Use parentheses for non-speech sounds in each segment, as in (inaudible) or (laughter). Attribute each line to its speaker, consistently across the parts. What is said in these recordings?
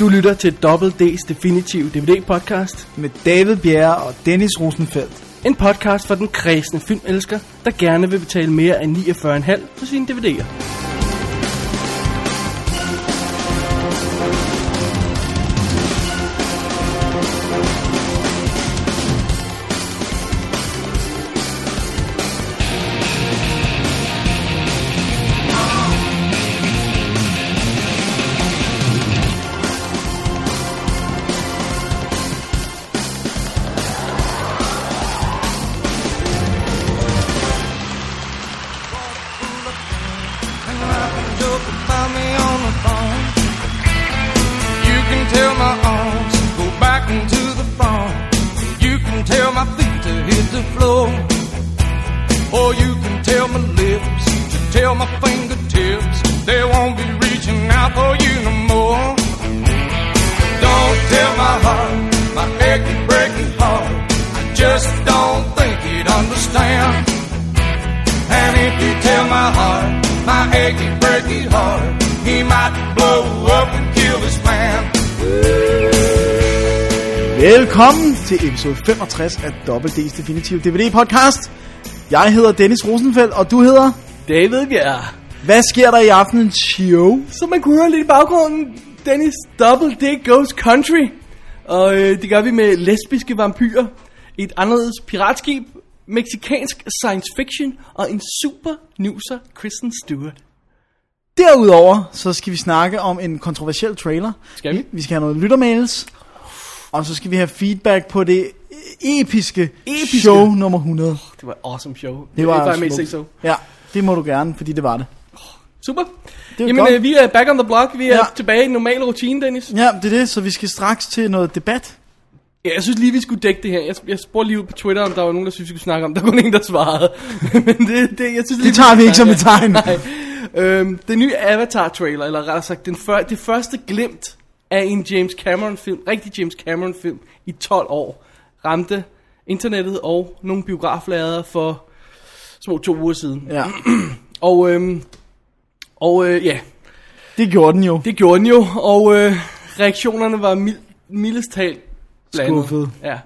Speaker 1: Du lytter til Double D's Definitive DVD-podcast.
Speaker 2: med David Bjerre og Dennis Rosenfeldt.
Speaker 1: En podcast for den kredsende filmelsker, der gerne vil betale mere end 49,5 for sine DVD'er.
Speaker 3: joke about me on the phone. You can tell my arms to go back into the phone. You can tell my feet to hit the floor. Or you can tell my lips to tell my fingertips. They won't be reaching out for you no more. Don't tell my heart, my aching, breaking heart. I just don't think he'd understand. And if you tell my heart, my achy, breaky heart, he might blow up and kill this man.
Speaker 2: Velkommen til episode 65 af Double D's Definitive DVD Podcast. Jeg hedder Dennis Rosenfeldt, og du hedder...
Speaker 1: David Bjerg.
Speaker 2: Hvad sker der i aftenen, Chio?
Speaker 1: Som man kunne høre lidt i baggrunden, Dennis Double D Goes Country. Og øh, det gør vi med lesbiske vampyrer, et anderledes piratskib, meksikansk science fiction og en super nuser Kristen Stewart.
Speaker 2: Derudover så skal vi snakke om en kontroversiel trailer.
Speaker 1: Skal vi?
Speaker 2: Vi skal have noget lyttermails. Og så skal vi have feedback på det episke,
Speaker 1: Episke.
Speaker 2: show nummer 100.
Speaker 1: Det var et awesome show.
Speaker 2: Det var
Speaker 1: If I may say
Speaker 2: smukt.
Speaker 1: so.
Speaker 2: Ja, det må du gerne, fordi det var det.
Speaker 1: Super.
Speaker 2: var
Speaker 1: Jamen,
Speaker 2: godt.
Speaker 1: øh, vi er back on the block. Vi er
Speaker 2: Ja.
Speaker 1: tilbage i normal rutine, Dennis.
Speaker 2: Ja, det er det, så vi skal straks til noget debat.
Speaker 1: Ja, jeg synes lige, vi skulle dække det her. Jeg, jeg spurgte lige ud på Twitter, om der var nogen, der synes, vi skulle snakke om. Der var kun en, der svarede. (laughs) Men det, det, jeg synes, lige,
Speaker 2: Det tager vi ikke som et tegn.
Speaker 1: Nej. Øhm, den nye Avatar-trailer, eller rettere sagt, den før, det første glimt af en James Cameron-film, rigtig James Cameron-film, i 12 år, ramte internettet og nogle biograflader for små to uger siden.
Speaker 2: Ja,
Speaker 1: Og, øhm, og øh, ja,
Speaker 2: det gjorde den jo.
Speaker 1: det gjorde den jo, og øh, reaktionerne var mild, mildest talt blandet.
Speaker 2: Skuffede.
Speaker 1: Ja.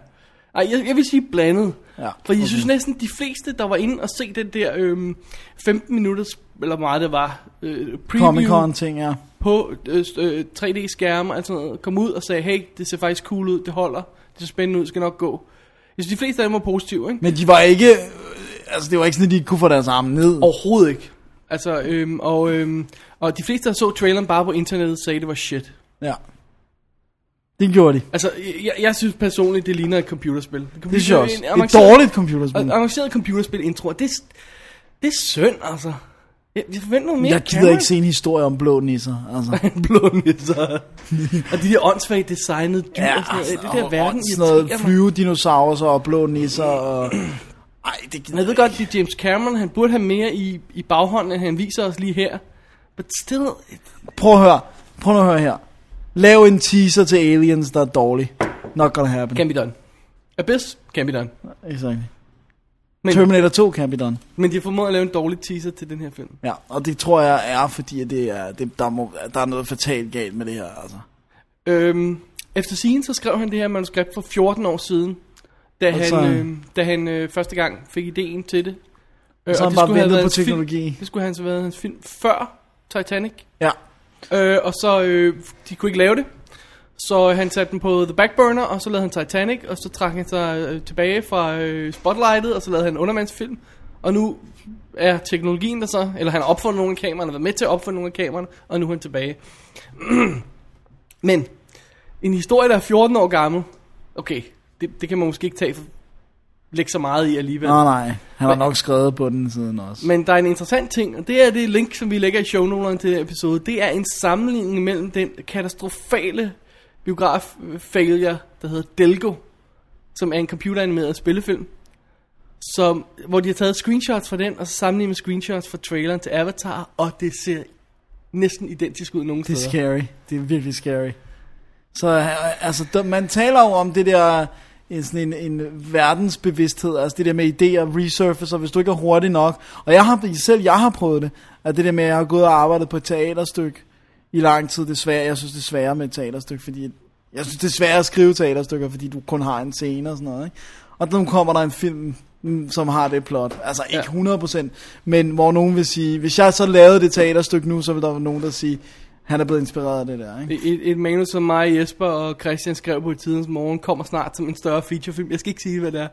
Speaker 1: Ej, jeg, jeg vil sige blandet.
Speaker 2: Ja,
Speaker 1: For jeg synes næsten, de fleste, der var inde og se den der øh, 15 minutters, eller hvor meget det var, øh,
Speaker 2: Comic
Speaker 1: preview
Speaker 2: Con ting, ja.
Speaker 1: på øh, øh, 3D-skærme og sådan noget, kom ud og sagde, hey, det ser faktisk cool ud, det holder, det ser spændende ud, det skal nok gå. Jeg synes, de fleste af dem var positive, ikke?
Speaker 2: Men de var ikke, øh, altså det var ikke sådan, at de ikke kunne få deres arme ned.
Speaker 1: Overhovedet ikke. Altså, øhm, og, øhm, og de fleste, der så traileren bare på internettet, sagde, det var shit.
Speaker 2: Ja. Det gjorde de.
Speaker 1: Altså, jeg, jeg synes personligt, det ligner et computerspil.
Speaker 2: Det synes jeg også.
Speaker 1: en
Speaker 2: Det er et
Speaker 1: avanceret-
Speaker 2: dårligt computerspil.
Speaker 1: en Avanceret computerspil intro, og det, er s- det er synd, altså. Jeg, jeg forventer noget mere
Speaker 2: Jeg gider
Speaker 1: camera.
Speaker 2: ikke se en historie om blå nisser, altså.
Speaker 1: (laughs) blå nisser. og de der åndssvagt designede dyr ja, og sådan noget. Det der
Speaker 2: altså, og
Speaker 1: verden
Speaker 2: sådan noget
Speaker 1: irriterer mig.
Speaker 2: flyvedinosaurus og blå nisser og... Ej, det
Speaker 1: Jeg ved godt, at James Cameron, han burde have mere i, i baghånden, end han viser os lige her. But still,
Speaker 2: Prøv at høre. Prøv nu at høre her. Lav en teaser til Aliens, der er dårlig. Not gonna happen.
Speaker 1: can be done. Abyss, can be done.
Speaker 2: Exactly.
Speaker 1: Men-
Speaker 2: Terminator 2 kan blive done.
Speaker 1: Men de har formået at lave en dårlig teaser til den her film.
Speaker 2: Ja, og det tror jeg er, fordi at det er, det, der, må, der er noget fatalt galt med det her, altså.
Speaker 1: Øh, Øhm, efter scene, så skrev han det her manuskript for 14 år siden, da
Speaker 2: så-
Speaker 1: han, øh, da han øh, første gang fik ideen til det. Øh,
Speaker 2: så har han
Speaker 1: det
Speaker 2: bare
Speaker 1: skulle have
Speaker 2: ventet
Speaker 1: været
Speaker 2: på
Speaker 1: hans film-
Speaker 2: teknologi.
Speaker 1: Det skulle han så været hans film før Titanic.
Speaker 2: Ja.
Speaker 1: Øh, og så, øh, de kunne ikke lave det. Så øh, han satte den på The Backburner, og så lavede han Titanic, og så trak han sig øh, tilbage fra øh, spotlightet, og så lavede han en undermandsfilm. Og nu er teknologien der så, eller han har opfundet nogle af kameraerne, været med til at opfinde nogle af kameraerne, og nu er han tilbage. (clears throat) Men, en historie, der er 14 år gammel, okay, det, det kan man måske ikke tage for, lægge så meget i alligevel.
Speaker 2: Nå nej, han har
Speaker 1: Men-
Speaker 2: nok skrevet på den siden også.
Speaker 1: Men der er en interessant ting, og det er det link, som vi lægger i shownoterne til den her episode. Det er en sammenligning mellem den katastrofale biograf-failure, der hedder Delgo, som er en computeranimeret spillefilm, som, hvor de har taget screenshots fra den, og så sammenlignet med screenshots fra traileren til Avatar, og det ser næsten identisk ud nogen
Speaker 2: det er
Speaker 1: steder.
Speaker 2: scary. Det er virkelig scary. Så øh, altså, der, man taler jo om det der en, sådan en, en verdensbevidsthed, altså det der med idéer, resurfacer, hvis du ikke er hurtig nok. Og jeg har, selv jeg har prøvet det, at det der med, at jeg har gået og arbejdet på et teaterstykke i lang tid. Desværre, jeg synes, det er sværere med et teaterstykke, fordi jeg synes, det er sværere at skrive teaterstykker, fordi du kun har en scene og sådan noget. Ikke? Og nu kommer der en film, mm, som har det plot. Altså ikke ja. 100%, men hvor nogen vil sige, hvis jeg så lavede det teaterstykke nu, så vil der være nogen, der sige, han er blevet inspireret af det der. Ikke?
Speaker 1: Et, et manus, som mig, Jesper og Christian skrev på i tidens morgen, kommer snart som en større featurefilm. Jeg skal ikke sige, hvad det er.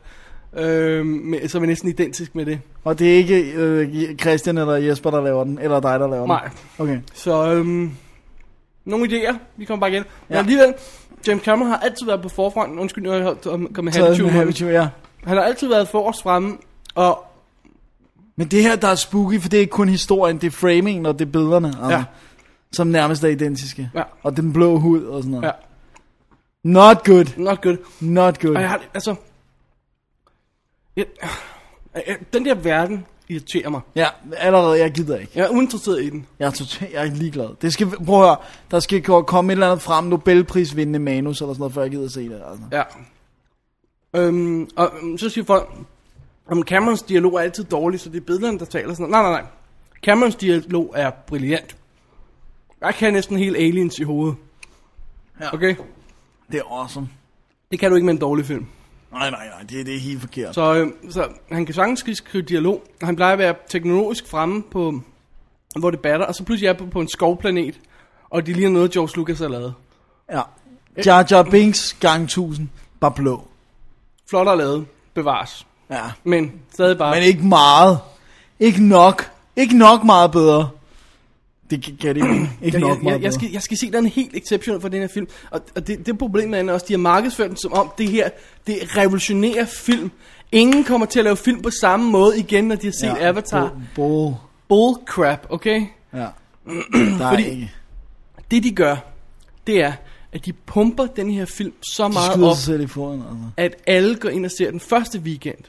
Speaker 1: Øhm, men, som er næsten identisk med det.
Speaker 2: Og det er ikke øh, Christian eller Jesper, der laver den, eller dig, der laver
Speaker 1: Nej.
Speaker 2: den. Okay.
Speaker 1: Så øhm, nogle idéer. Vi kommer bare igen. Men
Speaker 2: Ja.
Speaker 1: alligevel, James Cameron har altid været på forfronten. Undskyld, nu har jeg holdt- om- kommet
Speaker 2: Så er det
Speaker 1: halvtyv
Speaker 2: med
Speaker 1: med
Speaker 2: Habitude, ja.
Speaker 1: Han har altid været forrest fremme. Og
Speaker 2: Men det her, der er spooky, for det er ikke kun historien, det er framingen og det er billederne, altså,
Speaker 1: Ja.
Speaker 2: ja. som nærmest er identiske.
Speaker 1: Ja.
Speaker 2: Og den blå hud og sådan noget.
Speaker 1: Ja.
Speaker 2: Not good,
Speaker 1: not good.
Speaker 2: not good.
Speaker 1: Og jeg har det- altså... Jeg, jeg, den der verden irriterer mig.
Speaker 2: Ja, allerede, jeg gider ikke.
Speaker 1: Jeg er uinteresseret i den.
Speaker 2: Jeg er totalt, jeg er ligeglad. Det skal, prøv at høre, der skal gå- komme et eller andet frem, Nobelprisvindende manus eller sådan noget, før jeg gider se det. Altså.
Speaker 1: Ja. Øhm, og øhm, så siger folk, om Camerons dialog er altid dårlig, så det er billederne, der taler sådan noget. Nej, nej, nej. Camerons dialog er brilliant. Jeg kan næsten helt aliens i hovedet.
Speaker 2: Ja.
Speaker 1: Okay?
Speaker 2: Det er awesome.
Speaker 1: Det kan du ikke med en dårlig film.
Speaker 2: Nej, nej, nej, det, det er helt forkert.
Speaker 1: Så, øhm, så han kan sagtens skrive- skrive dialog, og han plejer at være teknologisk fremme på, hvor det batter, og så pludselig er jeg på, på en skovplanet, og det ligner noget, George Lucas har lavet.
Speaker 2: Ja. Jar Jar Binks gang 1000, bare blå.
Speaker 1: Flot at lavet, bevares.
Speaker 2: Ja.
Speaker 1: Men stadig bare...
Speaker 2: Men ikke meget. Ikke nok. Ikke nok meget bedre. Det kan kan det ikke. Ikke
Speaker 1: Jeg,
Speaker 2: nok
Speaker 1: jeg,
Speaker 2: meget
Speaker 1: jeg, jeg,
Speaker 2: bedre.
Speaker 1: skal, jeg skal se, den er helt exceptionel for den her film. Og, og det, det problem er også, de har markedsført den som om, det her, det revolutionerer film. Ingen kommer til at lave film på samme måde igen, når de har set ja, Avatar.
Speaker 2: Bo, bo.
Speaker 1: Bullcrap, okay? (clears throat)
Speaker 2: Ja. Der er
Speaker 1: Fordi-
Speaker 2: Fordi ikke.
Speaker 1: Det de gør, det er, at de pumper den her film så
Speaker 2: De
Speaker 1: meget
Speaker 2: skyder
Speaker 1: op,
Speaker 2: sig selv i foden. Altså.
Speaker 1: at alle går ind og ser den første weekend.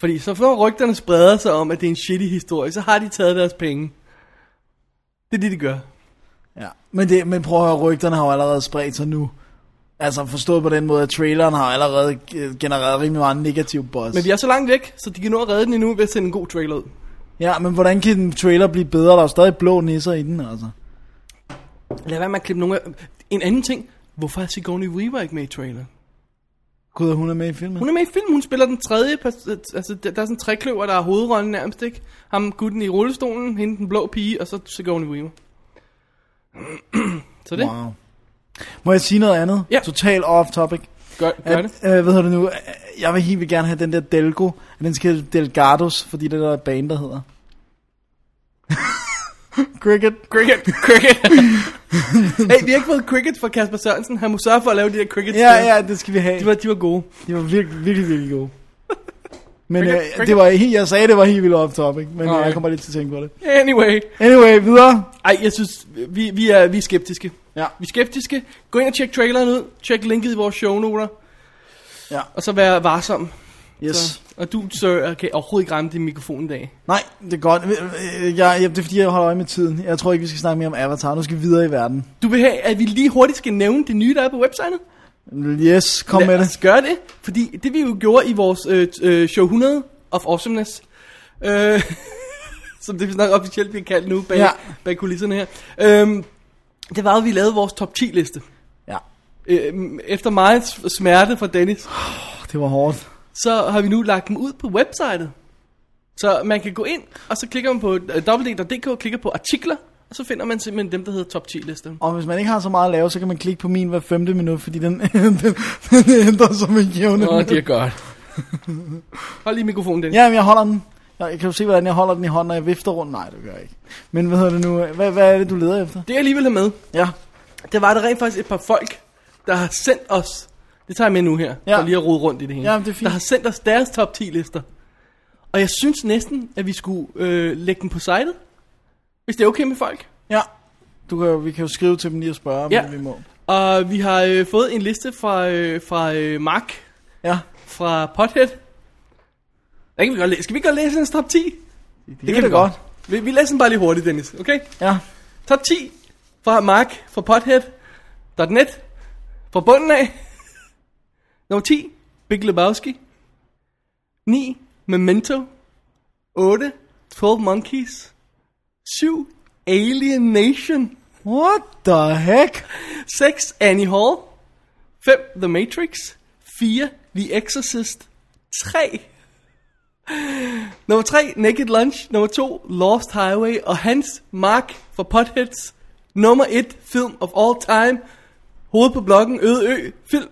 Speaker 1: Fordi så får rygterne spreder sig om, at det er en shitty historie, så har de taget deres penge. Det er det, de gør.
Speaker 2: Ja. Men, det, men prøv at høre, rygterne har jo allerede spredt sig nu. Altså forstået på den måde, at traileren har allerede øh, genereret rimelig meget negativ buzz.
Speaker 1: Men vi er så langt væk, så de kan nå at redde den endnu ved at sende en god trailer ud.
Speaker 2: Ja, men hvordan kan en trailer blive bedre? Der er jo stadig blå nisser i den, altså.
Speaker 1: Lad være med at klippe nogle af... En anden ting. Hvorfor er Sigourney Weaver ikke med i trailer?
Speaker 2: Gud, hun er med i filmen.
Speaker 1: Hun er med i film. Hun spiller den tredje... pers- øh, Altså, der der er sådan en trekløver, der er hovedrollen nærmest, ikke? Ham gutten i rullestolen, hende den blå pige, og så Sigourney Weaver. (clears throat) så det. Wow.
Speaker 2: Wow. Må jeg sige noget andet?
Speaker 1: Ja.
Speaker 2: Total off topic.
Speaker 1: Gør, gør
Speaker 2: At,
Speaker 1: det.
Speaker 2: øh, hvad hedder det nu? Øh, Jeg vil helt vildt gerne have den der Delgo. at Den skal hedde Delgados, fordi det er der er band, der hedder. Cricket.
Speaker 1: (laughs) Cricket, (laughs) cricket. hey, vi har ikke fået cricket fra Kasper Sørensen. Han må sørge for at lave de der cricket
Speaker 2: Ja, ja, det skal vi have.
Speaker 1: De var, de var gode.
Speaker 2: De var virkelig, virkelig, virkelig gode. Men
Speaker 1: Cricket,
Speaker 2: øh,
Speaker 1: cricket.
Speaker 2: det var helt, jeg sagde, det var helt vildt off topic, men øh,
Speaker 1: Nej.
Speaker 2: jeg kommer lidt til at tænke på det.
Speaker 1: Anyway.
Speaker 2: Anyway, videre.
Speaker 1: Ej, jeg synes, vi, vi, er, vi er skeptiske.
Speaker 2: Ja.
Speaker 1: Vi er skeptiske. Gå ind og tjek traileren ud. Tjek linket i vores shownoter.
Speaker 2: Ja.
Speaker 1: Og så vær varsom.
Speaker 2: Yes.
Speaker 1: Så, og du, sir, kan overhovedet ikke ramme din mikrofon i dag.
Speaker 2: Nej, det er godt. Øh, øh, Jeg, jeg, det er fordi, jeg holder øje med tiden. Jeg tror ikke, vi skal snakke mere om Avatar. Nu skal vi videre i verden.
Speaker 1: Du vil have, at vi lige hurtigt skal nævne det nye, der er på websitet?
Speaker 2: Yes, kom med
Speaker 1: Lad os
Speaker 2: det.
Speaker 1: gøre det, fordi det vi jo gjorde i vores øh, t- øh, show 100 of awesomeness, øh, (laughs) som det nok officielt bliver kaldt nu bag, ja.
Speaker 2: Ja.
Speaker 1: bag kulisserne her, øh, det var jo, at vi lavede vores top 10 liste.
Speaker 2: Ja,
Speaker 1: Øh, efter meget s- smerte fra Dennis,
Speaker 2: det var hårdt.
Speaker 1: så har vi nu lagt dem ud på websitet. Så man kan gå ind, og så klikker man på øh, www.dk, og klikker på artikler, og så finder man simpelthen dem, der hedder top 10 listen.
Speaker 2: Og hvis man ikke har så meget at lave, så kan man klikke på min hver femte minut, fordi den, (laughs) den, den ændrer sig med jævne.
Speaker 1: Åh, det er godt. (laughs) Hold lige mikrofonen, Dennis. Ja.
Speaker 2: Ja, men jeg holder den. Jeg, kan du se, hvordan jeg holder den i hånden, når jeg vifter rundt? Nej, det gør jeg ikke. Men hvad hedder det nu? Hvad, hvad er det, du leder efter?
Speaker 1: Det jeg alligevel har med,
Speaker 2: Ja,
Speaker 1: det var der rent faktisk et par folk, der har sendt os, det tager jeg med nu her, ja.
Speaker 2: Ja.
Speaker 1: for lige at rode rundt i det hele,
Speaker 2: Ja, det er fint.
Speaker 1: der har sendt os deres top 10 lister. Og jeg synes næsten, at vi skulle øh, lægge dem på sitet, hvis det er okay med folk.
Speaker 2: ja. Du kan, jo- vi kan jo skrive til dem lige og spørge, om
Speaker 1: Ja.
Speaker 2: ja. det vi må.
Speaker 1: Og vi har øh, fået en liste fra, øh, fra øh, Mark
Speaker 2: Ja.
Speaker 1: fra Pothead. Der kan vi godt læse. Skal vi godt læse hans top 10? Det,
Speaker 2: Det, det kan vi godt.
Speaker 1: Vi, vi læser den bare lige hurtigt, Dennis, okay?
Speaker 2: Ja.
Speaker 1: Top 10 fra Mark fra Pothead.net fra bunden af. (laughs) Nummer 10, Big Lebowski. 9, Memento. 8, 12 Monkeys. 7, Alien Nation.
Speaker 2: What the heck?
Speaker 1: 6. Annie Hall. 5. The Matrix. 4. The Exorcist. 3. Nummer 3. Naked Lunch. Nummer 2. Lost Highway. Og hans mark for Potheads. Nummer 1. Film of all time. Hoved på blokken. Øde ø. Film.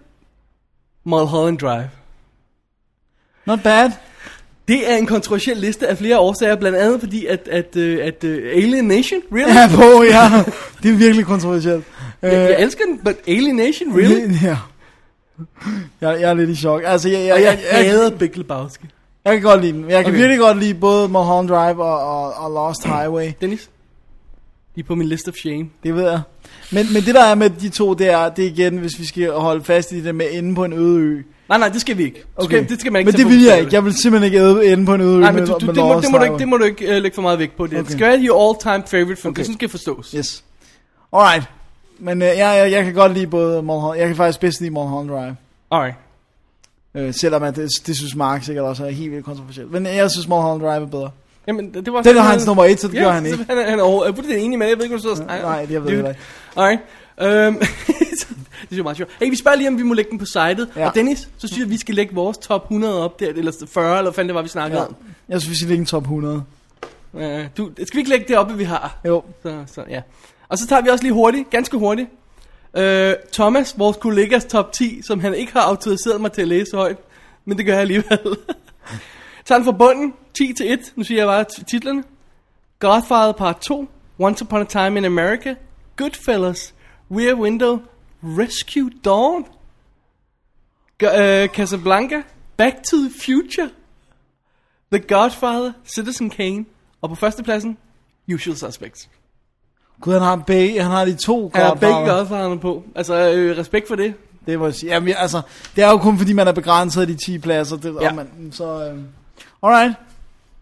Speaker 1: Mulholland Drive.
Speaker 2: Not bad. (laughs)
Speaker 1: Det er en kontroversiel liste af flere årsager, blandt andet fordi, at, at, øh, at, øh, Alien Nation, really?
Speaker 2: Ja, på, ja. Det er virkelig kontroversielt.
Speaker 1: Jeg,
Speaker 2: Øh,
Speaker 1: jeg elsker den, but Alien Nation, really?
Speaker 2: (laughs) Ja. Jeg, jeg er lidt i chok. Altså, jeg,
Speaker 1: Og jeg
Speaker 2: jeg, jeg, jeg, jeg,
Speaker 1: hader Big Lebowski.
Speaker 2: jeg kan godt lide den. Jeg kan
Speaker 1: Okay.
Speaker 2: okay. virkelig godt lide både Mulholland Drive og, og, og Lost Highway.
Speaker 1: Dennis? De er på min list of shame.
Speaker 2: Det ved jeg. Men, men det der er med de to, det er, det er igen, hvis vi skal holde fast i det med ende på en øde ø.
Speaker 1: Nej, nej, det skal vi ikke. Det Skal, det skal man ikke
Speaker 2: men
Speaker 1: tage
Speaker 2: det
Speaker 1: på
Speaker 2: vil jeg ikke.
Speaker 1: bogstaveligt.
Speaker 2: Jeg vil simpelthen ikke æde- ende på en øde ø.
Speaker 1: Nej, men
Speaker 2: med-
Speaker 1: du, du,
Speaker 2: med
Speaker 1: det, må,
Speaker 2: Lost
Speaker 1: det må du ikke,
Speaker 2: Highway.
Speaker 1: det må du ikke øh, lægge for meget vægt på. Det, okay.
Speaker 2: Okay.
Speaker 1: det skal være your all-time favorite film. Okay.
Speaker 2: Okay.
Speaker 1: Det synes skal forstås.
Speaker 2: Yes. Alright. Men øh, jeg, jeg, jeg kan godt lide både Mulholland... Jeg kan faktisk bedst lide Mulholland Drive.
Speaker 1: Alright.
Speaker 2: Øh, selvom at det, det synes Mark sikkert også er helt vildt kontroversielt. Men jeg synes Mulholland Drive er bedre.
Speaker 1: Jamen, det var... øh,
Speaker 2: Den er hans nummer et, så det gør han ikke.
Speaker 1: Han er, han er over, jeg er fuldstændig enig med det. Jeg ved ikke, hvad du sidder og snakker om.
Speaker 2: Nej, det jeg ved
Speaker 1: Dude.
Speaker 2: jeg ikke.
Speaker 1: Alright. Øhm, (laughs) det er jo meget sjovt. Hey, vi spørger lige, om vi må lægge den på sitet. Ja.
Speaker 2: Ja.
Speaker 1: Og Dennis, så synes jeg, vi skal lægge vores top 100 op der, eller 40, eller hvad fanden det var, vi snakkede
Speaker 2: Ja.
Speaker 1: ja. om.
Speaker 2: Jeg synes, vi skal ligge en top 100.
Speaker 1: Øh, du, skal vi ikke lægge det op, hvad vi har?
Speaker 2: Jo.
Speaker 1: Så, så, ja. Og så tager vi også lige hurtigt, ganske hurtigt, øh, Thomas, vores kollegas top 10, som han ikke har autoriseret mig til at læse højt, men det gør jeg alligevel. (laughs) tager den fra bunden, 10 til 1, nu siger jeg bare t- titlerne. Godfather Part 2, Once Upon a Time in America, Goodfellas, Rear Window, Rescue Dawn, G- øh, Casablanca, Back to the Future, The Godfather, Citizen Kane, og på førstepladsen, Usual Suspects.
Speaker 2: Gud, han har, begge, han har de to
Speaker 1: Han har begge
Speaker 2: Godfather.
Speaker 1: godfarerne på. Altså, øh, respekt for det.
Speaker 2: Det må jeg sige. Jamen, jeg- altså, det er jo kun fordi, man er begrænset af de 10 pladser. Det,
Speaker 1: Ja.
Speaker 2: ja. og man, så, øh, alright.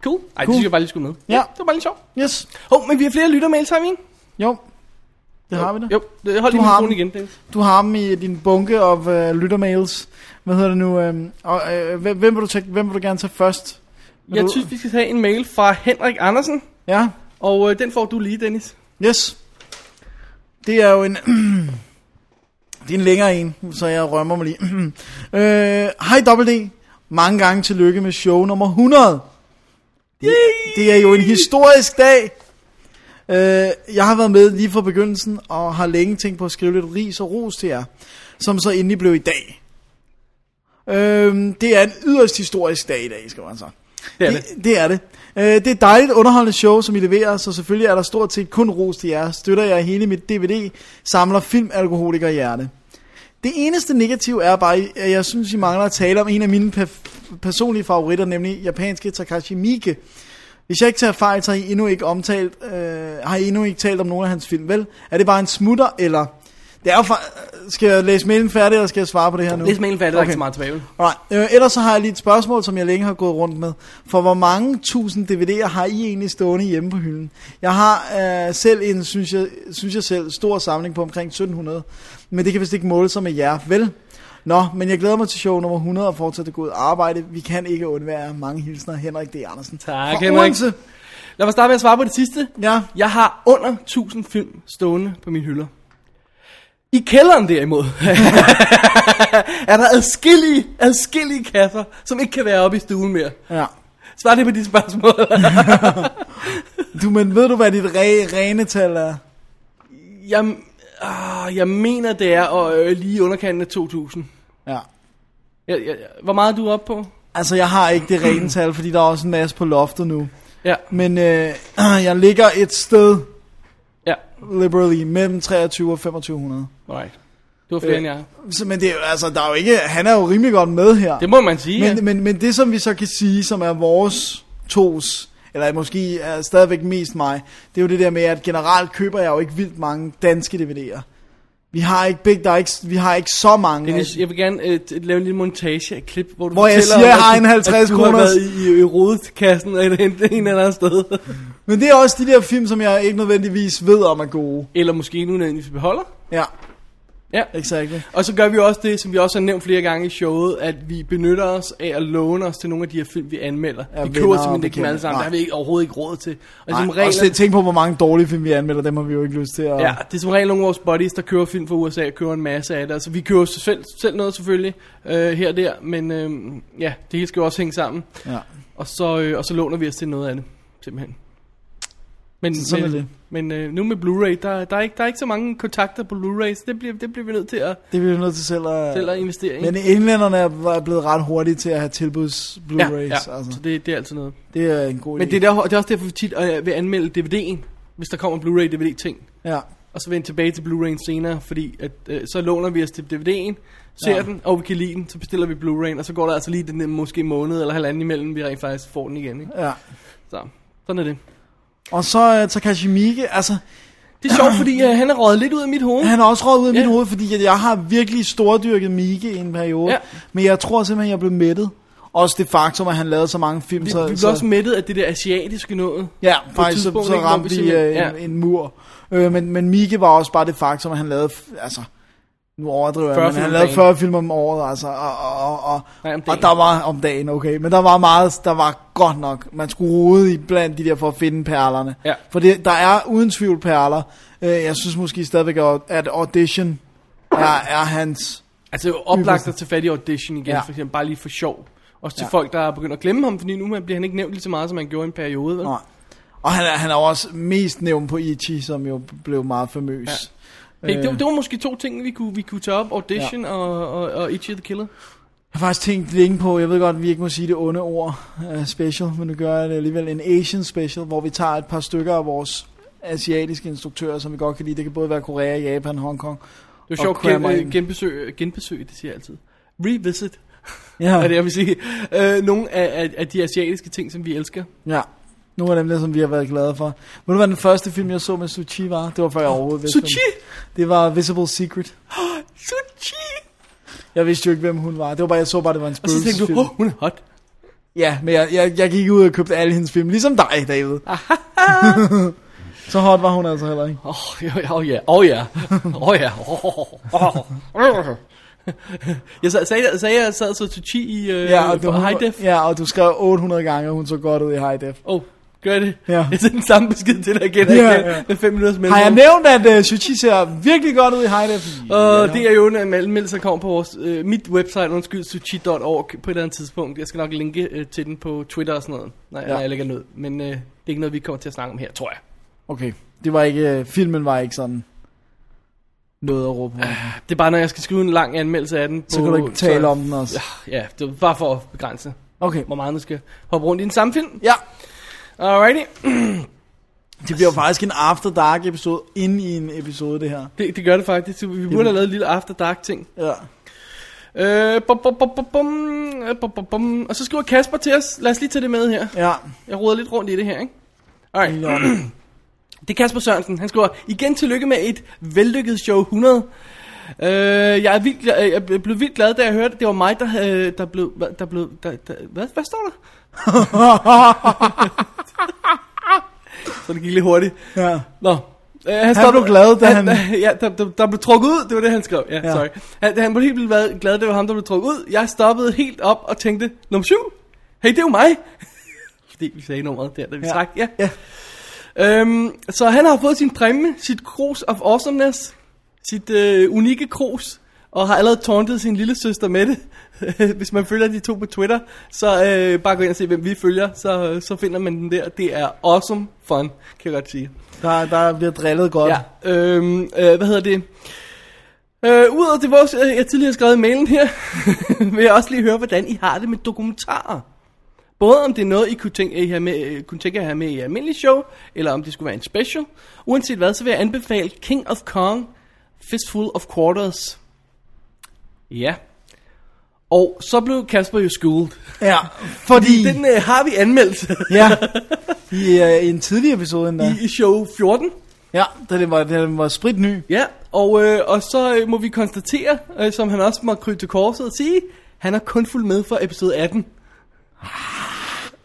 Speaker 1: Cool. Ej, cool. det
Speaker 2: Cool.
Speaker 1: synes jeg bare lige skulle med.
Speaker 2: Ja.
Speaker 1: Det var bare lidt sjovt.
Speaker 2: Yes.
Speaker 1: Hov, oh, men vi har flere lyttermails, har vi ikke?
Speaker 2: Jo. Det har vi da.
Speaker 1: Jo, det- hold
Speaker 2: Du
Speaker 1: lige
Speaker 2: har
Speaker 1: mikrofonen igen, Dennis.
Speaker 2: Du har dem i din bunke af øh, lyttermails. Hvad hedder det nu? Øh, og, øh, hvem, hvem vil du tage, hvem vil du gerne tage først? Vil
Speaker 1: Jeg
Speaker 2: du,
Speaker 1: synes, vi skal tage en mail fra Henrik Andersen.
Speaker 2: Ja.
Speaker 1: Og øh, den får du lige, Dennis.
Speaker 2: Yes. Det er jo en... (clears throat) det er en længere en, så jeg rømmer mig lige. (clears throat) Øh, Hej øh, D. Mange gange tillykke med show nummer 100. Det, det er jo en historisk dag. Øh, jeg har været med lige fra begyndelsen, og har længe tænkt på at skrive lidt ris og ros til jer, som så endelig blev i dag. Øh, det er en yderst historisk dag i dag, skal man så.
Speaker 1: Det er det.
Speaker 2: Det, det er det. Øh, det er et dejligt underholdende show, som I leverer, så selvfølgelig er der stort set kun ros til jer. Støtter jer i hele mit DVD, samler filmalkoholiker hjerte. Det eneste negativ er bare, at jeg synes, I mangler at tale om en af mine perf- personlige favoritter, nemlig japanske Takashi Miike. Hvis jeg ikke tager fejl, så har I endnu ikke, omtalt, øh, har I endnu ikke talt om nogen af hans film, vel? Er det bare en smutter, eller... Det er jo for... Skal jeg læse mailen færdig, eller skal jeg svare på det her nu?
Speaker 1: Læs mailen færdig, der er ikke så meget tilbage. vel?
Speaker 2: Alright. Øh, ellers så har jeg lige et spørgsmål, som jeg længe har gået rundt med. For hvor mange tusind DVD'er har I egentlig stående hjemme på hylden? Jeg har øh, selv en, synes jeg, synes jeg selv, stor samling på omkring 1700. Men det kan vist ikke måle sig med jer, vel? Nå, men jeg glæder mig til show nummer 100 og fortsætte det gode arbejde. Vi kan ikke undvære mange hilsner. Henrik D. Andersen.
Speaker 1: Tak,
Speaker 2: Fra
Speaker 1: Henrik.
Speaker 2: Odense.
Speaker 1: Lad mig starte med at svare på det sidste.
Speaker 2: Ja,
Speaker 1: Jeg har under 1000 film stående på mine hylder. I kælderen derimod, (laughs) er der adskillige, adskillige kasser, som ikke kan være oppe i stuen mere.
Speaker 2: ja.
Speaker 1: Svar det på de spørgsmål.
Speaker 2: Du, men ved du, hvad dit re- rene tal er?
Speaker 1: jeg, ah, jeg mener, det er og, øh, lige i underkanten af 2000.
Speaker 2: Ja.
Speaker 1: Jeg, jeg, jeg- hvor meget er du oppe på?
Speaker 2: Altså, jeg har ikke det rene tal, fordi der er også en masse på loftet nu.
Speaker 1: Ja,
Speaker 2: Men øh, (clears throat) jeg ligger et sted
Speaker 1: ja,
Speaker 2: liberally mellem 23 og 2500.
Speaker 1: alright. Du var flere øh.
Speaker 2: Øh.
Speaker 1: end jeg. er.
Speaker 2: Så, men det er jo, altså, der er jo ikke, han er jo rimelig godt med her.
Speaker 1: Det må man sige. Men, ja.
Speaker 2: men, men, men det som vi så kan sige, som er vores tos, eller måske er stadigvæk mest mig, det er jo det der med, at generelt køber jeg jo ikke vildt mange danske DVD'er. Vi har ikke, big, der er ikke, vi har ikke så mange.
Speaker 1: Dennis, jeg vil gerne øh, t- lave en lille montage af et klip, hvor du
Speaker 2: Hvor jeg
Speaker 1: fortæller,
Speaker 2: siger,
Speaker 1: om,
Speaker 2: jeg har
Speaker 1: at du-
Speaker 2: en 50
Speaker 1: at du har
Speaker 2: kroners.
Speaker 1: været i, i rodekassen og hentet en eller anden sted.
Speaker 2: Men det er også de der film, som jeg ikke nødvendigvis ved om er gode.
Speaker 1: Eller måske nu nødvendigvis beholder.
Speaker 2: Ja.
Speaker 1: Ja.
Speaker 2: Exactly.
Speaker 1: Og så gør vi også det, som vi også har nævnt flere gange i showet, at vi benytter os af at låne os til nogle af de her film, vi anmelder.
Speaker 2: Ja,
Speaker 1: vi
Speaker 2: venner
Speaker 1: køber
Speaker 2: og
Speaker 1: simpelthen ikke dem
Speaker 2: bekendte.
Speaker 1: alle sammen,
Speaker 2: Nej.
Speaker 1: der har vi ikke, overhovedet ikke råd til. Og
Speaker 2: Nej,
Speaker 1: som
Speaker 2: og
Speaker 1: regel,
Speaker 2: se- tænk på, hvor mange dårlige film, vi anmelder, dem har vi jo ikke lyst til at...
Speaker 1: ja, det er som regel nogle af vores buddies, der kører film fra USA og kører en masse af det. Altså vi kører selv, selv noget selvfølgelig, øh, her og der, men øh, ja, det hele skal jo også hænge sammen.
Speaker 2: ja.
Speaker 1: Og så, øh, og så låner vi os til noget af det, simpelthen. Men,
Speaker 2: Så sådan
Speaker 1: men,
Speaker 2: er det.
Speaker 1: men øh, nu med Blu-ray, der, der, er ikke, der er ikke så mange kontakter på Blu-rays. Det bliver, det bliver vi nødt til at,
Speaker 2: Det er vi jo nødt til selv at...
Speaker 1: selv at investere i.
Speaker 2: Men englænderne er- var blevet ret hurtige til at have tilbuds
Speaker 1: ja,
Speaker 2: Blu-rays.
Speaker 1: ja.
Speaker 2: Altså,
Speaker 1: så det, det er altid noget.
Speaker 2: det er en god
Speaker 1: Men
Speaker 2: idé.
Speaker 1: det er, der, det er også derfor, vi tit øh, vil anmelde DVD'en, hvis der kommer en Blu-ray DVD-ting.
Speaker 2: Ja.
Speaker 1: Og så vende tilbage til Blu-ray'en senere, fordi at, øh, så låner vi os til DVD'en, ser
Speaker 2: Ja.
Speaker 1: ja. den, og vi kan lide den, så bestiller vi Blu-ray'en, og så går der altså lige den der måske måned eller halvanden imellem, vi rent faktisk får den igen. Ikke?
Speaker 2: ja.
Speaker 1: Så sådan er det.
Speaker 2: Og så uh, Takashi Miike, altså,
Speaker 1: Det er sjovt, fordi øh, han er røget lidt ud af mit hoved.
Speaker 2: han er også råd ud af
Speaker 1: Ja.
Speaker 2: mit hoved, fordi at jeg har virkelig stordyrket Miike i en periode.
Speaker 1: Ja.
Speaker 2: Men jeg tror simpelthen, jeg blev mættet. Også det faktum, at han lavede så mange film.
Speaker 1: Vi,
Speaker 2: så,
Speaker 1: vi blev
Speaker 2: så,
Speaker 1: også mættet af det der asiatiske noget.
Speaker 2: Ja,
Speaker 1: et
Speaker 2: faktisk så,
Speaker 1: tidspunkt,
Speaker 2: så
Speaker 1: ikke, hvor
Speaker 2: ramte
Speaker 1: vi
Speaker 2: vi
Speaker 1: simpelthen-
Speaker 2: øh,
Speaker 1: ja.
Speaker 2: en, en mur. Øh, men, men Mikke var også bare det faktum, at han lavede, f- altså, nu overdriver
Speaker 1: 40
Speaker 2: jeg, men
Speaker 1: film
Speaker 2: han
Speaker 1: om
Speaker 2: lavede
Speaker 1: dagen.
Speaker 2: 40 film om året, altså, og, og, og,
Speaker 1: Nej, om
Speaker 2: og
Speaker 1: dagen.
Speaker 2: der var om dagen, okay, men der var meget, der var godt nok, man skulle rode i blandt de der for at finde perlerne.
Speaker 1: Ja.
Speaker 2: For det, der er uden tvivl perler. Øh, jeg synes måske stadigvæk, at- at Audition er, er hans,
Speaker 1: Altså det er jo oplagt at tage fat i audition igen,
Speaker 2: Ja.
Speaker 1: ja. for eksempel bare lige for sjov. Også til
Speaker 2: Ja.
Speaker 1: ja. folk, der er begyndt at glemme ham, fordi nu bliver han ikke nævnt lige så meget, som han gjorde i en periode. Vel?
Speaker 2: nej. og han er, han er også mest nævnt på Ichi, som jo blev meget famøs.
Speaker 1: Ja. Hey,
Speaker 2: Øh.
Speaker 1: det, var- det var måske to ting, vi kunne, vi kunne tage op. Audition ja. og, og, og Itchy the Killer.
Speaker 2: Jeg har faktisk tænkt længe på, jeg ved godt, at vi ikke må sige det onde ord uh, special, men nu gør jeg det alligevel, en Asian special, hvor vi tager et par stykker af vores asiatiske instruktører, som vi godt kan lide. Det kan både være Korea, Japan, Hongkong.
Speaker 1: Det
Speaker 2: Og
Speaker 1: var sjovt
Speaker 2: crammer
Speaker 1: gen,
Speaker 2: ind.
Speaker 1: øh, genbesøg, genbesøg, det siger jeg altid. Revisit,
Speaker 2: Ja,
Speaker 1: er det jeg vil sige. Øh, nogle af, af, af de asiatiske ting, som vi elsker.
Speaker 2: ja. Nogle af dem, der, som vi har været glade for. Ved du, hvad den første film, jeg så med Suchi var? Det var før jeg overhovedet vidste. hvem-
Speaker 1: Suchi!
Speaker 2: Det var Visible Secret.
Speaker 1: Suchi!
Speaker 2: Jeg vidste jo ikke, hvem hun var. Det var bare, jeg så bare, det var en
Speaker 1: Og så tænkte
Speaker 2: spøgelsesfilm.
Speaker 1: du, oh, hun er hot.
Speaker 2: Ja, men jeg, jeg, jeg gik ud og købte alle hendes film, ligesom dig, David. (laughs) så hot var hun altså heller ikke.
Speaker 1: Åh, oh, ja, åh ja, åh ja, åh ja, åh, åh. Jeg sad- sagde, sagde jeg sad så Tucci i øh,
Speaker 2: Ja, og,
Speaker 1: på
Speaker 2: du,
Speaker 1: High Def.
Speaker 2: ja, og du skrev 800 gange, at hun så godt ud i High Def.
Speaker 1: Åh, oh, gør det. (laughs)
Speaker 2: Ja.
Speaker 1: Jeg sendte den samme besked til dig igen og
Speaker 2: Ja,
Speaker 1: igen
Speaker 2: ja.
Speaker 1: med fem minutters
Speaker 2: Har jeg
Speaker 1: mellemrum.
Speaker 2: nævnt, at uh, Suchi ser virkelig godt ud i High Def? Øh.
Speaker 1: Og Øh, det er jo en anmeldelse, der kommer på vores, øh, mit website, undskyld, suchi.org på et eller andet tidspunkt. Jeg skal nok linke øh, til den på Twitter og sådan noget, når, ja.
Speaker 2: Ja.
Speaker 1: når jeg lægger ned. Men øh, det er ikke noget, vi kommer til at snakke om her, tror jeg.
Speaker 2: Okay, det var ikke, uh, filmen var ikke sådan noget at råbe på.
Speaker 1: Det er bare, når jeg skal skrive en lang anmeldelse af den. På,
Speaker 2: Ah, Så kan du ikke tale om den også.
Speaker 1: Ja, det var bare for at begrænse,
Speaker 2: Okay,
Speaker 1: hvor meget du skal hoppe rundt i den samme film.
Speaker 2: ja.
Speaker 1: Alrighty.
Speaker 2: Det bliver jo faktisk en After Dark episode inde i en episode, det her.
Speaker 1: Det, det gør det faktisk. Vi burde have lavet en lille After Dark ting.
Speaker 2: Ja.
Speaker 1: Øh, bum, bum, bum, bum, bum, øh, bum, bum, bum. Og så skriver Kasper til os. Lad os lige tage det med her.
Speaker 2: Ja.
Speaker 1: Jeg roder lidt rundt i det her, ikke? Alright.
Speaker 2: Nå.
Speaker 1: Det er Kasper Sørensen. Han skriver, igen tillykke med et vellykket show 100. Øh, jeg, er vildt, glad- øh, jeg blev vildt glad, da jeg hørte, at det var mig, der, øh, der blev... hvad- Der blev der, der, hvad, hvad står der? (laughs) Så det gik lidt hurtigt.
Speaker 2: ja.
Speaker 1: Nå. Øh, han,
Speaker 2: blev glad, da han-
Speaker 1: (laughs) Ja, der, der, der blev trukket ud, det var det, han skrev. Ja,
Speaker 2: Ja.
Speaker 1: ja. sorry. Han, han blev helt vildt glad- glad, det var ham, der blev trukket ud. Jeg stoppede helt op og tænkte, nummer syv, hey, det er jo mig. (laughs) Fordi vi sagde nummeret der, da vi
Speaker 2: Ja.
Speaker 1: ja. trak. Ja.
Speaker 2: Ja.
Speaker 1: Øhm, så han har fået sin præmie, sit krus of awesomeness, sit øh, unikke krus, og har allerede tauntet sin lille søster med det. (laughs) Hvis man følger de to på Twitter, så øh, bare gå ind og se, hvem vi følger, så, så finder man den der. Det er awesome fun, kan jeg godt sige.
Speaker 2: Der, der bliver drillet godt.
Speaker 1: Ja, øhm, øh, hvad hedder det? Øh, Udover det, vores, øh, jeg tidligere har skrevet i mailen her, (laughs) vil jeg også lige høre, hvordan I har det med dokumentarer. Både om det er noget, I kunne tænke, I har med, øh, kunne tænke jer at have med i et almindeligt show, eller om det skulle være en special. Uanset hvad, så vil jeg anbefale King of Kong, Fistful of Quarters. Ja. Og så blev Kasper jo schooled.
Speaker 2: ja. Fordi,
Speaker 1: Den øh, har vi anmeldt
Speaker 2: (laughs) ja, i, uh, i en tidlig episode endda.
Speaker 1: i, i show 14.
Speaker 2: Ja, da den var, da den var spritny.
Speaker 1: Ja, og, øh, og så øh, må vi konstatere, øh, som han også må krybe til korset og sige, han har kun fulgt med for episode 18. Ah,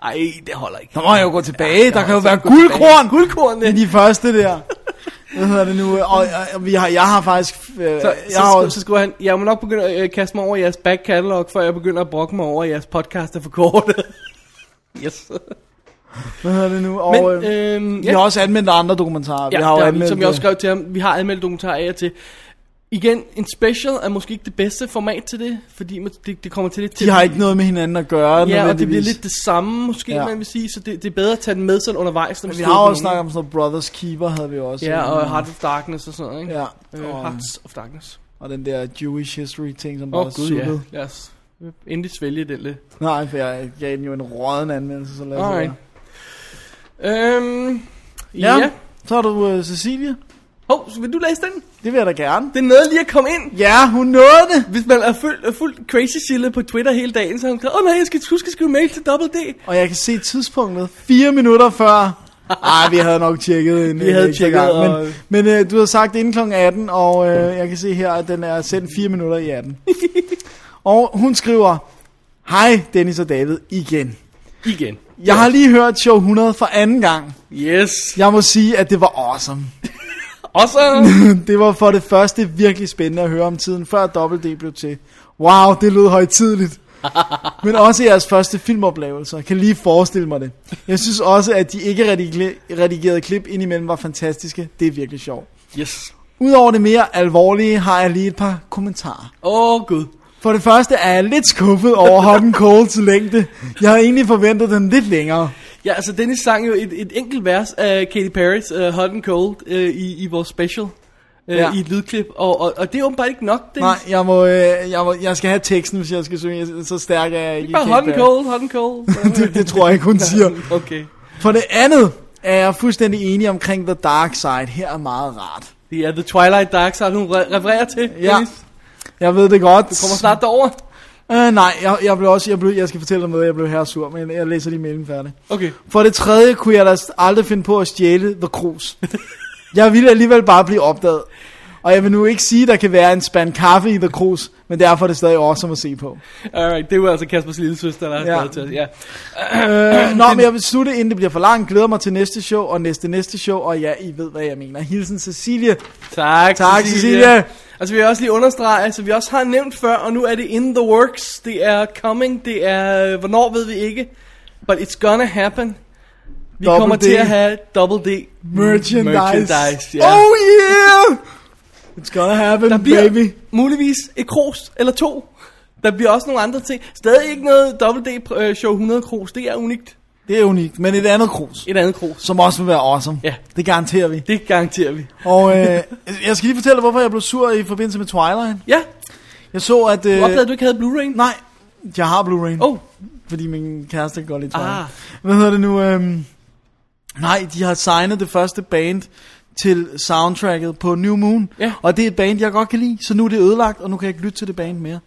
Speaker 1: Ej, det holder ikke.
Speaker 2: Der må jeg jo gå tilbage, ja, der kan jo
Speaker 1: så
Speaker 2: være
Speaker 1: gå tilbage.
Speaker 2: guldkorn
Speaker 1: Guldkorn,
Speaker 2: i
Speaker 1: ja.
Speaker 2: de første der. Hvad hedder det nu? Og, og vi har, jeg har faktisk... Øh,
Speaker 1: Så,
Speaker 2: jeg
Speaker 1: så,
Speaker 2: har,
Speaker 1: så, så skriver han, jeg må nok begynde at øh, kaste mig over jeres back catalog, før jeg begynder at brokke mig over, at jeres podcast er for kort. yes.
Speaker 2: hvad hedder det nu? Og,
Speaker 1: Men,
Speaker 2: øh,
Speaker 1: øhm,
Speaker 2: vi har også anmeldt andre dokumentarer.
Speaker 1: Ja,
Speaker 2: vi har jo
Speaker 1: der,
Speaker 2: anmeldt,
Speaker 1: som jeg også
Speaker 2: øh,
Speaker 1: skrev til ham, vi har anmeldt dokumentarer af og til. Igen, en special er måske ikke det bedste format til det, fordi man- det, det kommer til det til.
Speaker 2: De har ikke noget med hinanden at
Speaker 1: Ja,
Speaker 2: gøre,
Speaker 1: og det bliver
Speaker 2: nødvendigvis.
Speaker 1: lidt det samme, måske, ja.
Speaker 2: Ja.
Speaker 1: man vil sige, så det, det er bedre at tage den med sådan undervejs. Når
Speaker 2: Men vi
Speaker 1: støder
Speaker 2: har
Speaker 1: på
Speaker 2: også
Speaker 1: nogen.
Speaker 2: snakket om sådan noget Brothers Keeper, havde vi også. øh,
Speaker 1: Ja, og Heart of Darkness og sådan noget, ikke?
Speaker 2: Ja,
Speaker 1: Øh,
Speaker 2: og,
Speaker 1: Hearts of Darkness.
Speaker 2: og den der Jewish History ting, som
Speaker 1: Åh,
Speaker 2: bare
Speaker 1: oh,
Speaker 2: er
Speaker 1: gud, ja.
Speaker 2: suttet.
Speaker 1: Lad os endelig svælge den lidt.
Speaker 2: Nej, for jeg gav den jo en råden anmeldelse, så lad os
Speaker 1: Alright.
Speaker 2: være.
Speaker 1: Øhm, ja.
Speaker 2: Ja.
Speaker 1: ja.
Speaker 2: Så har du øh, Cecilie.
Speaker 1: Hov, så vil du læse den?
Speaker 2: Det vil jeg da gerne.
Speaker 1: Det er noget lige at komme ind.
Speaker 2: Ja, hun nåede det.
Speaker 1: Hvis man er fuldt er fuldt crazy chillet på Twitter hele dagen, så har hun skrevet, åh oh, nej, jeg skal huske at skrive mail til Double D.
Speaker 2: Og jeg kan se tidspunktet fire minutter før. Ej, vi havde nok tjekket en
Speaker 1: Vi havde
Speaker 2: en ekstra
Speaker 1: tjekket,
Speaker 2: gang,
Speaker 1: og-
Speaker 2: Men, men øh, du har sagt inden kl. 18, og øh, jeg kan se her, at den er sendt fire minutter
Speaker 1: (laughs)
Speaker 2: i 18. og hun skriver, Hej Dennis og David igen.
Speaker 1: Igen.
Speaker 2: Jeg har lige hørt show 100 for anden gang.
Speaker 1: Yes.
Speaker 2: Jeg må sige, at det var awesome.
Speaker 1: Og så...
Speaker 2: (laughs) (clears throat) Det var for det første virkelig spændende at høre om tiden, før Double D blev til. Wow, det lød
Speaker 1: (laughs)
Speaker 2: højtidligt. Men også jeres første filmoplevelser. Kan lige forestille mig det. Jeg synes også, at de ikke redigli- redigerede klip indimellem var fantastiske. Det er virkelig sjovt.
Speaker 1: Yes.
Speaker 2: Udover det mere alvorlige, har jeg lige et par kommentarer.
Speaker 1: Åh, oh, gud.
Speaker 2: For det første er jeg lidt skuffet over Hot Colds længde. Jeg havde egentlig forventet den lidt længere.
Speaker 1: Ja, altså Dennis sang jo et, et enkelt vers af Katy Perry's uh, Hot and Cold uh, i, i vores special. Uh, ja.
Speaker 2: Ja.
Speaker 1: I et lydklip. Og, og, og det er åbenbart ikke nok, Dennis.
Speaker 2: Nej, jeg, må, øh, jeg, må, jeg skal have teksten, hvis jeg skal synge. Så stærk er jeg ikke. i
Speaker 1: Bare
Speaker 2: Katy
Speaker 1: hot and
Speaker 2: Perry.
Speaker 1: cold, hot and cold.
Speaker 2: (laughs) Det, det tror jeg ikke, hun
Speaker 1: (laughs)
Speaker 2: siger.
Speaker 1: okay.
Speaker 2: For det andet er jeg fuldstændig enig omkring The Dark Side. Her er meget rart.
Speaker 1: Det er The Twilight Dark Side, hun re- refererer til.
Speaker 2: Ja.
Speaker 1: Dennis.
Speaker 2: Jeg ved det godt.
Speaker 1: Du kommer snart derover.
Speaker 2: Uh, nej, jeg, jeg blev også, jeg, blev, jeg skal fortælle dig noget, jeg blev her sur, men jeg læser lige mailen færdig. (laughs)
Speaker 1: Okay.
Speaker 2: For det tredje kunne jeg da aldrig finde på at stjæle The
Speaker 1: (laughs)
Speaker 2: Cruise. jeg ville alligevel bare blive opdaget. Og jeg vil nu ikke sige, at der kan være en spand kaffe i The Cruise, men derfor er det stadig awesome at se på.
Speaker 1: Alright, det var altså Kaspers lille søster, der har
Speaker 2: Ja.
Speaker 1: skrevet til os. Ja. (clears throat)
Speaker 2: Øh, Nå, men jeg vil slutte, inden det bliver for langt. Glæder mig til næste show, og næste næste show, og ja, I ved, hvad jeg mener. Hilsen Cecilie.
Speaker 1: Tak,
Speaker 2: Tak, Cecilia.
Speaker 1: Altså, vi vil også lige understrege, altså, vi også har nævnt før, og nu er det in the works, det er coming, det er, øh, hvornår ved vi ikke, but it's gonna happen. Vi
Speaker 2: Double
Speaker 1: kommer
Speaker 2: D.
Speaker 1: til at have Double D.
Speaker 2: Merchandise.
Speaker 1: Merchandise, ja.
Speaker 2: Oh yeah! It's gonna happen,
Speaker 1: Der bliver
Speaker 2: baby.
Speaker 1: muligvis et krus eller to. Der bliver også nogle andre ting. Stadig ikke noget Double D øh, Show 100 krus, det er unikt.
Speaker 2: Det er unikt, men et andet krus,
Speaker 1: Et andet krus.
Speaker 2: som også vil være awesome.
Speaker 1: Ja.
Speaker 2: Det garanterer vi.
Speaker 1: Det garanterer vi.
Speaker 2: Og øh, jeg skal lige fortælle, hvorfor jeg blev sur i forbindelse med Twilight.
Speaker 1: Ja,
Speaker 2: Jeg så, at...
Speaker 1: du
Speaker 2: Øh,
Speaker 1: opdagede, at du ikke havde Blu-ray?
Speaker 2: Nej, jeg har Blu-ray,
Speaker 1: Oh,
Speaker 2: fordi min kæreste går lidt Twilight.
Speaker 1: ah.
Speaker 2: Ah. Hvad hedder det nu? Øh, nej, de har signet det første band til soundtracket på New Moon.
Speaker 1: Ja.
Speaker 2: Og det er et band, jeg godt kan lide, så nu er det ødelagt, og nu kan jeg ikke lytte til det band mere.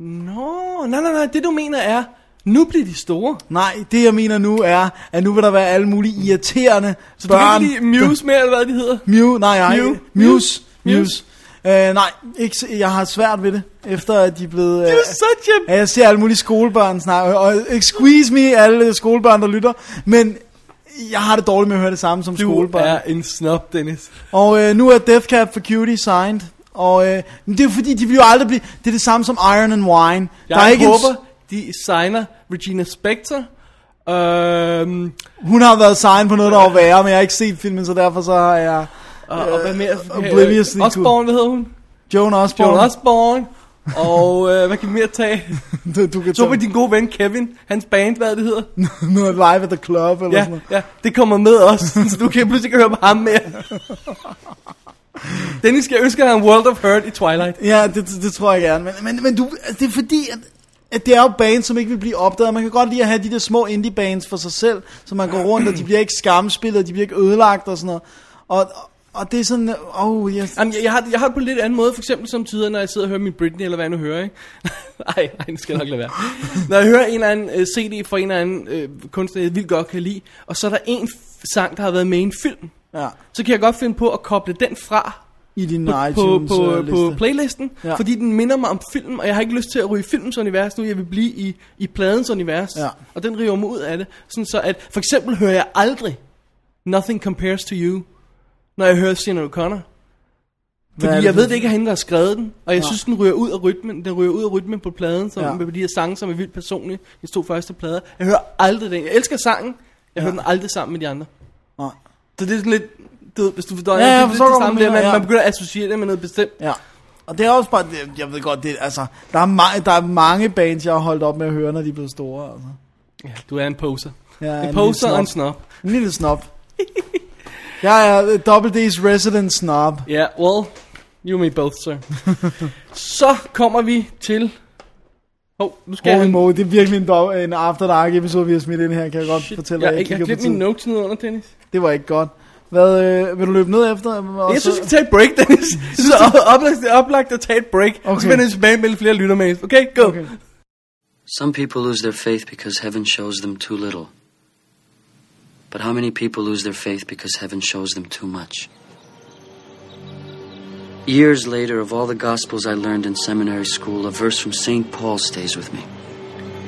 Speaker 1: Nå, nej, nej, nej, det du mener er, nu bliver de store.
Speaker 2: Nej, det jeg mener nu er, at nu vil der være alle mulige irriterende
Speaker 1: Så du
Speaker 2: børn.
Speaker 1: kan ikke lide Muse mere, eller hvad de hedder?
Speaker 2: Mew, nej, nej.
Speaker 1: Mew.
Speaker 2: Muse. Muse.
Speaker 1: Muse.
Speaker 2: Muse. Øh, nej, ikke, s- jeg har svært ved det, efter at de er blevet... Øh,
Speaker 1: You're such a...
Speaker 2: at jeg ser alle mulige skolebørn snakke, og excuse me, alle skolebørn, der lytter, men jeg har det dårligt med at høre det samme som
Speaker 1: Du
Speaker 2: skolebørn.
Speaker 1: er en snob, Dennis.
Speaker 2: Og øh, nu er Death Cab for Cutie signed, og øh, men det er jo fordi, de vil jo aldrig blive... Det er det samme som Iron and Wine.
Speaker 1: Jeg der er ikke
Speaker 2: en-
Speaker 1: håber, de signer Regina Spektor. Øhm,
Speaker 2: hun har været signed på noget, der var værre, men jeg har ikke set filmen, så derfor så har jeg...
Speaker 1: og, og hvad mere?
Speaker 2: Obliviously
Speaker 1: Øh, Osborne, hvad hedder hun?
Speaker 2: Joan Osborne.
Speaker 1: Joan Osborne. Og øh, hvad kan vi mere tage?
Speaker 2: (laughs) Du, du kan
Speaker 1: Så var
Speaker 2: tage
Speaker 1: din gode ven Kevin, hans band, hvad det hedder.
Speaker 2: (laughs) noget live at the club eller sådan
Speaker 1: Ja,
Speaker 2: noget.
Speaker 1: ja, det kommer med os, (laughs) så du kan pludselig ikke høre på ham (laughs) mere. Dennis, jeg ønsker dig en World of Hurt i Twilight.
Speaker 2: Ja, det, det, det tror jeg gerne. Men, men, men du, altså, det er fordi, at, at det er jo bands, som ikke vil blive opdaget. Man kan godt lide at have de der små indie bands for sig selv, så man går rundt, og de bliver ikke skamspillet, og de bliver ikke ødelagt og sådan noget. Og, og det er sådan, åh, oh, yes.
Speaker 1: Jamen, jeg, jeg, har, det- jeg har det på en lidt anden måde, for eksempel som tider, når jeg sidder og hører min Britney, eller hvad jeg nu hører, ikke? (laughs) nej, nej, det skal jeg nok lade være. Når jeg hører en eller anden uh, CD fra en eller anden uh, kunstner, jeg vildt godt kan lide, og så er der en f- sang, der har været med i en film,
Speaker 2: Ja,
Speaker 1: så kan jeg godt finde på at koble den fra
Speaker 2: i din
Speaker 1: på, på,
Speaker 2: iTunes
Speaker 1: på,
Speaker 2: øh,
Speaker 1: på
Speaker 2: liste.
Speaker 1: playlisten, ja.
Speaker 2: Ja.
Speaker 1: fordi den minder mig om filmen, og jeg har ikke lyst til at ryge i filmens univers nu, jeg vil blive i, i pladens univers,
Speaker 2: Ja.
Speaker 1: og den river mig ud af det, sådan så at, for eksempel hører jeg aldrig Nothing Compares to You når jeg hører Sinead O'Connor.
Speaker 2: er
Speaker 1: Fordi
Speaker 2: det
Speaker 1: jeg
Speaker 2: for-
Speaker 1: ved det ikke er hende, der har skrevet den, og jeg
Speaker 2: Nej.
Speaker 1: synes, den ryger ud af rytmen, den ryger ud af rytmen på pladen, som
Speaker 2: Ja.
Speaker 1: ja. med de her sange, som er vildt personlige, de to første plader. Jeg hører aldrig den. Jeg elsker sangen, jeg ja. hører den aldrig sammen med de andre.
Speaker 2: Nej.
Speaker 1: Så det er sådan lidt, du ved, hvis du forstår,
Speaker 2: Ja,
Speaker 1: det,
Speaker 2: jeg
Speaker 1: er
Speaker 2: forstår
Speaker 1: lidt det samme,
Speaker 2: godt, hvad du
Speaker 1: der, man,
Speaker 2: mener, ja.
Speaker 1: man begynder at associere det med noget bestemt.
Speaker 2: Ja. Og det er også bare, det- jeg ved godt, det, altså, der er, mange, der er mange bands, jeg har holdt op med at høre, når de er blevet store. Altså.
Speaker 1: Ja, du er en poser.
Speaker 2: Jeg er
Speaker 1: En
Speaker 2: lille
Speaker 1: poser og en
Speaker 2: snob.
Speaker 1: snob.
Speaker 2: En lille snob. (laughs) jeg er øh, Double D's resident snob.
Speaker 1: Ja, yeah, well, you and me both,
Speaker 2: (laughs)
Speaker 1: sir. så kommer vi til... Hov, oh, nu skal
Speaker 2: Holy
Speaker 1: jeg...
Speaker 2: moly, det er virkelig en, dog, en After Dark episode, vi har smidt ind her, kan jeg godt
Speaker 1: Shit,
Speaker 2: fortælle
Speaker 1: jeg,
Speaker 2: dig.
Speaker 1: jeg, jeg har
Speaker 2: kigger
Speaker 1: glemt
Speaker 2: på
Speaker 1: mine
Speaker 2: tid.
Speaker 1: notes ned under, Dennis.
Speaker 2: Det var ikke godt. Hvad, øh, vil du løbe ned efter? Og
Speaker 1: Jeg
Speaker 2: så-
Speaker 1: synes, vi skal tage et break, Dennis. Jeg synes, det er oplagt, det er oplagt at tage et break. Okay. Så
Speaker 2: Okay.
Speaker 1: vender vi tilbage med lidt flere lytter med. Okay, go. Okay.
Speaker 2: Okay.
Speaker 4: Some people lose their faith because heaven shows them too little. But how many people lose their faith because heaven shows them too much? Years later, of all the Gospels I learned in seminary school, a verse from St. Paul stays with me.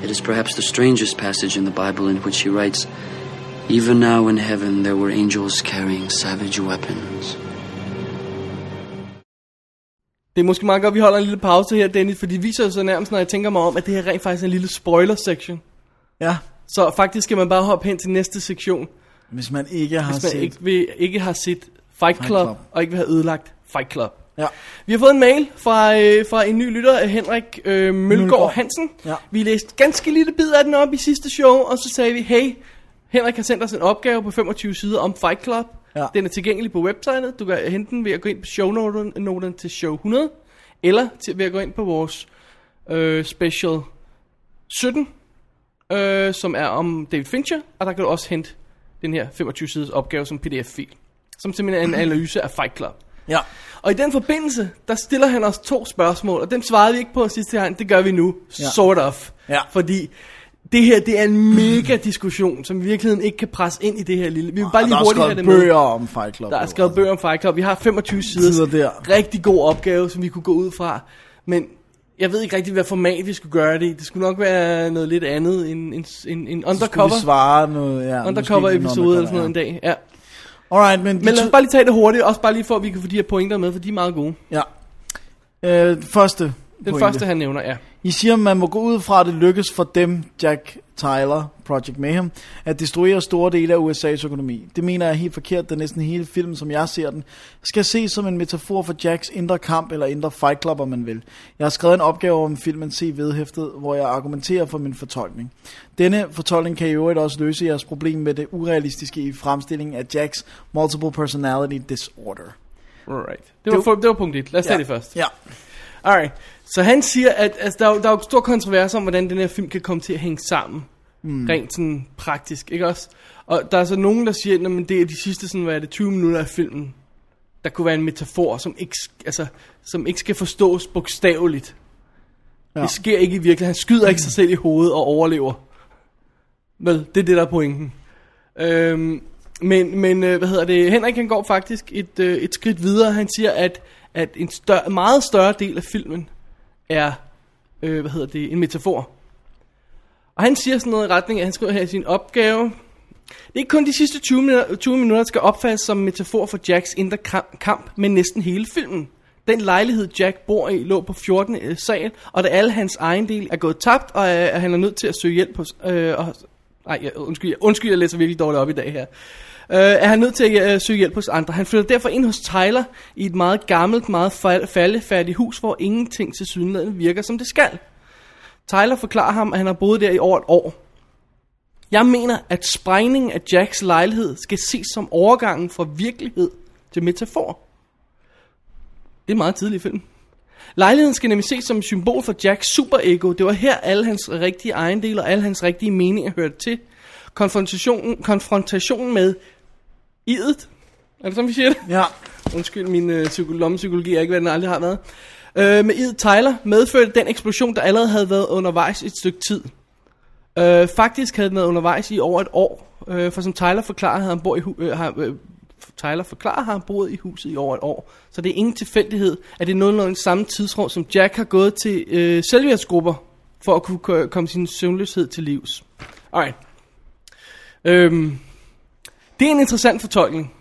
Speaker 4: It is perhaps the strangest passage in the Bible in which he writes Even now in heaven there were angels carrying savage weapons.
Speaker 1: Det er måske meget godt, at vi holder en lille pause her, Dennis, for det viser jo så nærmest, når jeg tænker mig om, at det her rent faktisk er en lille spoiler-section.
Speaker 2: Ja,
Speaker 1: Så faktisk skal man bare hoppe hen til næste sektion,
Speaker 2: hvis man ikke har
Speaker 1: hvis man
Speaker 2: set.
Speaker 1: ikke, vil, ikke har set Fight Club, Fight
Speaker 2: Club.
Speaker 1: Club, og ikke vil have ødelagt Fight Club.
Speaker 2: Ja.
Speaker 1: Vi har fået en mail fra, øh, fra en ny lytter, Henrik øh, Mølgaard
Speaker 2: Mølgaard.
Speaker 1: Hansen.
Speaker 2: Ja.
Speaker 1: Vi læste ganske lille bid af den op i sidste show, og så sagde vi, hey, Henrik har sendt os en opgave på 25 sider om Fight Club.
Speaker 2: Ja.
Speaker 1: Den er tilgængelig på websitet. Du kan hente den ved at gå ind på shownoten noten til show 100, eller til, ved at gå ind på vores øh, special 17, øh, som er om David Fincher, og der kan du også hente den her 25-sides opgave som pdf-fil, som
Speaker 2: (clears throat)
Speaker 1: simpelthen er en analyse af Fight Club.
Speaker 2: Ja.
Speaker 1: Og i den forbindelse, der stiller han os to spørgsmål, og dem svarede vi ikke på sidste gang, det gør vi nu, ja.
Speaker 2: Ja.
Speaker 1: sort of.
Speaker 2: Ja.
Speaker 1: Fordi det her, det er en mega diskussion, som vi i virkeligheden ikke kan presse ind i det her lille. Vi vil bare
Speaker 2: Og der
Speaker 1: lige
Speaker 2: er
Speaker 1: hurtigt have
Speaker 2: skrevet
Speaker 1: det med.
Speaker 2: bøger om Fight Club.
Speaker 1: Der er
Speaker 2: jo,
Speaker 1: skrevet
Speaker 2: altså.
Speaker 1: bøger om Fight Club. Vi har 25 sider.
Speaker 2: Sider der.
Speaker 1: Rigtig god opgave, som vi kunne gå ud fra. Men jeg ved ikke rigtig, hvad format vi skulle gøre det i. Det skulle nok være noget lidt andet end en, en, en
Speaker 2: Så skulle
Speaker 1: undercover.
Speaker 2: vi svare noget, ja.
Speaker 1: Undercover
Speaker 2: måske en
Speaker 1: episode eller sådan
Speaker 2: undercover,
Speaker 1: noget en dag. Ja.
Speaker 2: ja. Alright, men,
Speaker 1: Men
Speaker 2: men
Speaker 1: lad os bare lige tage det hurtigt, også bare lige for, at vi kan få de her pointer med, for de er meget gode.
Speaker 2: ja. Øh, første
Speaker 1: Den
Speaker 2: pointe.
Speaker 1: første, han nævner, ja.
Speaker 2: I siger, man må gå ud fra, at det lykkes for dem, Jack Tyler, Project Mayhem, at destruere store dele af USA's økonomi. Det mener jeg er helt forkert, da næsten hele filmen, som jeg ser den, skal ses som en metafor for Jacks indre kamp eller indre fight club, om man vil. Jeg har skrevet en opgave om filmen C vedhæftet, hvor jeg argumenterer for min fortolkning. Denne fortolkning kan i øvrigt også løse jeres problem med det urealistiske i fremstillingen af Jacks multiple personality disorder.
Speaker 1: Alright. Det var,
Speaker 2: Det
Speaker 1: for, det var punkt 1. Lad os ja. tage det først.
Speaker 2: Ja.
Speaker 1: Alright. Så han siger, at altså, der, er, jo- der er jo stor kontrovers om, hvordan den her film kan komme til at hænge sammen. Mm. Rent sådan praktisk, ikke også? Og der er så nogen, der siger, at det er de sidste sådan, hvad er det, 20 minutter af filmen, der kunne være en metafor, som ikke, sk- altså, som ikke skal forstås bogstaveligt. Ja.
Speaker 2: Ja.
Speaker 1: Det sker ikke i virkeligheden. Han skyder ikke sig selv i hovedet og overlever. Vel, det er det, der er pointen. Øhm, men, men øh, hvad hedder det? Henrik han går faktisk et, øh, et skridt videre. Han siger, at, at en større, meget større del af filmen er øh, hvad hedder det, en metafor. Og han siger sådan noget i retning af, at han skriver her i sin opgave. Det er ikke kun de sidste 20 minutter, 20 minutter der skal opfattes som en metafor for Jacks indre kam- kamp, men næsten hele filmen. Den lejlighed, Jack bor i, lå på 14. sal, og da alle hans egen del er gået tabt, og øh, han er nødt til at søge hjælp hos... Øh, og, ej, jeg, undskyld, jeg, undskyld, jeg læser virkelig dårligt op i dag her. Øh, er han nødt til at øh, søge hjælp hos andre. Han flytter derfor ind hos Tyler i et meget gammelt, meget fal- faldefærdigt hus, hvor ingenting til synligheden virker, som det skal. Tyler forklarer ham, at han har boet der i over et år. Jeg mener, at sprængningen af Jacks lejlighed skal ses som overgangen fra virkelighed til metafor. Det er meget tidligt i filmen. Lejligheden skal nemlig ses som et symbol for Jacks superego. Det var her alle hans rigtige ejendele og alle hans rigtige meninger hørte til. Konfrontationen, konfrontationen med idet. Er det sådan, vi siger det?
Speaker 2: Ja.
Speaker 1: Undskyld, min øh, psyko- lommepsykologi er ikke, hvad den aldrig har været. Øh, med Id Tyler medførte den eksplosion, der allerede havde været undervejs et stykke tid. Øh, faktisk havde den været undervejs i over et år, øh, for som Tyler forklarer, havde han bor i hu- øh, har, øh, Tyler forklarer, har han boet i huset i over et år. Så det er ingen tilfældighed, at det er nogenlunde samme tidsrum, som Jack har gået til øh, selvhjælpsgrupper for at kunne ko- komme sin søvnløshed til livs. Alright. Øhm, det er en interessant fortolkning.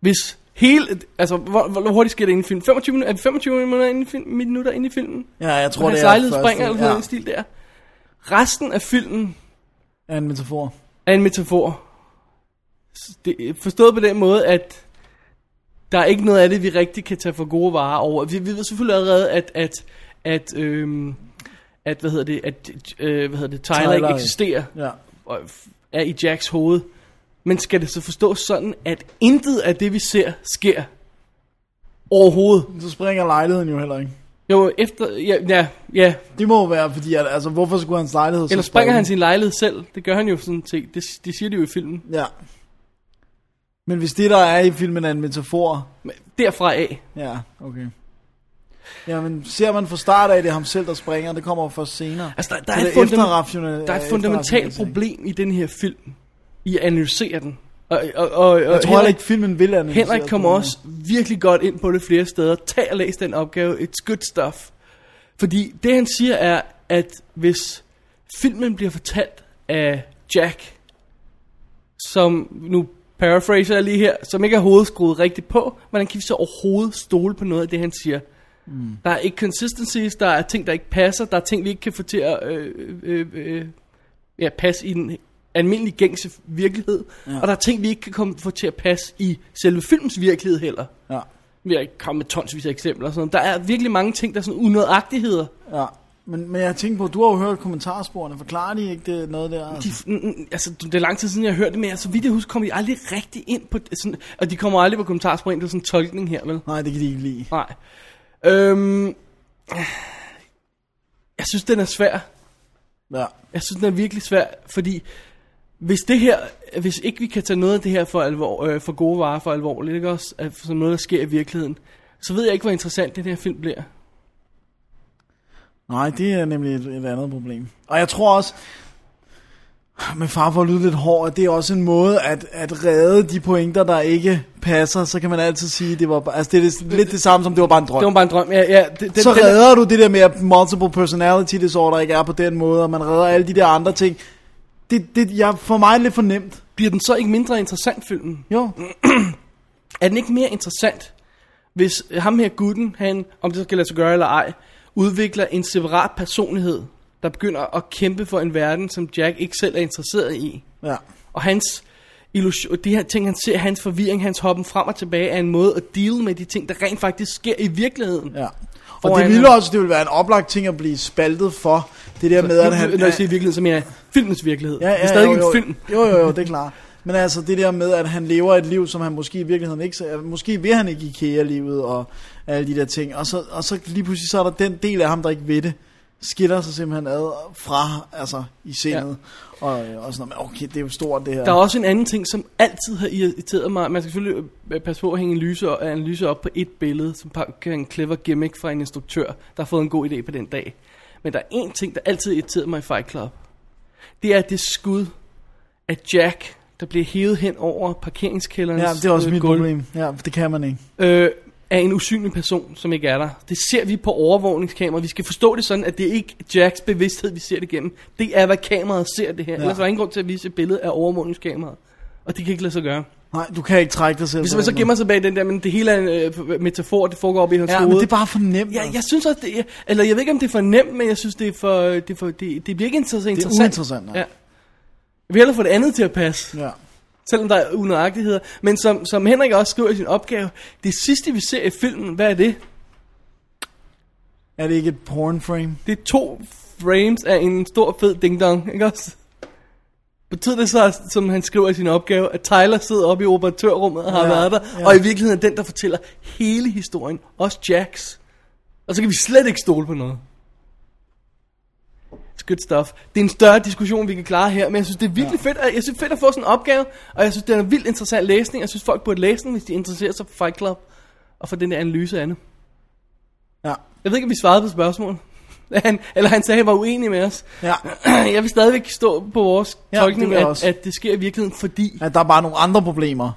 Speaker 1: hvis hele... Altså, hvor, hvor hurtigt sker det inden i filmen? 25 minutter? Er det 25 minutter inden i film, minutter inden i filmen?
Speaker 2: Ja, jeg tror,
Speaker 1: Hvor han
Speaker 2: det er
Speaker 1: sejlede
Speaker 2: første-
Speaker 1: springer eller sådan
Speaker 2: ja.
Speaker 1: noget i den stil der. Resten af filmen
Speaker 2: er en metafor.
Speaker 1: er en metafor. S- Det, forstået på den måde, at der er ikke noget af det, vi rigtig kan tage for gode varer over. Vi, vi ved selvfølgelig allerede, at, at, at, øhm, at hvad hedder det, at øh, hvad hedder det, Tyler,
Speaker 2: Tyler,
Speaker 1: Tyler ikke
Speaker 2: ja.
Speaker 1: eksisterer
Speaker 2: Ja.
Speaker 1: og f- er i Jacks hoved. Men skal det så forstås sådan, at intet af det, vi ser, sker overhovedet?
Speaker 2: Så springer lejligheden jo heller ikke.
Speaker 1: Jo, efter, ja, ja, ja.
Speaker 2: Det må jo være, fordi at, altså, hvorfor skulle hans lejlighed så
Speaker 1: Eller springer
Speaker 2: springe?
Speaker 1: han sin lejlighed selv. Det gør han jo sådan set. Det, det siger de jo i filmen.
Speaker 2: Ja. Men hvis det, der er i filmen, er en metafor,
Speaker 1: Men derfra af.
Speaker 2: ja, okay. Jamen, ser man fra start af, det er ham selv, der springer, det kommer jo først senere.
Speaker 1: Altså, der, der,
Speaker 2: Så
Speaker 1: er,
Speaker 2: det
Speaker 1: et fundament,
Speaker 2: efterrationel-
Speaker 1: der er
Speaker 2: ja,
Speaker 1: et fundamentalt
Speaker 2: efterrationalisering.
Speaker 1: problem i den her film. I at analysere den. Og, og, og, og
Speaker 2: Jeg tror heller ikke, filmen vil analysere
Speaker 1: Henrik kommer
Speaker 2: det.
Speaker 1: også virkelig godt ind på det flere steder. Tag og læs den opgave. It's good stuff. Fordi det han siger er, at hvis filmen bliver fortalt af Jack, som nu paraphraser jeg lige her, som ikke er hovedskruet rigtigt på, hvordan kan vi så overhovedet stole på noget af det, han siger? Mm. Der er ikke consistencies, der er ting, der ikke passer, der er ting, vi ikke kan få til at øh, øh, øh, ja, passe i den almindelige gængse virkelighed, ja. og der er ting, vi ikke kan komme, få til at passe i selve filmens virkelighed heller.
Speaker 2: Ja,
Speaker 1: Vi har ikke kommet med tonsvis af eksempler og sådan noget. Der er virkelig mange ting, der er sådan unødagtigheder.
Speaker 2: ja. Men, men jeg tænker på, du har jo hørt kommentarsporene, forklarer de ikke det, noget der?
Speaker 1: De,
Speaker 2: Altså?
Speaker 1: n- n- altså, det er lang tid siden, jeg har hørt det, men så vidt jeg husker, kommer de aldrig rigtig ind på... Sådan, og de kommer aldrig på kommentarsporet ind på sådan en tolkning her, vel?
Speaker 2: Nej, det kan de ikke lide.
Speaker 1: Nej. Øhm, jeg synes, den er svær.
Speaker 2: Ja.
Speaker 1: Jeg synes, den er virkelig svær, fordi hvis det her, hvis ikke vi kan tage noget af det her for, alvor, øh, for gode varer for alvorligt, ikke også, at, som noget, der sker i virkeligheden, så ved jeg ikke, hvor interessant den her film bliver.
Speaker 2: Nej, det er nemlig et, et andet problem. Og jeg tror også, med far for at lyde lidt hård, at det er også en måde at, at redde de pointer, der ikke passer. Så kan man altid sige, det var, bare- altså det er det, lidt det samme som, det var bare en drøm.
Speaker 1: Det var bare en drøm. Ja, ja, det, den,
Speaker 2: så
Speaker 1: den,
Speaker 2: redder du det der med, at multiple personality disorder ikke er på den måde, og man redder alle de der andre ting. Det, det jeg, for mig er det lidt for nemt.
Speaker 1: bliver den så ikke mindre interessant, filmen?
Speaker 2: Jo,
Speaker 1: Er den ikke mere interessant, hvis ham her gutten, han, om det så skal lade sig gøre eller ej, udvikler en separat personlighed, der begynder at kæmpe for en verden, som Jack ikke selv er interesseret i?
Speaker 2: ja.
Speaker 1: Og hans illusion, de her ting, han ser, hans forvirring, hans hoppen frem og tilbage, er en måde at deal med de ting, der rent faktisk sker i virkeligheden.
Speaker 2: ja. Og
Speaker 1: Foran-
Speaker 2: det ville også, det ville være en oplagt ting at blive spaltet for. Det der med, at han...
Speaker 1: Når jeg siger virkeligheden, så mener jeg filmens virkelighed.
Speaker 2: Ja, ja,
Speaker 1: det er stadig
Speaker 2: jo, jo,
Speaker 1: en film.
Speaker 2: Jo, jo, jo, det er klart. Men altså det der med, at han lever et liv, som han måske i virkeligheden ikke... ser- Måske vil han ikke IKEA-livet og alle de der ting. Og så, og så lige pludselig, så er der den del af ham, der ikke ved det, skiller sig simpelthen ad fra, altså i sindet. Ja. Og, øh, og sådan noget. Men Okay, det er jo stort det her.
Speaker 1: Der er også en anden ting, som altid har irriteret mig. Man skal selvfølgelig øh, passe på at hænge en lyse og analyse op på et billede, som pa- kan være en clever gimmick fra en instruktør, der har fået en god idé på den dag. Men der er en ting, der altid irriterede mig i Fight Club. Det er det skud af Jack, der bliver hævet hen over parkeringskælderens
Speaker 2: Ja, det er også
Speaker 1: øh,
Speaker 2: mit
Speaker 1: gulv.
Speaker 2: problem. Ja, det kan man ikke.
Speaker 1: øh, af en usynlig person, som ikke er der. Det ser vi på overvågningskamera. Vi skal forstå det sådan, at det er ikke Jacks bevidsthed, vi ser det igennem. Det er, hvad kameraet ser det her. Ja. Ellers er der ingen grund til at vise et billede af overvågningskameraet. Og det kan ikke lade sig gøre.
Speaker 2: Nej, du kan ikke trække dig selv.
Speaker 1: Hvis man så gemmer sig bag den der, men det hele er en øh, metafor, det foregår op i hans
Speaker 2: ja,
Speaker 1: hoved.
Speaker 2: men det er bare for nemt.
Speaker 1: Ja,
Speaker 2: altså.
Speaker 1: jeg synes også, det er, eller jeg ved ikke, om det er for nemt, men jeg synes, det er for, øh, det, er for, det, det bliver ikke så interessant.
Speaker 2: uinteressant, nej.
Speaker 1: ja. Jeg vil hellere få det andet til at passe.
Speaker 2: ja.
Speaker 1: Selvom der er unøjagtigheder. Men som, som Henrik også skriver i sin opgave, det sidste vi ser i filmen, hvad er det?
Speaker 2: Er det ikke et porn frame?
Speaker 1: Det er to frames af en stor fed ding-dong, ikke også? Betyder det så, som han skriver i sin opgave, at Tyler sidder oppe i operatørrummet og har
Speaker 2: Ja,
Speaker 1: ja, været der,
Speaker 2: ja.
Speaker 1: ja. og i virkeligheden er den, der fortæller hele historien, også Jacks. Og så kan vi slet ikke stole på noget. It's good stuff. Det er en større diskussion, vi kan klare her, men jeg synes, det er virkelig ja. fedt, at, jeg synes, fedt at få sådan en opgave, og jeg synes, det er en vildt interessant læsning. Jeg synes, folk burde læse den, hvis de interesserer sig for Fight Club, og for den der analyse af det.
Speaker 2: Ja.
Speaker 1: Jeg ved ikke, om vi svarede på spørgsmålet. (laughs) Han, eller han sagde, at han var uenig med os. (clears throat)
Speaker 2: Ja.
Speaker 1: Jeg vil stadigvæk stå på vores
Speaker 2: Ja,
Speaker 1: ja,
Speaker 2: det
Speaker 1: tolkning,
Speaker 2: vil jeg
Speaker 1: at,
Speaker 2: også.
Speaker 1: at det sker i virkeligheden, fordi...
Speaker 2: ja. der er bare nogle andre problemer.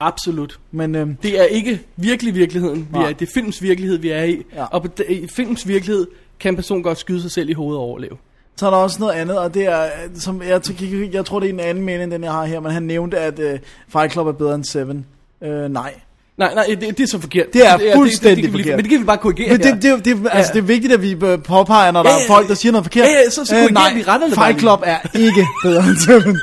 Speaker 1: Absolut.
Speaker 2: Men øhm,
Speaker 1: Det er ikke virkelig virkeligheden, vi
Speaker 2: Nej.
Speaker 1: er i. Det er films virkelighed, vi er i.
Speaker 2: Ja.
Speaker 1: Ja. Og på de, i films virkelighed kan en person godt skyde sig selv i hovedet og overleve.
Speaker 2: Så er der også noget andet, og det er, øh, som jeg, t- jeg tror, det er en anden mening, end den jeg har her, men han nævnte, at øh, Fight Club er bedre end Seven. Øh, nej.
Speaker 1: Nej, nej, det, det er så forkert.
Speaker 2: Det er
Speaker 1: det,
Speaker 2: fuldstændig
Speaker 1: det, det, kan vi lige-
Speaker 2: forkert.
Speaker 1: Men det kan vi bare korrigere
Speaker 2: Men
Speaker 1: her.
Speaker 2: det, det, det, altså, det er vigtigt, at vi øh, påpeger, når der
Speaker 1: Ja,
Speaker 2: er
Speaker 1: ja,
Speaker 2: folk, der siger noget forkert.
Speaker 1: Ja, ja, så- så
Speaker 2: Øh,
Speaker 1: korrigerer
Speaker 2: nej,
Speaker 1: vi retterne bare
Speaker 2: Fight
Speaker 1: lige.
Speaker 2: Club er ikke bedre end
Speaker 1: (laughs)
Speaker 2: Seven.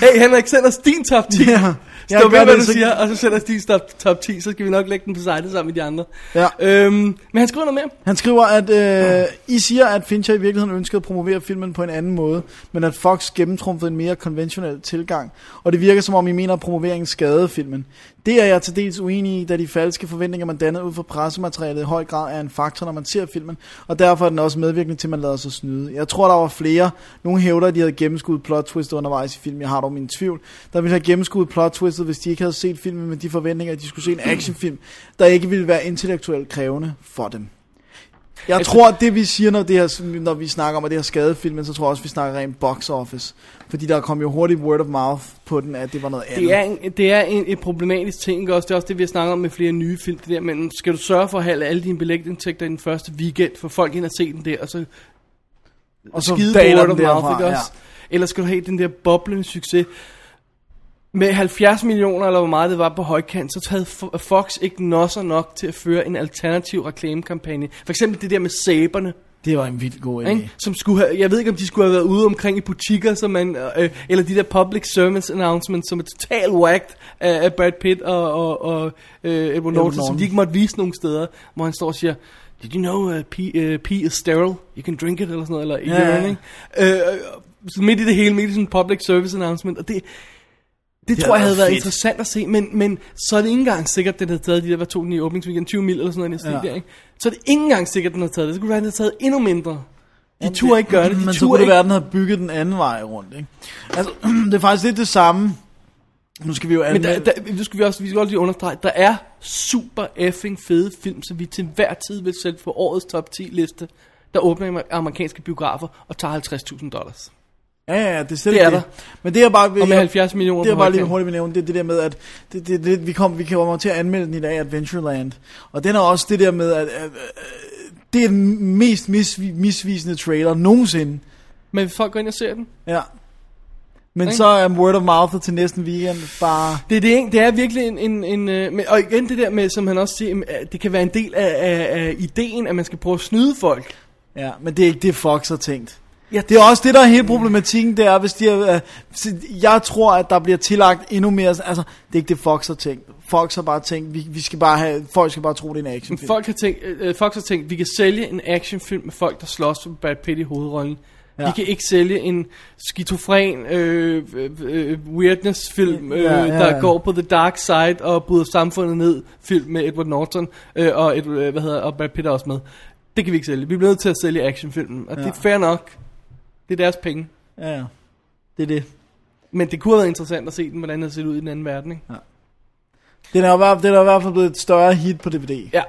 Speaker 1: Hey Henrik, send os din top 10.
Speaker 2: Ja. Jeg
Speaker 1: Stå
Speaker 2: gør
Speaker 1: ved, hvad
Speaker 2: det,
Speaker 1: du
Speaker 2: så-
Speaker 1: siger, og så send os din top, top 10, så skal vi nok lægge den på sejlet sammen med de andre.
Speaker 2: Ja.
Speaker 1: Øhm, men han skriver noget mere.
Speaker 2: Han skriver, at øh, I siger, at Fincher i virkeligheden ønskede at promovere filmen på en anden måde, men at Fox gennemtrumfede en mere konventionel tilgang, og det virker som om I mener, at promoveringen skadede filmen. Det er jeg til dels uenig i, da de falske forventninger, man dannede ud fra pressematerialet i høj grad er en faktor, når man ser filmen, og derfor er den også medvirkende til, at man lader sig snyde. Jeg tror, der var flere. Nogle hævder, at de havde gennemskuet plot twist undervejs i filmen. Jeg har dog min tvivl. Der ville have gennemskuet plot twistet, hvis de ikke havde set filmen med de forventninger, at de skulle se en actionfilm, der ikke ville være intellektuelt krævende for dem. Jeg
Speaker 1: Altså-
Speaker 2: tror, det vi siger, når, det her, når vi snakker om, at det her skadefilmen, så tror jeg også, vi snakker rent box office. Fordi der kom jo hurtigt word of mouth på den, at det var noget andet.
Speaker 1: Det er, en, det er en, en problematisk ting, ikke også? Det er også det, vi har snakket om med flere nye film, det der, men skal du sørge for at have alle dine billetindtægter i den første weekend, for folk ind at se den der, og så
Speaker 2: og
Speaker 1: skide
Speaker 2: daler
Speaker 1: word
Speaker 2: den
Speaker 1: of mouth, ikke
Speaker 2: derfra,
Speaker 1: også? Ja. Eller skal du have den der boblende succes? Med 70 millioner, eller hvor meget det var på højkant, så havde Fo- Fox ikke nosser nok til at føre en alternativ reklamekampagne. For eksempel det der med sæberne.
Speaker 2: Det var en vildt god idé.
Speaker 1: Ikke? Som skulle have, jeg ved ikke, om de skulle have været ude omkring i butikker, som man, øh, eller de der public service announcements, som er totalt whacked af, af Brad Pitt og, og, og øh, Edward Norton, som
Speaker 2: Norton.
Speaker 1: de ikke måtte vise nogen steder, hvor han står og siger, Did you know uh, pee, uh, pee is sterile? You can drink it, eller sådan noget, eller
Speaker 2: Ja, ja.
Speaker 1: yeah. ikke? Øh, øh, så midt i det hele, midt i sådan en public service announcement, og det, det, det tror
Speaker 2: havde
Speaker 1: jeg havde
Speaker 2: været
Speaker 1: været
Speaker 2: fedt.
Speaker 1: interessant at se, men, men så er det ikke engang sikkert, at den havde taget de der, hvad tog den i åbningsweekend, 20 mil eller sådan noget, næsten
Speaker 2: Ja.
Speaker 1: ja. der, ikke? Så er det ikke engang sikkert, at den havde taget det. Så kunne det være, at den havde taget endnu mindre. De
Speaker 2: Jamen,
Speaker 1: turde ikke gøre det. De
Speaker 2: Men så
Speaker 1: turde
Speaker 2: kunne det
Speaker 1: ikke.
Speaker 2: være, at den havde bygget den anden vej rundt. Ikke? Altså, (clears throat) det er faktisk lidt det samme. Nu skal vi jo
Speaker 1: Men der,
Speaker 2: anmelde...
Speaker 1: der, nu skal vi også, vi skal også lige understrege, der er super effing fede film, som vi til hver tid vil sætte på årets top 10 liste, der åbner i amerikanske biografer og tager 50.000 dollars.
Speaker 2: Ja, ja, ja, det er slet
Speaker 1: Det er
Speaker 2: ikke
Speaker 1: der.
Speaker 2: Men det er bare...
Speaker 1: Og med
Speaker 2: jeg-
Speaker 1: 70 millioner
Speaker 2: Det er
Speaker 1: på
Speaker 2: bare lige
Speaker 1: højkant.
Speaker 2: hurtigt vil nævne, det er det der med, at det, det, det, vi, kom, vi kommer til at anmelde den i dag, Adventureland. Og den er også det der med, at, at, at det er den mest misvi, misvisende trailer nogensinde.
Speaker 1: Men hvis folk går ind og ser den,
Speaker 2: Ja. Men
Speaker 1: Ikke?
Speaker 2: så er word of mouth til næsten weekend bare...
Speaker 1: Det, er det, ikke? det er virkelig en... en, en øh, men- og igen det der med, som han også siger, jamen, at det kan være en del af, af, af ideen, at man skal prøve at snyde folk.
Speaker 2: Ja, men det er ikke det, Fox har tænkt.
Speaker 1: Ja,
Speaker 2: Det er også det, der er hele problematikken, det er, hvis de er, øh, så jeg tror, at der bliver tillagt endnu mere, altså, det er ikke det, Fox har tænkt. Fox har bare tænkt, vi, vi skal bare have, folk skal bare tro, det er en
Speaker 1: Men
Speaker 2: actionfilm.
Speaker 1: folk har tænkt, øh, øh, Fox har tænkt, vi kan sælge en actionfilm med folk, der slås med Brad Pitt i hovedrollen. Ja.
Speaker 2: Ja.
Speaker 1: Vi kan ikke sælge en skizofren øh, øh, øh, weirdness-film, øh,
Speaker 2: Ja,
Speaker 1: ja,
Speaker 2: ja,
Speaker 1: ja,
Speaker 2: ja.
Speaker 1: der går på The Dark Side og bryder samfundet ned. Film med Edward Norton øh, og, Edward, øh, hvad hedder, og Brad Pitt er også med. Det kan vi ikke sælge. Vi bliver nødt til at sælge actionfilmen, og ja. det
Speaker 2: Ja.
Speaker 1: er fair nok. Det er deres penge.
Speaker 2: Ja, ja. Det er det.
Speaker 1: Men det kunne have været interessant at se den, hvordan den ser ud i den anden verden. Ikke?
Speaker 2: Den er, i hvert- den er i hvert fald blevet et større hit på DVD.
Speaker 1: Ja,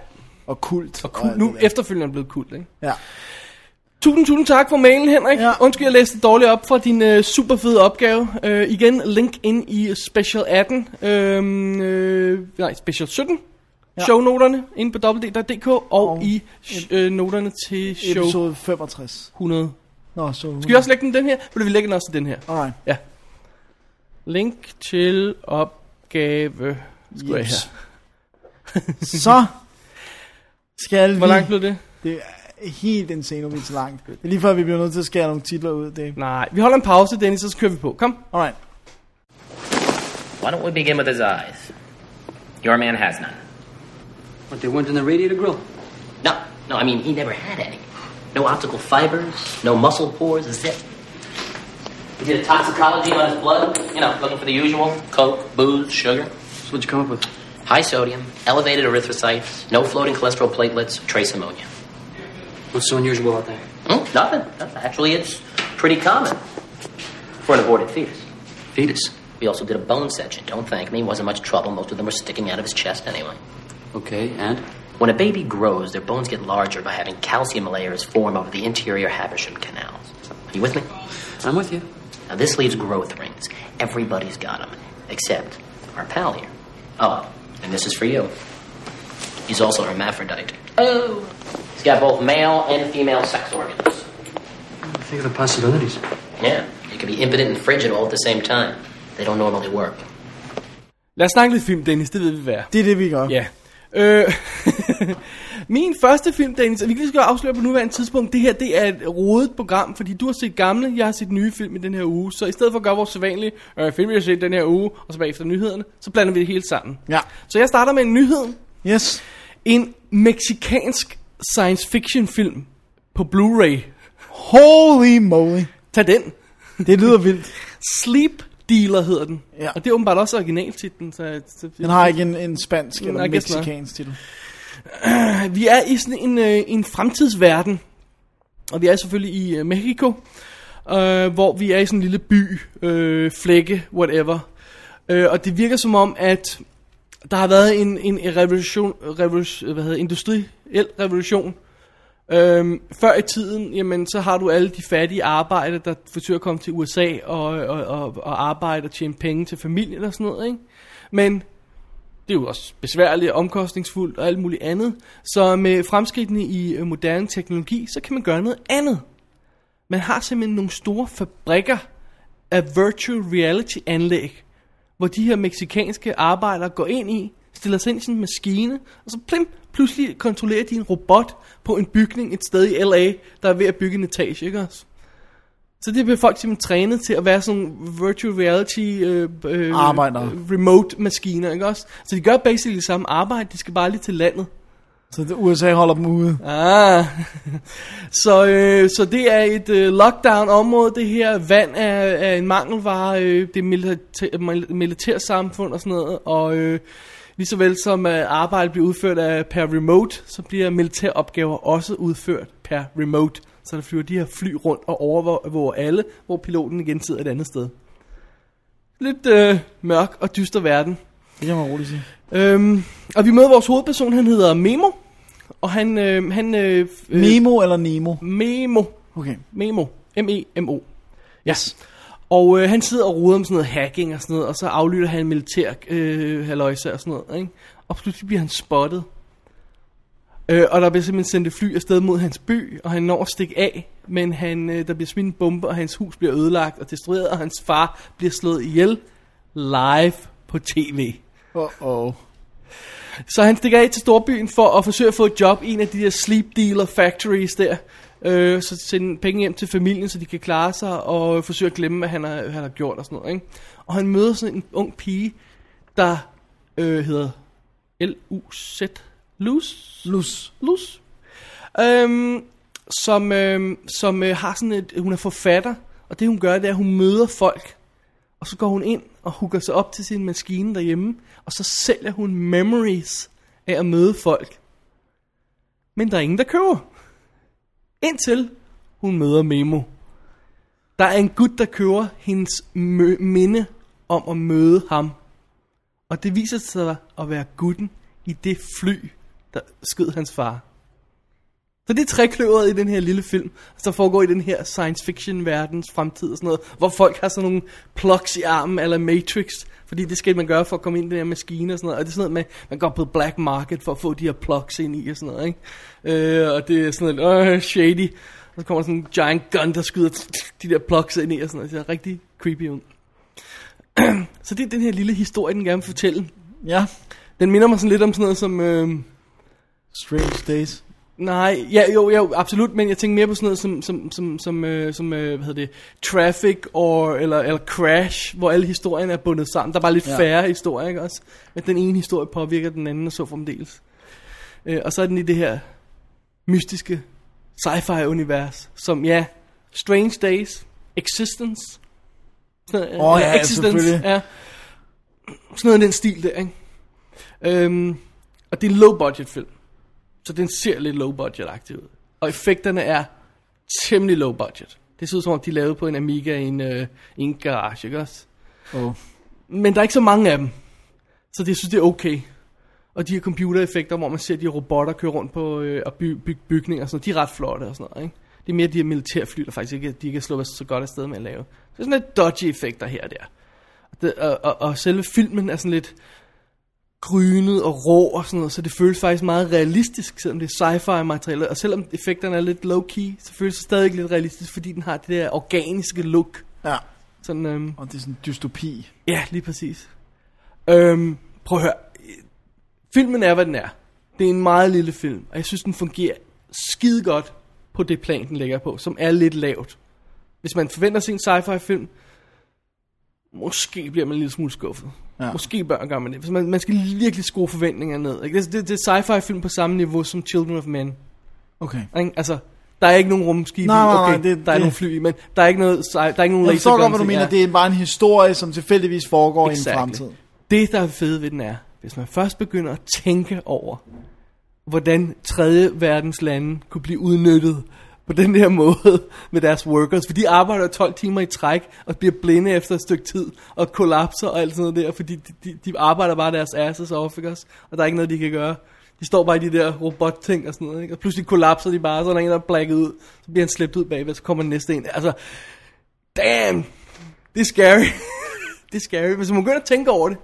Speaker 2: Og kult.
Speaker 1: og cool.
Speaker 2: alt
Speaker 1: nu
Speaker 2: det der.
Speaker 1: efterfølgende er den blevet kult, ikke?
Speaker 2: Ja.
Speaker 1: Tusind, tusind tak for mailen, Henrik.
Speaker 2: Ja.
Speaker 1: Ja. Undskyld, jeg læste dårligt op fra din øh, super fede opgave. Øh, igen, link ind i Special 18. Øh, øh, nej, Special 17.
Speaker 2: Ja.
Speaker 1: Ja. Shownoterne inde på www.dk og,
Speaker 2: Og
Speaker 1: og i sh- øh, noterne til show
Speaker 2: Episode 65.
Speaker 1: 100.
Speaker 2: Nå, så...
Speaker 1: Skal vi også lægge den i den her? Vil vi lægge den også i den her?
Speaker 2: Alright.
Speaker 1: Ja. Link til opgave. Skal jeg
Speaker 2: Yes.
Speaker 1: her.
Speaker 2: så skal vi...
Speaker 1: Hvor langt blev det?
Speaker 2: Det er helt insanovic langt. Det er lige før, vi bliver nødt til at skære nogle titler ud. Det.
Speaker 1: Nej, vi holder en pause, Dennis, og så kører vi på. Kom.
Speaker 2: Alright.
Speaker 5: Why don't we begin with his eyes? Your man has none.
Speaker 4: What, they weren't in the radiator grill?
Speaker 5: No, no, I mean, he never had any. No optical fibers, no muscle pores, a zip. He did a toxicology on his blood, you know, looking for the usual coke, booze, sugar.
Speaker 4: So what'd you come up with?
Speaker 5: High sodium, elevated erythrocytes, no floating cholesterol platelets, trace ammonia.
Speaker 4: What's so unusual out there?
Speaker 5: Hmm? Nothing. Nothing. Actually, it's pretty common for an aborted fetus.
Speaker 4: Fetus.
Speaker 5: We also did a bone section. Don't thank me. Wasn't much trouble. Most of them were sticking out of his chest anyway.
Speaker 4: Okay, and?
Speaker 5: When a baby grows, their bones get larger by having calcium layers form over the interior Habersham canals. Are you with me?
Speaker 4: I'm with you.
Speaker 5: Now, this leaves growth rings. Everybody's got them, except our pal here. Oh, and this is for you. He's also a hermaphrodite. Oh! He's got both male and female sex organs.
Speaker 4: Think of the possibilities.
Speaker 5: Yeah, you can be impotent and frigid all at the same time. They don't normally work.
Speaker 1: Lad os snakke lidt film, Dennis. Det ved vi hvad. er.
Speaker 2: Det er det, vi gør.
Speaker 1: (laughs) Ja. Øh, (laughs) min første film, Dennis, og vi kan lige skal afsløre på nuværende tidspunkt, det her det er et rodet program, fordi du har set gamle, jeg har set nye film i den her uge. Så i stedet for at gøre vores sædvanlige øh, film, vi har set den her uge, og så bagefter nyhederne, så blander vi det hele sammen.
Speaker 2: Ja.
Speaker 1: Så jeg starter med en nyhed.
Speaker 2: Yes.
Speaker 1: En meksikansk science fiction film på Blu-ray.
Speaker 2: Holy moly.
Speaker 1: Tag den.
Speaker 2: Det lyder vildt.
Speaker 1: Sleep Dealer hedder den.
Speaker 2: Ja.
Speaker 1: Og det er åbenbart også originaltitlen. Så, så,
Speaker 2: Den har ikke en, en spansk eller
Speaker 1: Nej,
Speaker 2: Nej,
Speaker 1: jeg gætter nok.
Speaker 2: mexikansk titel.
Speaker 1: Vi er i sådan en, øh, en fremtidsverden, og vi er selvfølgelig i øh, Mexico, øh, hvor vi er i sådan en lille by, øh, flække, whatever. Øh, og det virker som om, at der har været en, en revolution, revolution, hvad hedder, det, industriel revolution. Øhm, før i tiden, jamen, så har du alle de fattige arbejdere, der forsøger at komme til USA og, og, og, og arbejde og tjene penge til familien og sådan noget, ikke? Men det er jo også besværligt, omkostningsfuldt og alt muligt andet. Så med fremskridtene i øh, moderne teknologi, så kan man gøre noget andet. Man har simpelthen nogle store fabrikker af virtual reality anlæg, hvor de her meksikanske arbejdere går ind i, stiller sig ind i sådan en maskine, og så plim, pludselig kontrollerer de en robot på en bygning et sted i LA, der er ved at bygge en etage, ikke også? Så det bliver folk simpelthen trænet til at være sådan nogle virtual reality øh, øh,
Speaker 2: Arbejdere.
Speaker 1: remote maskiner, ikke også? Så de gør basically det samme arbejde, de skal bare lige til landet.
Speaker 2: Så det- USA holder dem ude.
Speaker 1: Ah. (laughs) så, øh, så det er et øh, lockdown-område, det her. Vand er, er en mangelvare, øh, det er militær, mil- militærsamfund og sådan noget. Og øh, lige så vel som øh, arbejde bliver udført af, per remote, så bliver militæropgaver også udført per remote. Så der flyver de her fly rundt og overvåger alle, hvor piloten igen sidder et andet sted. Lidt øh, mørk og dyster verden.
Speaker 2: Det kan man roligt sige.
Speaker 1: Øhm, og vi møder vores hovedperson, han hedder Memo. Og han, øh, han øh, f- øh,
Speaker 2: Nemo eller Nemo?
Speaker 1: Memo.
Speaker 2: Okay.
Speaker 1: Memo. M-E-M-O. Yes. Og øh, han sidder og roder om sådan noget hacking og sådan noget, og så aflytter han en militær øh, haløjse og sådan noget, ikke? Og pludselig bliver han spottet. Øh, og der bliver simpelthen sendt et fly afsted mod hans by, og han når at stikke af, men han, øh, der bliver smidt en bombe, og hans hus bliver ødelagt og destrueret, og hans far bliver slået ihjel live på tv.
Speaker 2: Uh-oh.
Speaker 1: Så han stikker af til storbyen for at forsøge at få et job i en af de der sleep dealer factories der. Øh, så sende penge hjem til familien, så de kan klare sig og forsøge at glemme, hvad han har, han har gjort og sådan noget. Ikke? Og han møder sådan en ung pige, der øh, hedder L-U-Z. Luz? Luz. Luz. Øhm, som øhm, som øh, har sådan et, hun er forfatter, og det hun gør, det er, at hun møder folk, og så går hun ind og hooker sig op til sin maskine derhjemme, og så sælger hun memories af at møde folk. Men der er ingen, der køber. Indtil hun møder Memo. Der er en gut, der køber hendes mø- minde om at møde ham. Og det viser sig at være gutten i det fly, der skød hans far. Så det er trækløveret i den her lille film, der foregår i den her science fiction verdens fremtid og sådan noget, hvor folk har sådan nogle plugs i armen eller Matrix, fordi det skal man gøre for at komme ind i den her maskine og sådan noget, og det er sådan noget med, man går på black market for at få de her plugs ind i og sådan noget, ikke? Øh, og det er sådan noget, øh, shady, og så kommer der sådan en giant gun, der skyder de der plugs ind i og sådan noget, det ser rigtig creepy ud. (clears throat) Så det er den her lille historie, den gerne vil fortælle.
Speaker 2: Ja.
Speaker 1: Den minder mig sådan lidt om sådan noget som... Øh,
Speaker 2: Strange Days.
Speaker 1: Nej, ja, jo, jo, absolut, men jeg tænker mere på sådan noget som, som, som, som, øh, som øh, hvad hedder det, Traffic or, eller, eller Crash, hvor alle historierne er bundet sammen. Der er bare lidt ja.
Speaker 2: Ja.
Speaker 1: færre historier, ikke også? Men den ene historie påvirker den anden, og så fremdeles. Øh, og så er den i det her mystiske sci-fi-univers, som, ja, Strange Days, Existence, sådan, øh,
Speaker 2: Åh, ja, ja,
Speaker 1: Existence,
Speaker 2: selvfølgelig.
Speaker 1: ja. Sådan noget i den stil der, ikke? Øhm, og det er en low-budget film. Så den ser lidt low-budget-agtig ud. Og effekterne er temmelig low-budget. Det ser ud som om, de er lavet på en Amiga i en, øh, i en garage, ikke også?
Speaker 2: Oh.
Speaker 1: Men der er ikke så mange af dem. Så det, jeg synes, det er okay. Og de her computereffekter, hvor man ser de her robotter køre rundt på øh, og by, byg, bygninger og sådan noget, de er ret flotte og sådan noget, ikke? Det er mere de her militærfly, der faktisk ikke, de ikke er sluppet så godt af sted med at lave. Så det er sådan lidt dodgy effekter her og der. Og, det, og, og, og selve filmen er sådan lidt grynet og rå og sådan noget, så det føles faktisk meget realistisk, selvom det er sci-fi materiale. Og selvom effekterne er lidt low-key, så føles det stadig lidt realistisk, fordi den har det der organiske look.
Speaker 2: Ja.
Speaker 1: Sådan, øhm,
Speaker 2: Og det er sådan en dystopi.
Speaker 1: Ja, lige præcis. Øhm, prøv at høre. Filmen er, hvad den er. Det er en meget lille film, og jeg synes, den fungerer skide godt på det plan, den ligger på, som er lidt lavt. Hvis man forventer sig en sci-fi film, måske bliver man en lille smule skuffet. Ja. Måske bør gør man det. Så man, man skal virkelig skrue forventningerne ned. Ikke? Altså, Det, det, det er sci-fi film på samme niveau som Children of Men.
Speaker 2: Okay.
Speaker 1: Ikke? Altså, der er ikke nogen rumskibe.
Speaker 2: Nej,
Speaker 1: i.
Speaker 2: nej, nej,
Speaker 1: okay,
Speaker 2: det-
Speaker 1: der er
Speaker 2: det-
Speaker 1: nogle fly, i, men der er ikke noget, sci- der er ikke nogen
Speaker 2: Jeg forstår godt, hvad du
Speaker 1: laserguns,
Speaker 2: mener.
Speaker 1: ja.
Speaker 2: Det er bare en historie, som tilfældigvis foregår i en
Speaker 1: Exactly.
Speaker 2: fremtid.
Speaker 1: Det, der er fede ved den er, hvis man først begynder at tænke over, hvordan tredje verdens lande kunne blive udnyttet på den her måde med deres workers. For de arbejder 12 timer i træk og bliver blinde efter et stykke tid og kollapser og alt sådan noget der, fordi de, de, de arbejder bare deres asses off, ikke også? Og der er ikke noget, de kan gøre. De står bare i de der robotting og sådan noget, ikke? Og pludselig kollapser de bare, så er der en, der er blækket ud. Så bliver han slæbt ud bagved, så kommer den næste en. Altså, damn! Det er scary. (laughs) det er scary. Hvis man begynder at tænke over det,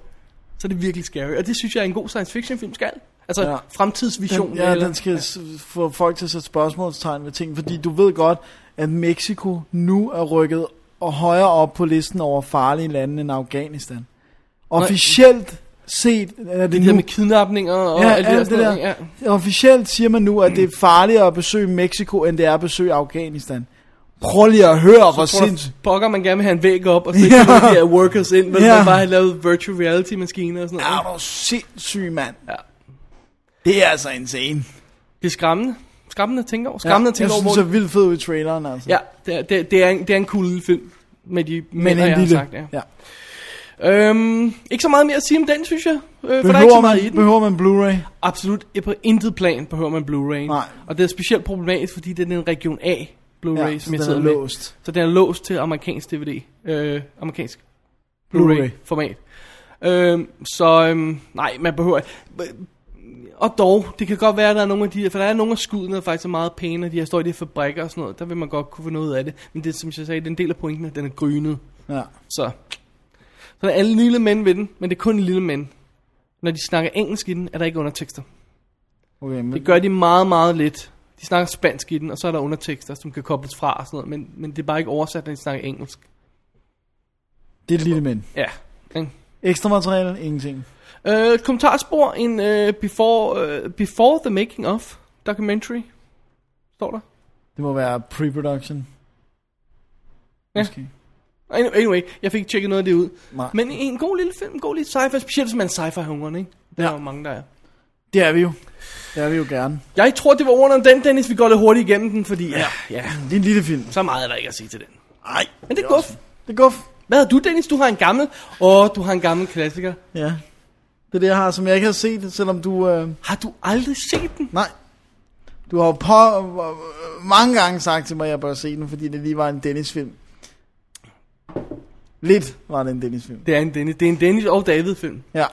Speaker 1: så er det virkelig scary. Og det synes jeg er en god science fiction film skal. Altså
Speaker 2: Ja.
Speaker 1: ja. fremtidsvision.
Speaker 2: Den, ja,
Speaker 1: eller-
Speaker 2: den skal s- få folk til at sætte spørgsmålstegn ved ting, fordi du ved godt, at Mexico nu er rykket og højere op på listen over farlige lande end Afghanistan. Officielt set er det
Speaker 1: Det der
Speaker 2: nu,
Speaker 1: med kidnapninger og
Speaker 2: Ja,
Speaker 1: alt det der.
Speaker 2: alt det
Speaker 1: Sådan noget,
Speaker 2: der.
Speaker 1: ja.
Speaker 2: officielt siger man nu, at det er farligere at besøge Mexico, end det er at besøge Afghanistan. Prøv lige at høre, hvor
Speaker 1: Tror du,
Speaker 2: sindssygt.
Speaker 1: Pokker man gerne vil have en væg op,
Speaker 2: (laughs)
Speaker 1: og så ikke ja. de her workers ind, men
Speaker 2: Ja.
Speaker 1: ja. man bare har lavet virtual reality maskiner og sådan noget.
Speaker 2: Er
Speaker 1: ikke?
Speaker 2: du sindssyg, mand?
Speaker 1: Ja.
Speaker 2: Det er altså insane.
Speaker 1: Det er skræmmende. Skræmmende at tænke over. Skræmmende at
Speaker 2: jeg
Speaker 1: tænke over,
Speaker 2: synes,
Speaker 1: hvor...
Speaker 2: det er vildt fedt ud i traileren, altså.
Speaker 1: Ja, det er, det, er- det, er en, det er en cool lille film. Med de mænd, jeg har sagt, ja.
Speaker 2: ja.
Speaker 1: Øhm, ikke så meget mere at sige om den, synes jeg. Øh, for der er ikke
Speaker 2: Behøver,
Speaker 1: så meget i
Speaker 2: man,
Speaker 1: den.
Speaker 2: behøver man Blu-ray?
Speaker 1: Absolut på intet plan behøver man Blu-ray.
Speaker 2: Nej.
Speaker 1: Og det er specielt problematisk, fordi det er en region A Blu-ray,
Speaker 2: Ja, så
Speaker 1: som jeg
Speaker 2: den
Speaker 1: sidder
Speaker 2: er
Speaker 1: med.
Speaker 2: låst.
Speaker 1: Så den er låst til amerikansk DVD. Øh, amerikansk
Speaker 2: Blu-ray.
Speaker 1: Blu-ray format. Øh, så øhm, nej, man behøver og dog, det kan godt være, at der er nogle af de for der er nogle af skuddene, der faktisk er meget pæne, og de her står i de her fabrikker og sådan noget, der vil man godt kunne få noget af det. Men det, som jeg sagde, den del af pointen, er, at den er grynet.
Speaker 2: Ja.
Speaker 1: Så. Så der er en lille mænd ved den, men det er kun en lille mænd. Når de snakker engelsk i den, er der ikke undertekster.
Speaker 2: Okay, men
Speaker 1: Det gør de meget, meget lidt. De snakker spansk i den, og så er der undertekster, som kan kobles fra og sådan noget, men, men det er bare ikke oversat, når de snakker engelsk.
Speaker 2: det er et lille mænd.
Speaker 1: Ja. ikke?
Speaker 2: Ekstra materiale? Ingenting.
Speaker 1: Øh, kommentarspor, en øh, before, øh, before the Making of documentary, står der.
Speaker 2: Det må være pre-production.
Speaker 1: Ja.
Speaker 2: Måske.
Speaker 1: Anyway, anyway, jeg fik ikke tjekket noget af det ud.
Speaker 2: Nej.
Speaker 1: Men en god lille film, en god lille sci-fi, specielt hvis man er sci-fi-hungeren, ikke? Der ja. er jo mange, der er.
Speaker 2: Det er vi jo. Det er vi jo gerne.
Speaker 1: Jeg tror, det var ordene om den, Dennis. Vi går lidt hurtigt igennem den, fordi ja, ja
Speaker 2: Det er en lille film.
Speaker 1: så meget er der ikke at sige til den.
Speaker 2: Nej.
Speaker 1: Men det er guf.
Speaker 2: Det er guf.
Speaker 1: Hvad har du, Dennis? Du har en gammel... Åh, du har en gammel klassiker.
Speaker 2: Ja. Det er det, jeg har, som jeg ikke har set, selvom du... Øh...
Speaker 1: Har du aldrig set den?
Speaker 2: Nej. Du har jo på, øh, mange gange sagt til mig, at jeg bør se den, fordi det lige var en Dennis-film. Lidt var det en Dennis-film.
Speaker 1: Det er en Dennis, det er en Dennis og David film.
Speaker 2: Ja.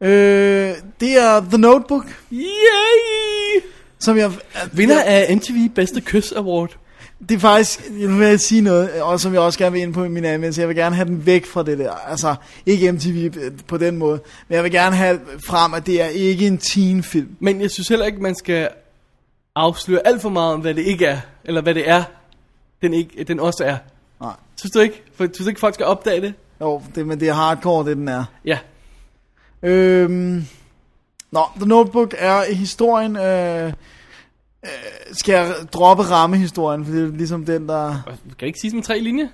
Speaker 2: Øh, det er The Notebook,
Speaker 1: Yay!
Speaker 2: som jeg...
Speaker 1: Vinder af MTV Bedste Kys Award.
Speaker 2: Det er faktisk, nu vil jeg sige noget, og som jeg også gerne vil ind på i min anmeldelse, jeg vil gerne have den væk fra det der, altså ikke MTV på den måde, men jeg vil gerne have frem, at det er ikke en teenfilm.
Speaker 1: Men jeg synes heller ikke, man skal afsløre alt for meget om, hvad det ikke er. Eller hvad det er, den, ikke, den også er.
Speaker 2: Nej.
Speaker 1: Synes du ikke? For, synes du ikke, folk skal opdage det?
Speaker 2: Jo, det, men det er hardcore, det den er.
Speaker 1: Ja.
Speaker 2: Øhm, nå, The Notebook er historien, øh, øh, skal jeg droppe rammehistorien, for det er ligesom den, der...
Speaker 1: Og Kan jeg ikke sige som tre linjer?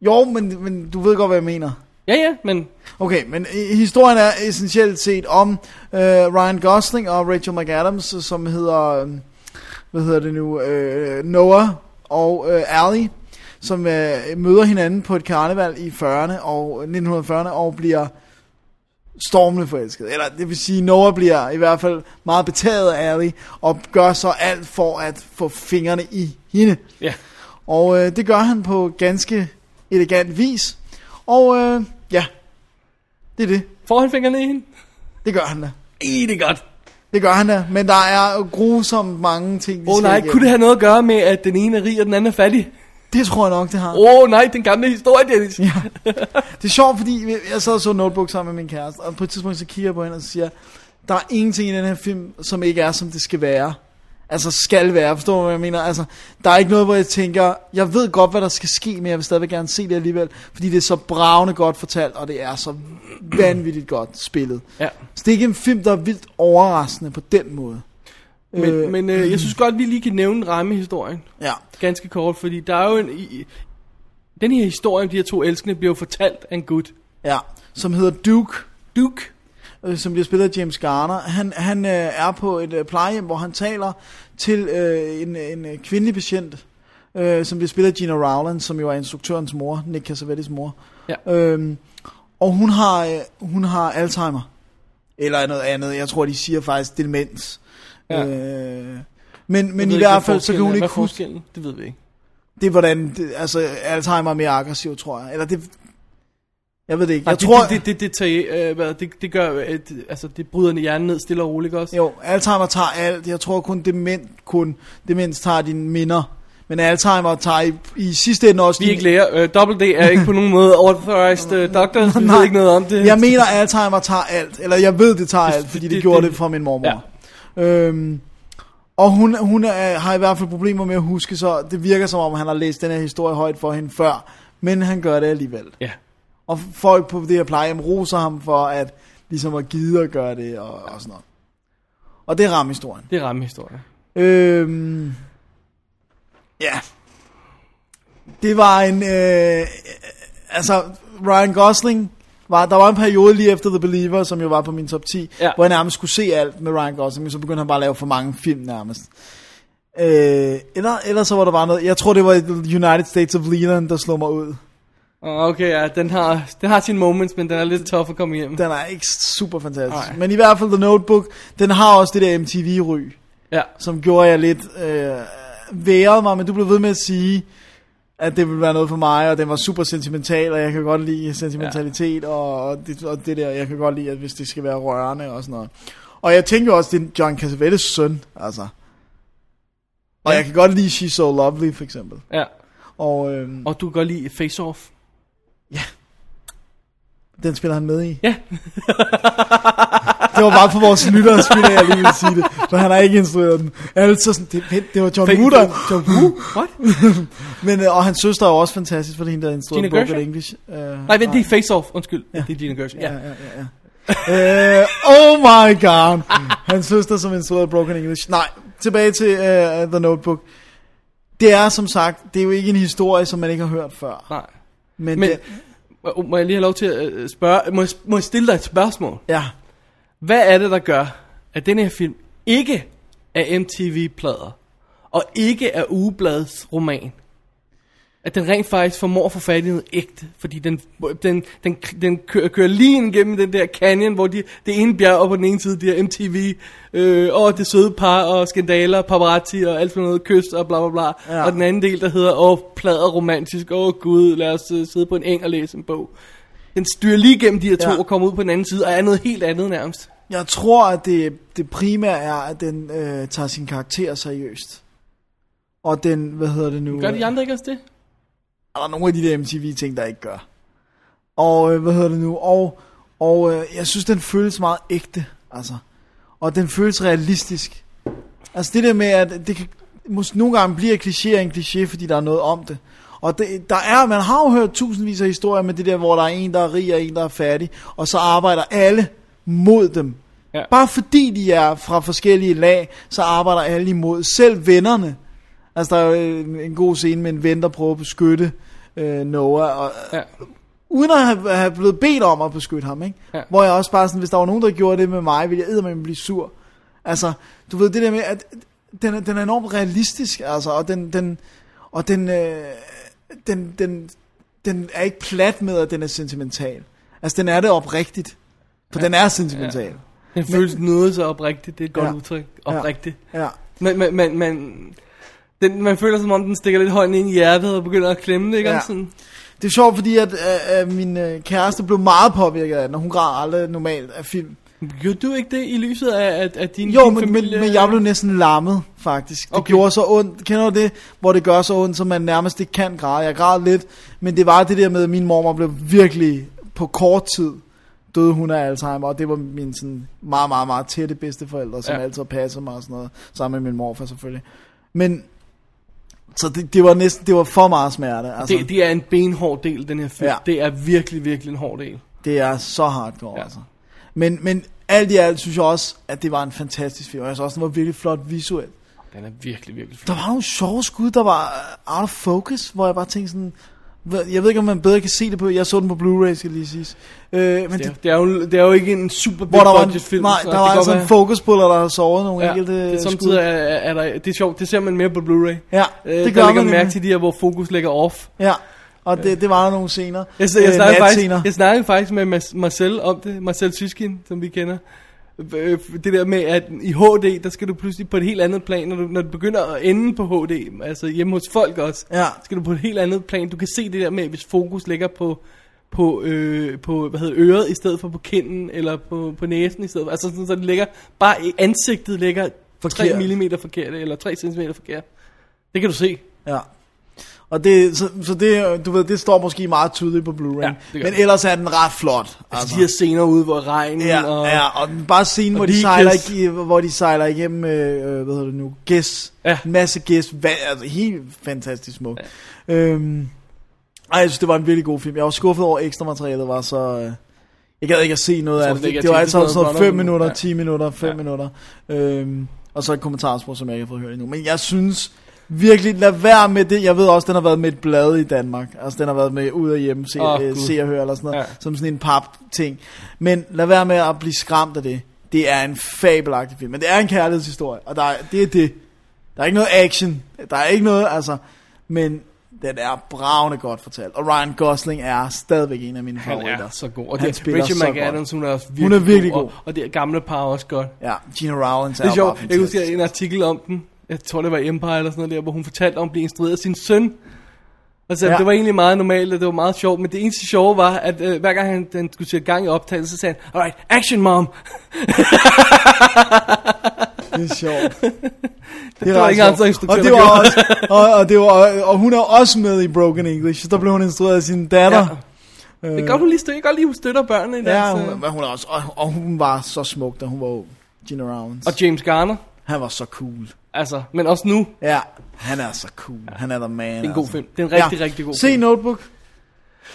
Speaker 2: Jo, men, men du ved godt, hvad jeg mener.
Speaker 1: Ja, ja, men
Speaker 2: Okay, men i- historien er essentielt set om øh, Ryan Gosling og Rachel McAdams, som hedder, øh, hvad hedder det nu, øh, Noah og øh, Ally, som øh, møder hinanden på et karneval i 40'erne og 1940'erne og bliver stormende forelsket. Eller det vil sige, Noah bliver i hvert fald meget betaget af Ally og gør så alt for at få fingrene i hende.
Speaker 1: ja.
Speaker 2: Og øh, det gør han på ganske elegant vis. Og øh, ja, det er det.
Speaker 1: Får han fingrene i hende?
Speaker 2: Det gør han da.
Speaker 1: I det er godt.
Speaker 2: Det gør han da. Men der er jo grusomt mange ting, vi
Speaker 1: Åh oh,
Speaker 2: skal
Speaker 1: nej,
Speaker 2: igennem.
Speaker 1: kunne det have noget at gøre med, at den ene er rig, og den anden er fattig?
Speaker 2: Det tror jeg nok, det har.
Speaker 1: Åh oh, nej, den gamle historie, Dennis. Ja.
Speaker 2: Det er sjovt, fordi jeg sad og så Notebook sammen med min kæreste, og på et tidspunkt så kigger jeg på hende og siger, der er ingenting i den her film, som ikke er, som det skal være. altså skal være, forstår du, hvad jeg mener? Altså, der er ikke noget, hvor jeg tænker, jeg ved godt, hvad der skal ske, men jeg vil stadigvæk gerne se det alligevel, fordi det er så bravende godt fortalt, og det er så vanvittigt godt spillet.
Speaker 1: Ja.
Speaker 2: Så det er ikke en film, der er vildt overraskende på den måde.
Speaker 1: Men,
Speaker 2: Øh,
Speaker 1: øh, men øh, jeg synes godt, vi lige kan nævne rammehistorien.
Speaker 2: Ja,
Speaker 1: Ganske kort, fordi der er jo en... I, i- den her historie om de her to elskende bliver jo fortalt af en gut.
Speaker 2: ja. Som hedder Duke,
Speaker 1: Duke.
Speaker 2: øh, som bliver spillet af James Garner. Han, han øh, er på et øh, plejehjem, hvor han taler til øh, en, en øh, kvindelig patient, øh, som bliver spillet af Gina Rowland, som jo er instruktørens mor, Nick Cassavetes mor.
Speaker 1: Ja.
Speaker 2: Øhm, og hun har, øh, hun har Alzheimer. Eller noget andet. Jeg tror, de siger faktisk demens.
Speaker 1: Ja.
Speaker 2: Ja. Øh, men
Speaker 1: Jeg
Speaker 2: men
Speaker 1: ved
Speaker 2: i
Speaker 1: ikke,
Speaker 2: hvert
Speaker 1: hvad
Speaker 2: fald, så kan
Speaker 1: forskellen
Speaker 2: hun
Speaker 1: er.
Speaker 2: ikke
Speaker 1: Hvad er
Speaker 2: huske
Speaker 1: forskellen? Det ved vi ikke.
Speaker 2: det er hvordan, det, altså Alzheimer er mere aggressiv, tror jeg. Eller det, jeg ved det ikke.
Speaker 1: Nej,
Speaker 2: Jeg
Speaker 1: jeg det,
Speaker 2: tror,
Speaker 1: tror, det, det, det, det, det, øh, hvad, det, det gør, øh, det, altså det bryder hjernen ned stille og roligt ikke også.
Speaker 2: jo, Alzheimer tager alt. Jeg tror kun dement, kun demens tager dine minder. Men Alzheimer tager i, i sidste ende også
Speaker 1: Vi er
Speaker 2: dine-
Speaker 1: ikke læger. Øh, Double D er ikke på nogen måde authorized øh, doctor. Vi ved ikke noget om det.
Speaker 2: Jeg mener, Alzheimer tager alt. Eller jeg ved, det tager alt, fordi det,
Speaker 1: det-
Speaker 2: gjorde
Speaker 1: det-
Speaker 2: det for min mormor. Ja. Øhm, og hun, hun er, har i hvert fald problemer med at huske, så det virker som om, han har læst den her historie højt for hende før. Men han gør det alligevel.
Speaker 1: Ja.
Speaker 2: Og folk på det her plejehjem roser ham for at ligesom at gide at gøre det og, og sådan noget. Og det er ramhistorien.
Speaker 1: Det er rammehistorie.
Speaker 2: Øhm, ja. Det var en... Øh, altså, Ryan Gosling... Var, der var en periode lige efter The Believer, som jo var på min top 10,
Speaker 1: Ja.
Speaker 2: hvor jeg nærmest skulle se alt med Ryan Gosling, men så begyndte han bare at lave for mange film nærmest. Øh, eller, eller så var der bare noget... Jeg tror, det var United States of Leland, der slog mig ud.
Speaker 1: Åh, Okay, ja, den har, den har sine moments, men den er lidt tough at komme hjem.
Speaker 2: Den er ikke super fantastisk.
Speaker 1: Nej.
Speaker 2: Men i hvert fald The Notebook, den har også det der MTV-ry,
Speaker 1: Ja,
Speaker 2: som gjorde jeg lidt øh, værede mig, men du blev ved med at sige, at det ville være noget for mig, og den var super sentimental, og jeg kan godt lide sentimentalitet, ja. og, og, det, og det der, jeg kan godt lide, at hvis det skal være rørende og sådan noget. Og jeg tænker jo også, det er John Cassavetes søn, altså. Og jeg kan godt lide She's So Lovely, for eksempel.
Speaker 1: ja.
Speaker 2: Og øhm,
Speaker 1: Og du kan godt lide Face Off.
Speaker 2: den spiller han med i.
Speaker 1: Ja.
Speaker 2: Det var bare for vores lyttere, spiller jeg lige vil sige det. For han har ikke instrueret den. Alle så sådan, det, vent, det var John
Speaker 1: Fake
Speaker 2: Woo, der...
Speaker 1: news.
Speaker 2: John Woo.
Speaker 1: What?
Speaker 2: Men, øh, og hans søster er jo også fantastisk, for det er hende, der har instrueret
Speaker 1: Gina
Speaker 2: Broken
Speaker 1: Gershon?
Speaker 2: English. Uh,
Speaker 1: Nej, vent, det er Face Off. Undskyld, ja. det er Gina Gershon. Ja.
Speaker 2: Ja, ja, ja. ja. Øh, oh my god. Hans søster, som instruerede Broken English. Nej, tilbage til øh, The Notebook. Det er som sagt, det er jo ikke en historie, som man ikke har hørt før.
Speaker 1: Nej.
Speaker 2: Men, øh,
Speaker 1: Men
Speaker 2: det,
Speaker 1: må- må jeg lige have lov til at øh, spørge, må jeg, må jeg stille dig et spørgsmål?
Speaker 2: ja,
Speaker 1: Hvad er det, der gør, at den her film ikke er MTV-plader, og ikke er Ugebladets roman? At den rent faktisk formår at få fat i noget ægte, fordi den, den, den, den kører, kører lige ind gennem den der canyon, hvor de, det ene bjerg, og på den ene side det er MTV, øh, og det søde par, og skandaler, paparazzi, og alt for noget, kyst og bla bla bla.
Speaker 2: Ja.
Speaker 1: Ja. Og den anden del, der hedder, åh, plader romantisk, åh gud, lad os øh, sidde på en eng og læse en bog. Den styrer lige gennem de her to
Speaker 2: Ja.
Speaker 1: ja. og kommer ud på den anden side, og er noget helt andet nærmest.
Speaker 2: jeg tror, at det, det primære er, at den øh, tager sin karakter seriøst. Og den, hvad hedder det nu?
Speaker 1: Gør de andre ikke også det?
Speaker 2: er der nogle af de der MTV-ting, der ikke gør. Og øh, hvad hedder det nu? Og, og øh, jeg synes, den føles meget ægte, altså. Og den føles realistisk. Altså det der med, at det kan, måske nogle gange bliver kliché en kliché, fordi der er noget om det. Og det, der er, man har jo hørt tusindvis af historier med det der, hvor der er en, der er rig og en, der er fattig, og så arbejder alle mod dem.
Speaker 1: Ja.
Speaker 2: Bare fordi de er fra forskellige lag, så arbejder alle imod. Selv vennerne. Altså, der er jo en, en god scene med en ven, der prøver at beskytte øh, Noah, og,
Speaker 1: Ja.
Speaker 2: uden at have, have blevet bedt om at beskytte ham, ikke?
Speaker 1: Ja.
Speaker 2: Hvor jeg også bare sådan, hvis der var nogen, der gjorde det med mig, ville jeg eddermame blive sur. Altså, du ved det der med, at den er, den er enormt realistisk, altså, og den, den, og den, øh, den, den, den er ikke plat med, at den er sentimental. Altså, den er det oprigtigt, for ja. den er sentimental.
Speaker 1: Den føles noget så oprigtigt, det er et godt
Speaker 2: Ja.
Speaker 1: ja. udtryk. Oprigtigt. Ja.
Speaker 2: Ja. ja.
Speaker 1: Men, men, men, men den, man føler som om, den stikker lidt hånden ind i hjertet og begynder at klemme det, ikke?
Speaker 2: Ja.
Speaker 1: Ja. Sådan,
Speaker 2: Det er sjovt, fordi at, øh, øh, min øh, kæreste blev meget påvirket af den, og hun græder aldrig normalt af film.
Speaker 1: Gjorde du ikke det i lyset af, at, at din,
Speaker 2: Jo,
Speaker 1: din
Speaker 2: men, men,
Speaker 1: familie...
Speaker 2: men jeg blev næsten lammet, faktisk. Det okay.
Speaker 1: Okay.
Speaker 2: gjorde så ondt. Kender du det, hvor det gør så ondt, som man nærmest ikke kan græde? Jeg græd lidt, men det var det der med, at min mormor blev virkelig på kort tid døde hun af Alzheimer, og det var min sådan meget, meget, meget tætte bedsteforældre, som
Speaker 1: Ja.
Speaker 2: ja. altid passede mig og sådan noget, sammen med min morfar selvfølgelig. Men, så det, det var næsten, det var for meget smerte, altså,
Speaker 1: Det,
Speaker 2: det,
Speaker 1: det er en benhård del, den her film. Ja.
Speaker 2: Ja.
Speaker 1: Det er virkelig, virkelig en hård del.
Speaker 2: det er så hardcore,
Speaker 1: Ja.
Speaker 2: ja. altså. Men, men alt i alt synes jeg også, at det var en fantastisk film, og jeg synes også, den var virkelig flot visuelt.
Speaker 1: Den er virkelig, virkelig flot.
Speaker 2: Der var nogle sjove skud, der var øh, out of focus, hvor jeg bare tænkte sådan, hvad- jeg ved ikke, om man bedre kan se det på, jeg så den på Blu-ray, skal jeg lige siges. Øh, men
Speaker 1: Det
Speaker 2: det,
Speaker 1: er, det, er jo, det er jo ikke en super big
Speaker 2: hvor der var,
Speaker 1: budget
Speaker 2: en,
Speaker 1: film.
Speaker 2: nej,
Speaker 1: så
Speaker 2: der
Speaker 1: det
Speaker 2: var
Speaker 1: kan
Speaker 2: altså
Speaker 1: godt
Speaker 2: en fokuspuller, der har sovet nogle
Speaker 1: være-
Speaker 2: enkelte
Speaker 1: det,
Speaker 2: skud.
Speaker 1: samtidig er, er, er der, det er sjovt, det ser man mere på Blu-ray.
Speaker 2: Ja,
Speaker 1: Øh, der
Speaker 2: det gør
Speaker 1: lægger
Speaker 2: man
Speaker 1: mærke
Speaker 2: mærke
Speaker 1: til de her, hvor fokus ligger off.
Speaker 2: Ja, og det, det var der nogle scener.
Speaker 1: Jeg, jeg, jeg,
Speaker 2: øh,
Speaker 1: snakkede faktisk,
Speaker 2: natscener.
Speaker 1: jeg snakkede faktisk med Mas- Marcel om det, Marcel Syskin, som vi kender. Øh, Det der med, at i HD, der skal du pludselig på et helt andet plan, når du, når du begynder at ende på HD, altså hjemme hos folk også,
Speaker 2: Ja.
Speaker 1: skal du på et helt andet plan. Du kan se det der med, hvis fokus ligger på, på, øh, på hvad hedder, det, øret, i stedet for på kinden, eller på, på næsen i stedet for. Altså sådan, så det ligger, bare i ansigtet ligger
Speaker 2: Forkert.
Speaker 1: 3 mm forkert, eller 3 cm forkert. Det kan du se.
Speaker 2: Ja. Og det, så, så det, øh, du ved, det står måske meget tydeligt på Blu-ray.
Speaker 1: Ja, det
Speaker 2: Ja,
Speaker 1: gør
Speaker 2: men
Speaker 1: det.
Speaker 2: ellers er den ret flot.
Speaker 1: Altså, de her scener ude, hvor regnen
Speaker 2: Ja,
Speaker 1: og...
Speaker 2: ja, og den- bare scenen,
Speaker 1: og
Speaker 2: hvor de,
Speaker 1: lige
Speaker 2: sejler,
Speaker 1: gæs.
Speaker 2: ig- hvor de sejler igennem, øh, øh, hvad hedder det nu, gæs,
Speaker 1: Ja.
Speaker 2: en masse gæs, va- altså helt fantastisk smukt. Ja. Øhm, ej, jeg synes, det var en virkelig god film. Jeg var skuffet over, at ekstra materialet var så... Øh, jeg gad ikke at se noget
Speaker 1: Jeg
Speaker 2: af
Speaker 1: tror
Speaker 2: det.
Speaker 1: slet ikke, jeg
Speaker 2: Det, det var
Speaker 1: tænkte
Speaker 2: altså
Speaker 1: sådan
Speaker 2: sådan
Speaker 1: noget
Speaker 2: 5
Speaker 1: godt om-
Speaker 2: minutter,
Speaker 1: ja.
Speaker 2: 10 minutter, 5
Speaker 1: Ja.
Speaker 2: minutter. Øhm, og så et kommentarspor, som jeg ikke har fået hørt endnu. Men jeg synes virkelig, lad være med det. Jeg ved også, den har været med et blad i Danmark. Altså, den har været med ud af hjemme, se,
Speaker 1: Åh,
Speaker 2: oh, øh,
Speaker 1: Gud.
Speaker 2: se og høre eller sådan noget.
Speaker 1: Ja.
Speaker 2: Ja. Som sådan en pap ting. Men lad være med at blive skræmt af det. Det er en fabelagtig film. Men det er en kærlighedshistorie. Og der er, det er det. Der er ikke noget action. Der er ikke noget, altså. Men den er bravende godt fortalt. Og Ryan Gosling er stadigvæk en af mine
Speaker 1: Han
Speaker 2: favoritter.
Speaker 1: er så god. Og
Speaker 2: Han
Speaker 1: det,
Speaker 2: spiller så
Speaker 1: Rachel
Speaker 2: godt.
Speaker 1: McAdams, hun er også virkelig,
Speaker 2: Hun er virkelig god.
Speaker 1: Og, og det gamle par er også godt.
Speaker 2: Ja, Gina Rowlands
Speaker 1: Det er
Speaker 2: jo bare
Speaker 1: sjovt. Jeg
Speaker 2: fantastisk.
Speaker 1: husker en artikel om den. Jeg tror, det var Empire eller sådan noget der, hvor hun fortalte om at blive instrueret af sin søn. Altså, ja.
Speaker 2: Ja.
Speaker 1: det var egentlig meget normalt, og det var meget sjovt, men det eneste sjove var, at øh, hver gang han, han skulle sætte gang i optagelsen, så sagde han, alright, action mom!
Speaker 2: Det er
Speaker 1: (laughs)
Speaker 2: sjovt. Det,
Speaker 1: var
Speaker 2: ret
Speaker 1: ikke andre
Speaker 2: sjovt.
Speaker 1: instruktører,
Speaker 2: og det
Speaker 1: der
Speaker 2: var
Speaker 1: gjorde.
Speaker 2: også, og, og, det var, og hun er også med i Broken English. Der blev hun instrueret af sin datter. Ja,
Speaker 1: Det er godt, hun lige støtter, godt lige, hun støtter børnene i
Speaker 2: Øh. ja
Speaker 1: deres...
Speaker 2: hun,
Speaker 1: øh,
Speaker 2: men hun er også, og, og hun var så smuk, da hun var ung. Gina Rounds.
Speaker 1: og James Garner,
Speaker 2: han var så cool.
Speaker 1: altså, men også nu,
Speaker 2: Ja, han er så cool. Han er the man. Det er
Speaker 1: en god film. Det er en rigtig, rigtig god
Speaker 2: altså. Se
Speaker 1: film.
Speaker 2: Notebook.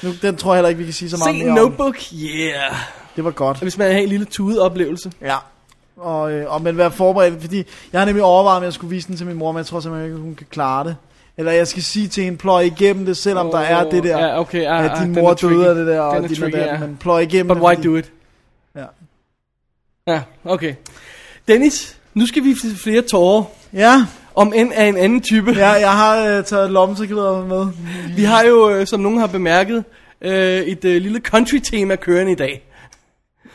Speaker 2: Nu, den tror jeg heller ikke, vi kan sige så meget
Speaker 1: se
Speaker 2: mere om.
Speaker 1: Notebook, yeah!
Speaker 2: Det var godt.
Speaker 1: Hvis man vil have en lille tude oplevelse.
Speaker 2: Ja. Og, øh, og men vær forberedt, fordi jeg har nemlig overvejet, om jeg skulle vise den til min mor, men jeg tror simpelthen ikke, hun kan klare det. Eller jeg skal sige til hende, pløj igennem det, selvom oh, der er det der,
Speaker 1: Ja, okay, ah,
Speaker 2: at
Speaker 1: ah,
Speaker 2: din
Speaker 1: den
Speaker 2: mor
Speaker 1: er
Speaker 2: døde af
Speaker 1: tricky.
Speaker 2: det der,
Speaker 1: Den
Speaker 2: og
Speaker 1: er
Speaker 2: din og
Speaker 1: tricky,
Speaker 2: der,
Speaker 1: ja.
Speaker 2: men pløj igennem
Speaker 1: But
Speaker 2: altså, det.
Speaker 1: why
Speaker 2: fordi-
Speaker 1: do it?
Speaker 2: Ja.
Speaker 1: Ja, okay. Dennis, nu skal vi til flere tårer.
Speaker 2: Ja,
Speaker 1: Om end af en anden type.
Speaker 2: ja, jeg har øh, taget lommetørklæder med.
Speaker 1: Vi har jo, øh, som nogen har bemærket, øh, et øh, lille country-tema kørende i dag.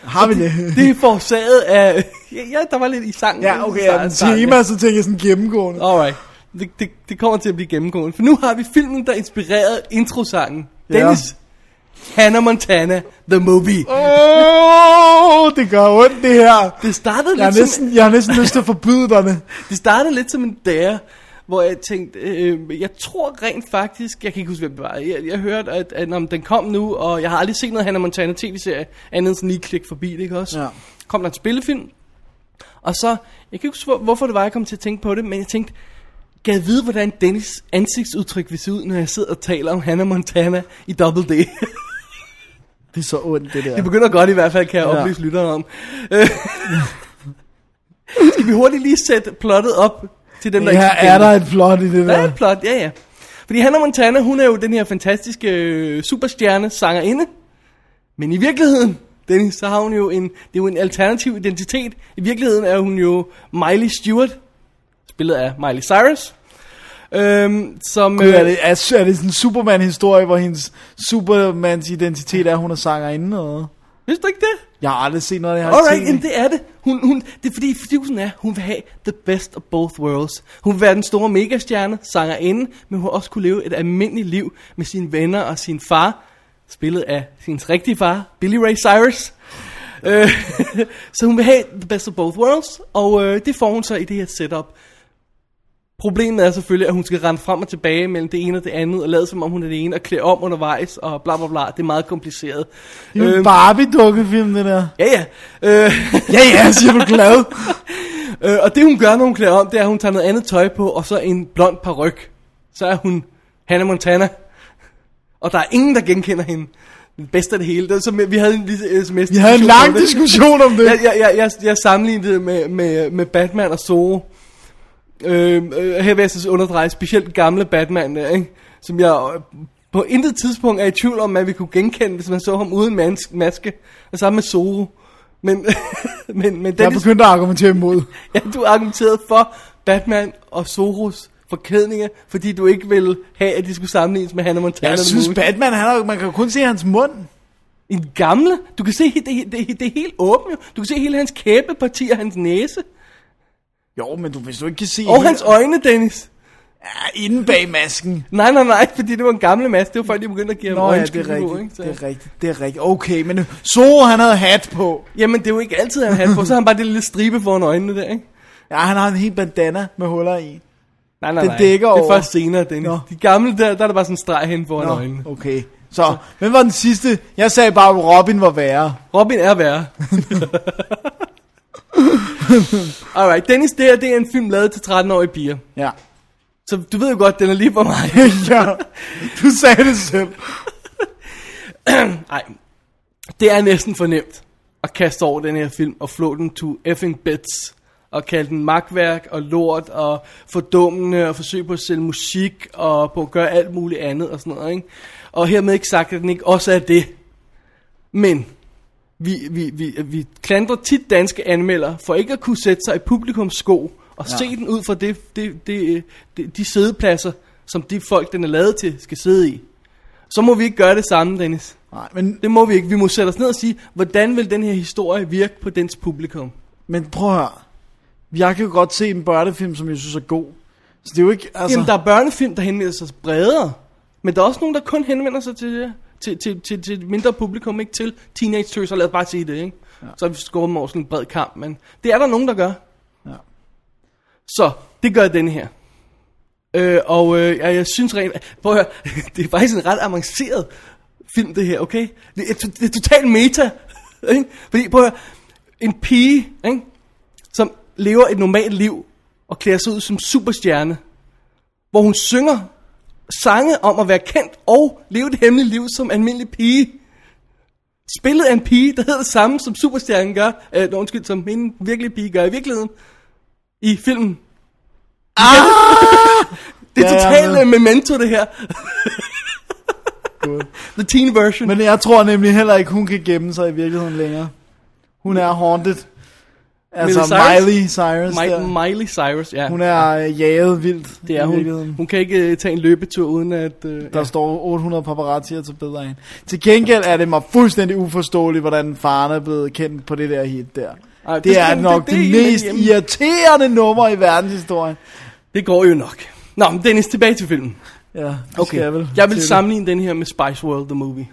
Speaker 2: Har vi det?
Speaker 1: Det er forårsaget af... (laughs) ja, ja, der var lidt i sangen.
Speaker 2: ja, okay,
Speaker 1: Starten-
Speaker 2: ja, men
Speaker 1: starten,
Speaker 2: tema, så tænker jeg sådan gennemgående.
Speaker 1: Alright. Det, det, det kommer til at blive gennemgående. For nu har vi filmen, der inspirerede introsangen.
Speaker 2: Ja.
Speaker 1: Dennis, Hannah Montana, The Movie.
Speaker 2: Åh, det gør ondt det her.
Speaker 1: Det startede
Speaker 2: Jeg har
Speaker 1: lidt som-
Speaker 2: næsten, jeg har næsten lyst til at forbyde dig det.
Speaker 1: Det startede lidt som en dare, hvor jeg tænkte, øh, jeg tror rent faktisk, jeg kan ikke huske, hvem det var, jeg, jeg hørte, at, at om den kom nu, og jeg har aldrig set noget Hannah Montana tv-serie, andet end sådan lige klik forbi det, ikke også?
Speaker 2: Ja.
Speaker 1: Kom der en spillefilm, og så, jeg kan ikke huske, hvor- hvorfor det var, jeg kom til at tænke på det, men jeg tænkte, kan jeg vide, hvordan Dennis ansigtsudtryk vil se ud, når jeg sidder og taler om Hannah Montana i Double D?
Speaker 2: Det er så ondt det der.
Speaker 1: Det begynder godt i hvert fald, kan jeg
Speaker 2: Ja.
Speaker 1: oplyse lytteren om. Øh, Skal vi hurtigt lige sætte plottet op til dem, der ikke
Speaker 2: Her
Speaker 1: kender
Speaker 2: er
Speaker 1: det?
Speaker 2: der et plot i det
Speaker 1: Der er
Speaker 2: der.
Speaker 1: et plot, ja ja. Fordi Hannah Montana, hun er jo den her fantastiske øh, superstjerne sangerinde. Men i virkeligheden, Dennis, så har hun jo en, det er jo en alternativ identitet. I virkeligheden er hun jo Miley Stewart, spillet af Miley Cyrus. Øhm, som,
Speaker 2: Gud, Øh, er, det, er, er det sådan en Superman-historie, hvor hendes Supermans identitet er, at hun er sangerinde og noget?
Speaker 1: øh, Vidste du ikke det?
Speaker 2: Jeg har aldrig set noget af det, jeg har
Speaker 1: Alright,
Speaker 2: set.
Speaker 1: jamen det er det. Hun, hun, det er fordi fusen er, hun vil have the best of both worlds. Hun vil være den store megastjerne, sangerinde, men hun vil også kunne leve et almindeligt liv med sine venner og sin far, spillet af sin rigtige far, Billy Ray Cyrus. Øh, (laughs) så hun vil have the best of both worlds, og øh, det får hun så i det her setup. Problemet er selvfølgelig, at hun skal rende frem og tilbage mellem det ene og det andet, og lade som om hun er det ene, og klæde om undervejs, og bla bla bla. Det er meget kompliceret.
Speaker 2: Det er jo en
Speaker 1: Øhm,
Speaker 2: Barbie-dukkefilm, det der.
Speaker 1: Ja, ja. Øh, (laughs)
Speaker 2: Ja, altså, ja, siger du (laughs) glad.
Speaker 1: øh, og det hun gør, når hun klæder om, det er, at hun tager noget andet tøj på, og så en blond peruk. Så er hun Hannah Montana. Og der er ingen, der genkender hende. Det bedste af det hele. Det er, som, vi havde en lille sms.
Speaker 2: Vi havde en lang diskussion om det.
Speaker 1: Jeg, jeg, jeg, jeg, jeg sammenlignede det med, med, med Batman og Zorro. Øh, øh, her vil jeg så underdreje specielt den gamle Batman, der, ikke? som jeg øh, på intet tidspunkt er i tvivl om, at vi kunne genkende, hvis man så ham uden mans- maske. Og samme med Zorro. Men, (laughs) men, men
Speaker 2: Jeg
Speaker 1: Dennis,
Speaker 2: begyndte at argumentere imod.
Speaker 1: ja, du argumenterede for Batman og Zorros forklædninger, fordi du ikke ville have, at de skulle sammenlignes med Hannah Montana.
Speaker 2: Jeg
Speaker 1: the
Speaker 2: synes,
Speaker 1: Movie.
Speaker 2: Batman, han har, man kan jo kun se hans mund.
Speaker 1: En gamle? Du kan se, he- det, det, det er helt åbent jo. Du kan se hele hans kæbeparti og hans næse.
Speaker 2: Jo, men du, hvis du ikke kan se
Speaker 1: Og hans øjne, Dennis.
Speaker 2: Ja, inde bag masken.
Speaker 1: Nej, nej, nej, fordi det var en gammel masse. Det var folk, de begyndte at give ham
Speaker 2: Nå ja, det
Speaker 1: øjenskygge
Speaker 2: er
Speaker 1: på, ikke?
Speaker 2: rigtigt,
Speaker 1: Så-
Speaker 2: det er rigtigt, det er rigtigt. Okay, men Zoro han havde hat på.
Speaker 1: Jamen, det er jo ikke altid, han har hat på. Så har han bare det lille stribe foran øjnene der, ikke?
Speaker 2: Ja, han har en helt bandana med huller i.
Speaker 1: Nej, nej,
Speaker 2: Den
Speaker 1: nej.
Speaker 2: dækker
Speaker 1: det er
Speaker 2: over.
Speaker 1: først senere, Dennis.
Speaker 2: Nå.
Speaker 1: De gamle der, der er der bare sådan en streg hen foran
Speaker 2: Nå,
Speaker 1: øjnene.
Speaker 2: okay. Så, hvem var den sidste? Jeg sagde bare, at Robin var værre.
Speaker 1: Robin er værre. Alright, Dennis, det her, det er en film lavet til 13-årige piger.
Speaker 2: Ja. (laughs)
Speaker 1: Så du ved jo godt, den er lige for mig.
Speaker 2: ja, du sagde det selv.
Speaker 1: Nej, det er næsten for nemt at kaste over den her film og flå den to effing bits. Og kalde den magtværk og lort og fordummende og forsøg på at sælge musik og på at gøre alt muligt andet og sådan noget. Ikke? Og hermed ikke sagt, at den ikke også er det. Men vi, vi, vi, vi klandrer tit danske anmeldere for ikke at kunne sætte sig i publikums sko og ja. se den ud fra det, det, det, det, de sædepladser, som de folk, den er lavet til, skal sidde i. Så må vi ikke gøre det samme, Dennis.
Speaker 2: Nej, men,
Speaker 1: Det må vi ikke. Vi må sætte os ned og sige, hvordan vil den her historie virke på dens publikum?
Speaker 2: men prøv at høre. Jeg kan jo godt se en børnefilm, som jeg synes er god. Så det er jo ikke, altså...
Speaker 1: Altså, Jamen, der er børnefilm, der henvender sig bredere, men der er også nogen, der kun henvender sig til, til, til, til, til et mindre publikum, ikke til teenage tøser, lad os bare sige det, ikke? Ja. Så har vi skåret dem over sådan en bred kamp, men det er der nogen, der gør.
Speaker 2: Ja.
Speaker 1: Så, det gør den her. Øh, og øh, jeg, jeg synes rent, prøv at høre, (laughs) det er faktisk en ret avanceret film det her, okay? Det er, det er totalt meta, (laughs) ikke? Fordi, prøv at høre, en pige, ikke? som lever et normalt liv og klæder sig ud som superstjerne, hvor hun synger sange om at være kendt og leve et hemmeligt liv som almindelig pige. Spillet af en pige, der hedder det samme, som superstjernen gør, øh, nå, undskyld, som hende virkelig pige gør i virkeligheden, i filmen. Ah! det er
Speaker 2: Ja, jeg er
Speaker 1: totalt
Speaker 2: med.
Speaker 1: øh, memento, det her. (laughs) The teen version.
Speaker 2: Men jeg tror nemlig heller ikke, hun kan gemme sig i virkeligheden længere. Hun er haunted. Altså
Speaker 1: Miley Cyrus?
Speaker 2: Miley Cyrus.
Speaker 1: Mi-
Speaker 2: der.
Speaker 1: Miley Cyrus, ja.
Speaker 2: altså, Hun er øh, jaget vildt
Speaker 1: det er
Speaker 2: i
Speaker 1: hun.
Speaker 2: virkeligheden.
Speaker 1: Hun kan ikke øh, tage en løbetur uden at... Øh,
Speaker 2: Der står 800 paparazzier til bedre af hende. Til gengæld er det mig fuldstændig uforståeligt, hvordan faren er blevet kendt på det der hit der.
Speaker 1: Ej,
Speaker 2: det, det
Speaker 1: skal
Speaker 2: er
Speaker 1: man-
Speaker 2: nok det, det,
Speaker 1: er en af
Speaker 2: mest
Speaker 1: de-
Speaker 2: irriterende nummer i verdenshistorien.
Speaker 1: Det går jo nok. Nå, men Dennis, tilbage til filmen.
Speaker 2: Ja, det skal jeg vel.
Speaker 1: jeg vil
Speaker 2: til.
Speaker 1: sammenligne den her med Spice World The Movie.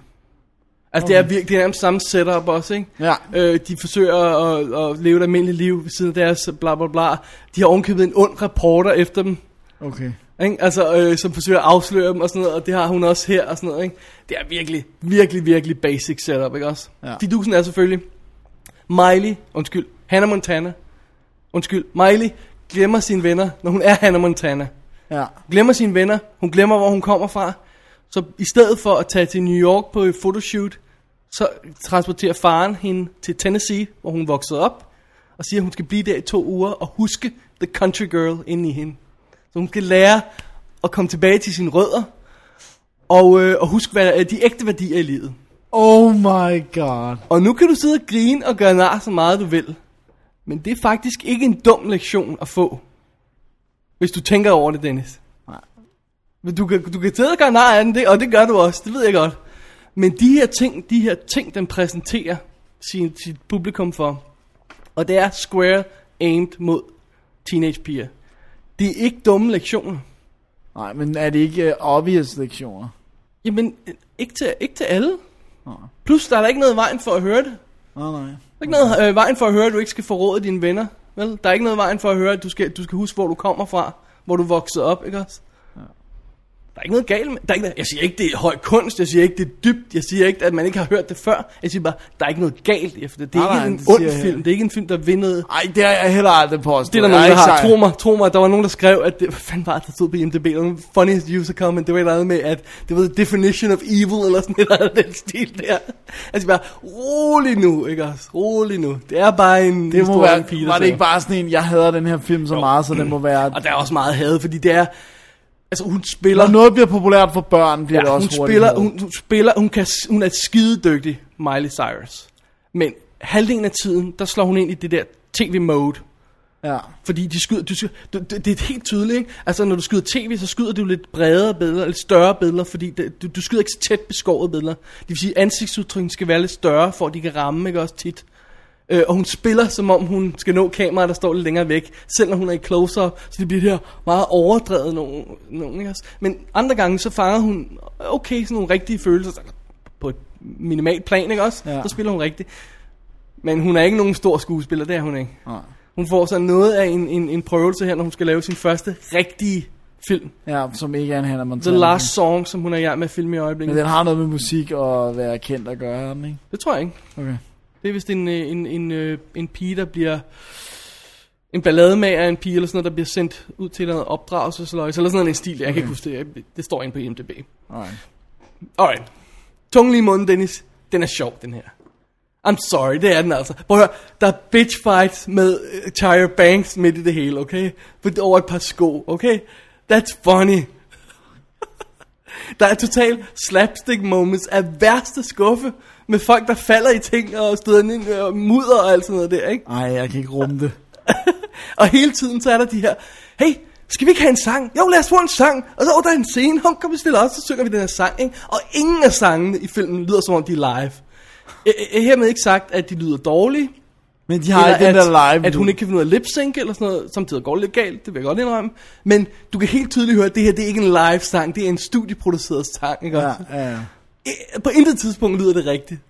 Speaker 1: Altså, okay. det er virkelig det er nærmest samme setup også, ikke?
Speaker 2: Ja.
Speaker 1: Øh, de forsøger at, at leve et almindeligt liv ved siden af deres bla bla bla. De har ovenkøbet en ond reporter efter dem,
Speaker 2: Okay.
Speaker 1: ikke? Altså, øh, som forsøger at afsløre dem og sådan noget, og det har hun også her og sådan noget, ikke? Det er virkelig, virkelig, virkelig basic setup, ikke også?
Speaker 2: Ja.
Speaker 1: Fidusen er selvfølgelig, Miley, undskyld, Hannah Montana, undskyld, Miley glemmer sine venner, når hun er Hannah Montana
Speaker 2: Ja.
Speaker 1: glemmer sine venner, hun glemmer, hvor hun kommer fra. Så i stedet for at tage til New York på et photoshoot, så transporterer faren hende til Tennessee, hvor hun voksede op, og siger, at hun skal blive der i to uger og huske the country girl inde i hende. Så hun skal lære at komme tilbage til sine rødder, og, øh, og huske hvad der er de ægte værdier i livet.
Speaker 2: Oh my god.
Speaker 1: Og nu kan du sidde og grine og gøre nar så meget du vil. Men det er faktisk ikke en dum lektion at få. Hvis du tænker over det, Dennis.
Speaker 2: Nej.
Speaker 1: Men du kan, du kan sidde og gøre nar af den, det, og det gør du også, det ved jeg godt. Men de her ting, de her ting, den præsenterer sin, sit publikum for, og det er square aimed mod teenagepiger. Det er ikke dumme lektioner.
Speaker 2: Nej, men er det ikke uh, obvious lektioner?
Speaker 1: Jamen, øh, ikke til, ikke til alle. Plus, der er der ikke noget i vejen for at høre det.
Speaker 2: Nej, oh, nej.
Speaker 1: Der er ikke noget øh, vejen for at høre, at du ikke skal forråde dine venner. Vel? Der er ikke noget vejen for at høre, at du skal, du skal huske, hvor du kommer fra. hvor du voksede op, ikke også? Der er ikke noget galt med, der er ikke, jeg siger ikke, det er høj kunst, jeg siger ikke, det er dybt, jeg siger ikke, at man ikke har hørt det før. Jeg siger bare, der er ikke noget galt efter det. Det er
Speaker 2: Nej,
Speaker 1: ikke
Speaker 2: nej,
Speaker 1: en
Speaker 2: det siger
Speaker 1: ond
Speaker 2: jeg
Speaker 1: film,
Speaker 2: ikke.
Speaker 1: det er ikke en film, der vinder
Speaker 2: Ej, det har jeg heller aldrig påstået.
Speaker 1: det er der
Speaker 2: Jeg
Speaker 1: nogen, der
Speaker 2: ikke
Speaker 1: har.
Speaker 2: sej.
Speaker 1: Tro mig, tro mig, der var nogen, der skrev, at det, hvad fanden var det, der stod på IMDb, der var en funniest user comment, det var et eller andet med, at det var the definition of evil, eller sådan et eller andet den stil der. Altså bare, rolig nu, ikke også? Rolig nu. Det er bare en
Speaker 2: Det må
Speaker 1: historie om
Speaker 2: være,
Speaker 1: en pige, der
Speaker 2: var det
Speaker 1: sidder.
Speaker 2: ikke bare sådan en, jeg hader den her film så meget, så den må være...
Speaker 1: Og der er også meget had, fordi det er, altså hun spiller...
Speaker 2: Når noget bliver populært for børn, bliver det
Speaker 1: Ja,
Speaker 2: også
Speaker 1: hun
Speaker 2: hurtigt
Speaker 1: spiller,
Speaker 2: hadet.
Speaker 1: hun, hun spiller, hun, kan, hun er skidedygtig, Miley Cyrus. Men halvdelen af tiden, der slår hun ind i det der tv-mode.
Speaker 2: Ja.
Speaker 1: Fordi de skyder, du, skyder- du, det, det er helt tydeligt, ikke? Altså, når du skyder tv, så skyder du lidt bredere billeder, lidt større billeder, fordi det, du, du skyder ikke så tæt beskåret billeder. Det vil sige, at ansigtsudtrykken skal være lidt større, for at de kan ramme, ikke også tit. Øh, og hun spiller, som om hun skal nå kameraet, der står lidt længere væk, selv når hun er i close-up, så det bliver det her meget overdrevet nogen, nogen ikke også? Men andre gange, så fanger hun, okay, sådan nogle rigtige følelser, sådan på et minimalt plan, ikke også?
Speaker 2: Ja.
Speaker 1: Ja. Så spiller hun rigtigt. Men hun er ikke nogen stor skuespiller, det er hun ikke.
Speaker 2: Nej.
Speaker 1: Hun får så noget af en, en, en prøvelse her, når hun skal lave sin første rigtige film.
Speaker 2: Ja, som ikke er en Hannah Montana.
Speaker 1: The Last Song, som hun er i gang med at filme i
Speaker 2: Men
Speaker 1: øjeblikket.
Speaker 2: den har noget med musik og at være kendt at gøre, har den, ikke?
Speaker 1: Det tror jeg ikke.
Speaker 2: Okay.
Speaker 1: Det er vist en, øh, en, en, øh, en pige, der bliver... En ballademager af en pige eller sådan noget, der bliver sendt ud til noget opdragelsesløjs, eller sådan noget en stil, jeg kan ikke huske det. Jeg- Det står inde på IMDb.
Speaker 2: Alright.
Speaker 1: Alright. Tungen lige i munden, Dennis. Den er sjov, den her. I'm sorry, det er den altså. Prøv at høre, der er bitch fights med uh, Tyra Banks midt i det hele, okay? For over et par sko, okay? That's funny. der er total slapstick moments af værste skuffe. Med folk, der falder i ting og støder ind og mudder og alt sådan noget der, ikke? (laughs)
Speaker 2: Ej, jeg kan ikke rumme det.
Speaker 1: Og hele tiden så er der de her, hey, skal vi ikke have en sang? Jo, lad os få en sang. Og så, oh, der er en scene, hun kommer stille også, så synger vi den her sang. Ikke? Og ingen af sangene i filmen lyder som om, de er live. Jeg, jeg hermed ikke sagt, at de lyder dårlige.
Speaker 2: Men de har ikke den
Speaker 1: at,
Speaker 2: der live.
Speaker 1: at hun ikke kan finde ud af at lip-sync eller sådan noget. Samtidig går det lidt galt, det vil jeg godt indrømme. Men du kan helt tydeligt høre, at det her det er ikke en live sang, det er en studieproduceret sang. Ikke?
Speaker 2: Ja,
Speaker 1: også?
Speaker 2: ja, ja.
Speaker 1: I- på intet tidspunkt lyder det rigtigt.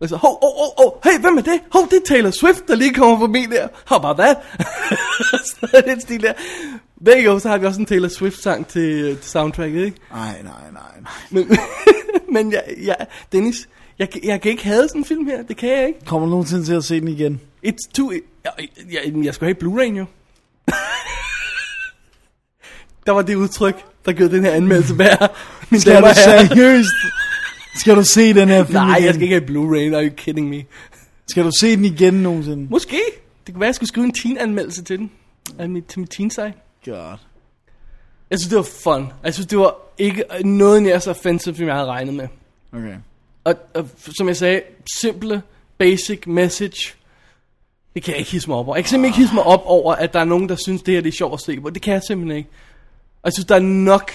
Speaker 1: Og så, hov, hov, hov, hov, hey, hvem er det? Hov, det er Taylor Swift, der lige kommer forbi der. How about that? (laughs) Sådan den stil der. Begge år, så har vi også en Taylor Swift-sang til, til soundtracket, ikke?
Speaker 2: Ej, nej, nej, nej.
Speaker 1: Men, (laughs) men jeg, jeg, Dennis, jeg, kan- jeg kan ikke have sådan en film her. Det kan jeg ikke.
Speaker 2: Kommer du nogensinde til at se den igen?
Speaker 1: It's too... Jeg, jeg, jeg skulle have Blu-ray jo. (laughs) der var det udtryk, der gjorde den her anmeldelse værd. Min
Speaker 2: Skal
Speaker 1: damer
Speaker 2: du
Speaker 1: og herrer.
Speaker 2: seriøst?
Speaker 1: (laughs)
Speaker 2: Skal du se den her film
Speaker 1: Nej,
Speaker 2: igen?
Speaker 1: jeg skal ikke have Blu-ray. Are you kidding me?
Speaker 2: Skal du se den igen nogensinde?
Speaker 1: Måske. Det kunne være, at jeg skulle skrive en teen-anmeldelse til den. Af mit, til mit teen -side.
Speaker 2: God.
Speaker 1: Jeg synes, det var fun. Jeg synes, det var ikke noget nær så offensive, som jeg havde regnet med.
Speaker 2: Okay.
Speaker 1: Og, og f- som jeg sagde, simple, basic message. Det kan jeg ikke hisse mig op over. Jeg kan simpelthen ikke hisse mig op over, at der er nogen, der synes, det her det er sjovt at se på. Det kan jeg simpelthen ikke. Og jeg synes, der er nok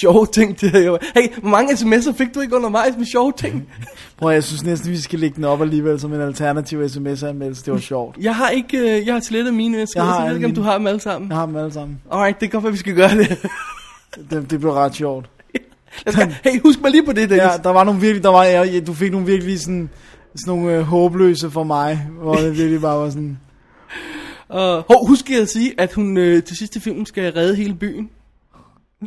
Speaker 1: sjove ting til det. Hey, hvor mange sms'er fik du ikke undervejs med sjove ting?
Speaker 2: Prøv at- jeg synes næsten, vi skal lægge den op alligevel som en alternativ sms-anmeldelse. Det var sjovt.
Speaker 1: Jeg har ikke, øh, jeg har slettet mine, jeg, jeg,
Speaker 2: Jeg har
Speaker 1: jeg ved ikke, om
Speaker 2: alle
Speaker 1: du har dem alle sammen.
Speaker 2: Jeg har dem alle sammen.
Speaker 1: Alright, det kan godt være, vi skal gøre det.
Speaker 2: Det, det blev ret sjovt.
Speaker 1: Jeg skal, hey, husk mig lige på det, Dennis.
Speaker 2: Ja, der var nogle virkelig, der var, ja, du fik nogle virkelig sådan, sådan nogle øh, håbløse for mig, hvor det virkelig bare
Speaker 1: (laughs)
Speaker 2: var sådan,
Speaker 1: Ja. Uh, hov, husk at sige, at hun øh, til sidste film skal redde hele byen.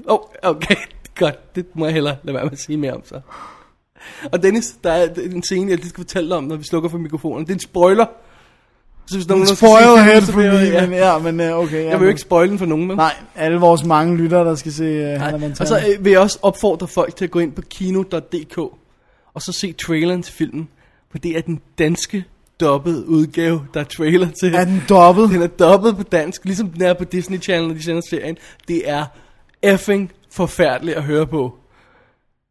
Speaker 1: Oh, okay, (laughs) godt. Det må jeg hellere lade være med at sige mere om så. Og Dennis, der er en scene, jeg lige skal fortælle dig om, når vi slukker for mikrofonen. Det er en spoiler. Så hvis der er nogen, der skal se
Speaker 2: spoil
Speaker 1: filmen,
Speaker 2: head
Speaker 1: så
Speaker 2: for
Speaker 1: bliver
Speaker 2: me,
Speaker 1: jeg- ja.
Speaker 2: men ja, men øh, okay. Ja,
Speaker 1: Jeg vil jo ikke spoile den for nogen, men...
Speaker 2: Nej, alle vores mange lyttere, der skal se uh, Hannah
Speaker 1: Nej.
Speaker 2: Montana.
Speaker 1: Og så øh, vil jeg også opfordre folk til at gå ind på kino.dk og så se traileren til filmen. For det er den danske dobbede udgave, der er trailer til.
Speaker 2: er den dobbelt?
Speaker 1: Den er dobbelt på dansk, ligesom den er på Disney Channel, når de sender serien. Det er effing forfærdeligt at høre på.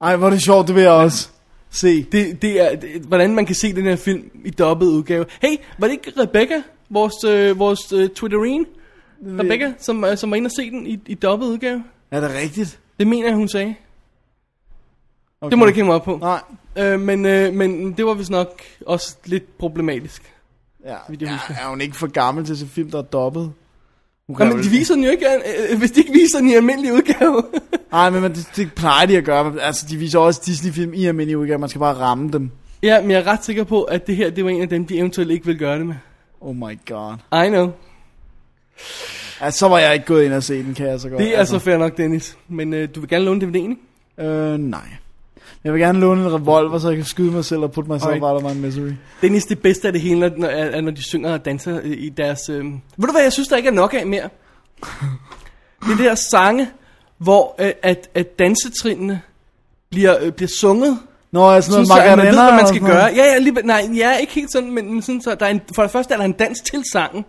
Speaker 2: Ej, hvor er det sjovt, det vil jeg også se.
Speaker 1: Det, det er, det, hvordan man kan se den her film i dobbelt udgave. Hey, var det ikke Rebecca, vores, øh, vores øh, Twitterine? Rebecca, som, øh, som var inde og se den i, i dobbelt udgave?
Speaker 2: Er det rigtigt?
Speaker 1: Det mener jeg, hun sagde. Okay.
Speaker 2: Okay.
Speaker 1: Det må du ikke hænge mig op på.
Speaker 2: Nej.
Speaker 1: Øh, men, øh, men det var vist nok også lidt problematisk.
Speaker 2: Ja,
Speaker 1: jeg
Speaker 2: ja,
Speaker 1: husker.
Speaker 2: er hun ikke for gammel til at se film, der er dobbelt? Hun
Speaker 1: Nå,
Speaker 2: kan
Speaker 1: men
Speaker 2: jo-
Speaker 1: de viser den jo ikke, øh, hvis de ikke viser den i almindelig udgave. (laughs)
Speaker 2: Nej, men men det, det plejer de at gøre. men Altså, de viser også Disney-film i almindelig udgave. Man skal bare ramme dem.
Speaker 1: ja, men jeg er ret sikker på, at det her, det var en af dem, de eventuelt ikke ville gøre det med.
Speaker 2: Oh my god.
Speaker 1: I know.
Speaker 2: Ja, så var jeg ikke gået ind og se den, kan jeg så godt.
Speaker 1: Det er altså fair nok, Dennis. Men øh, du vil gerne låne DVD'en, ikke?
Speaker 2: Øh, nej. Jeg vil gerne låne en revolver, så jeg kan skyde mig selv og putte mig selv
Speaker 1: Okay.
Speaker 2: out of my misery.
Speaker 1: Dennis, det bedste af det hele, når, når, er, når de synger og danser øh, i deres... Øh... Ved du hvad, jeg synes, der ikke er nok af
Speaker 2: (laughs)
Speaker 1: mere? Det er det der sange, hvor øh, at, at dansetrinene bliver, øh, bliver sunget.
Speaker 2: Nå, jeg er sådan
Speaker 1: Sådan,
Speaker 2: noget
Speaker 1: så at man ved,
Speaker 2: Macarena
Speaker 1: hvad man
Speaker 2: og
Speaker 1: skal
Speaker 2: sådan noget.
Speaker 1: gøre. Ja, ja, lige, nej, ja, ikke helt sådan, men men sådan, så der er en, for det første er der en dans til sangen.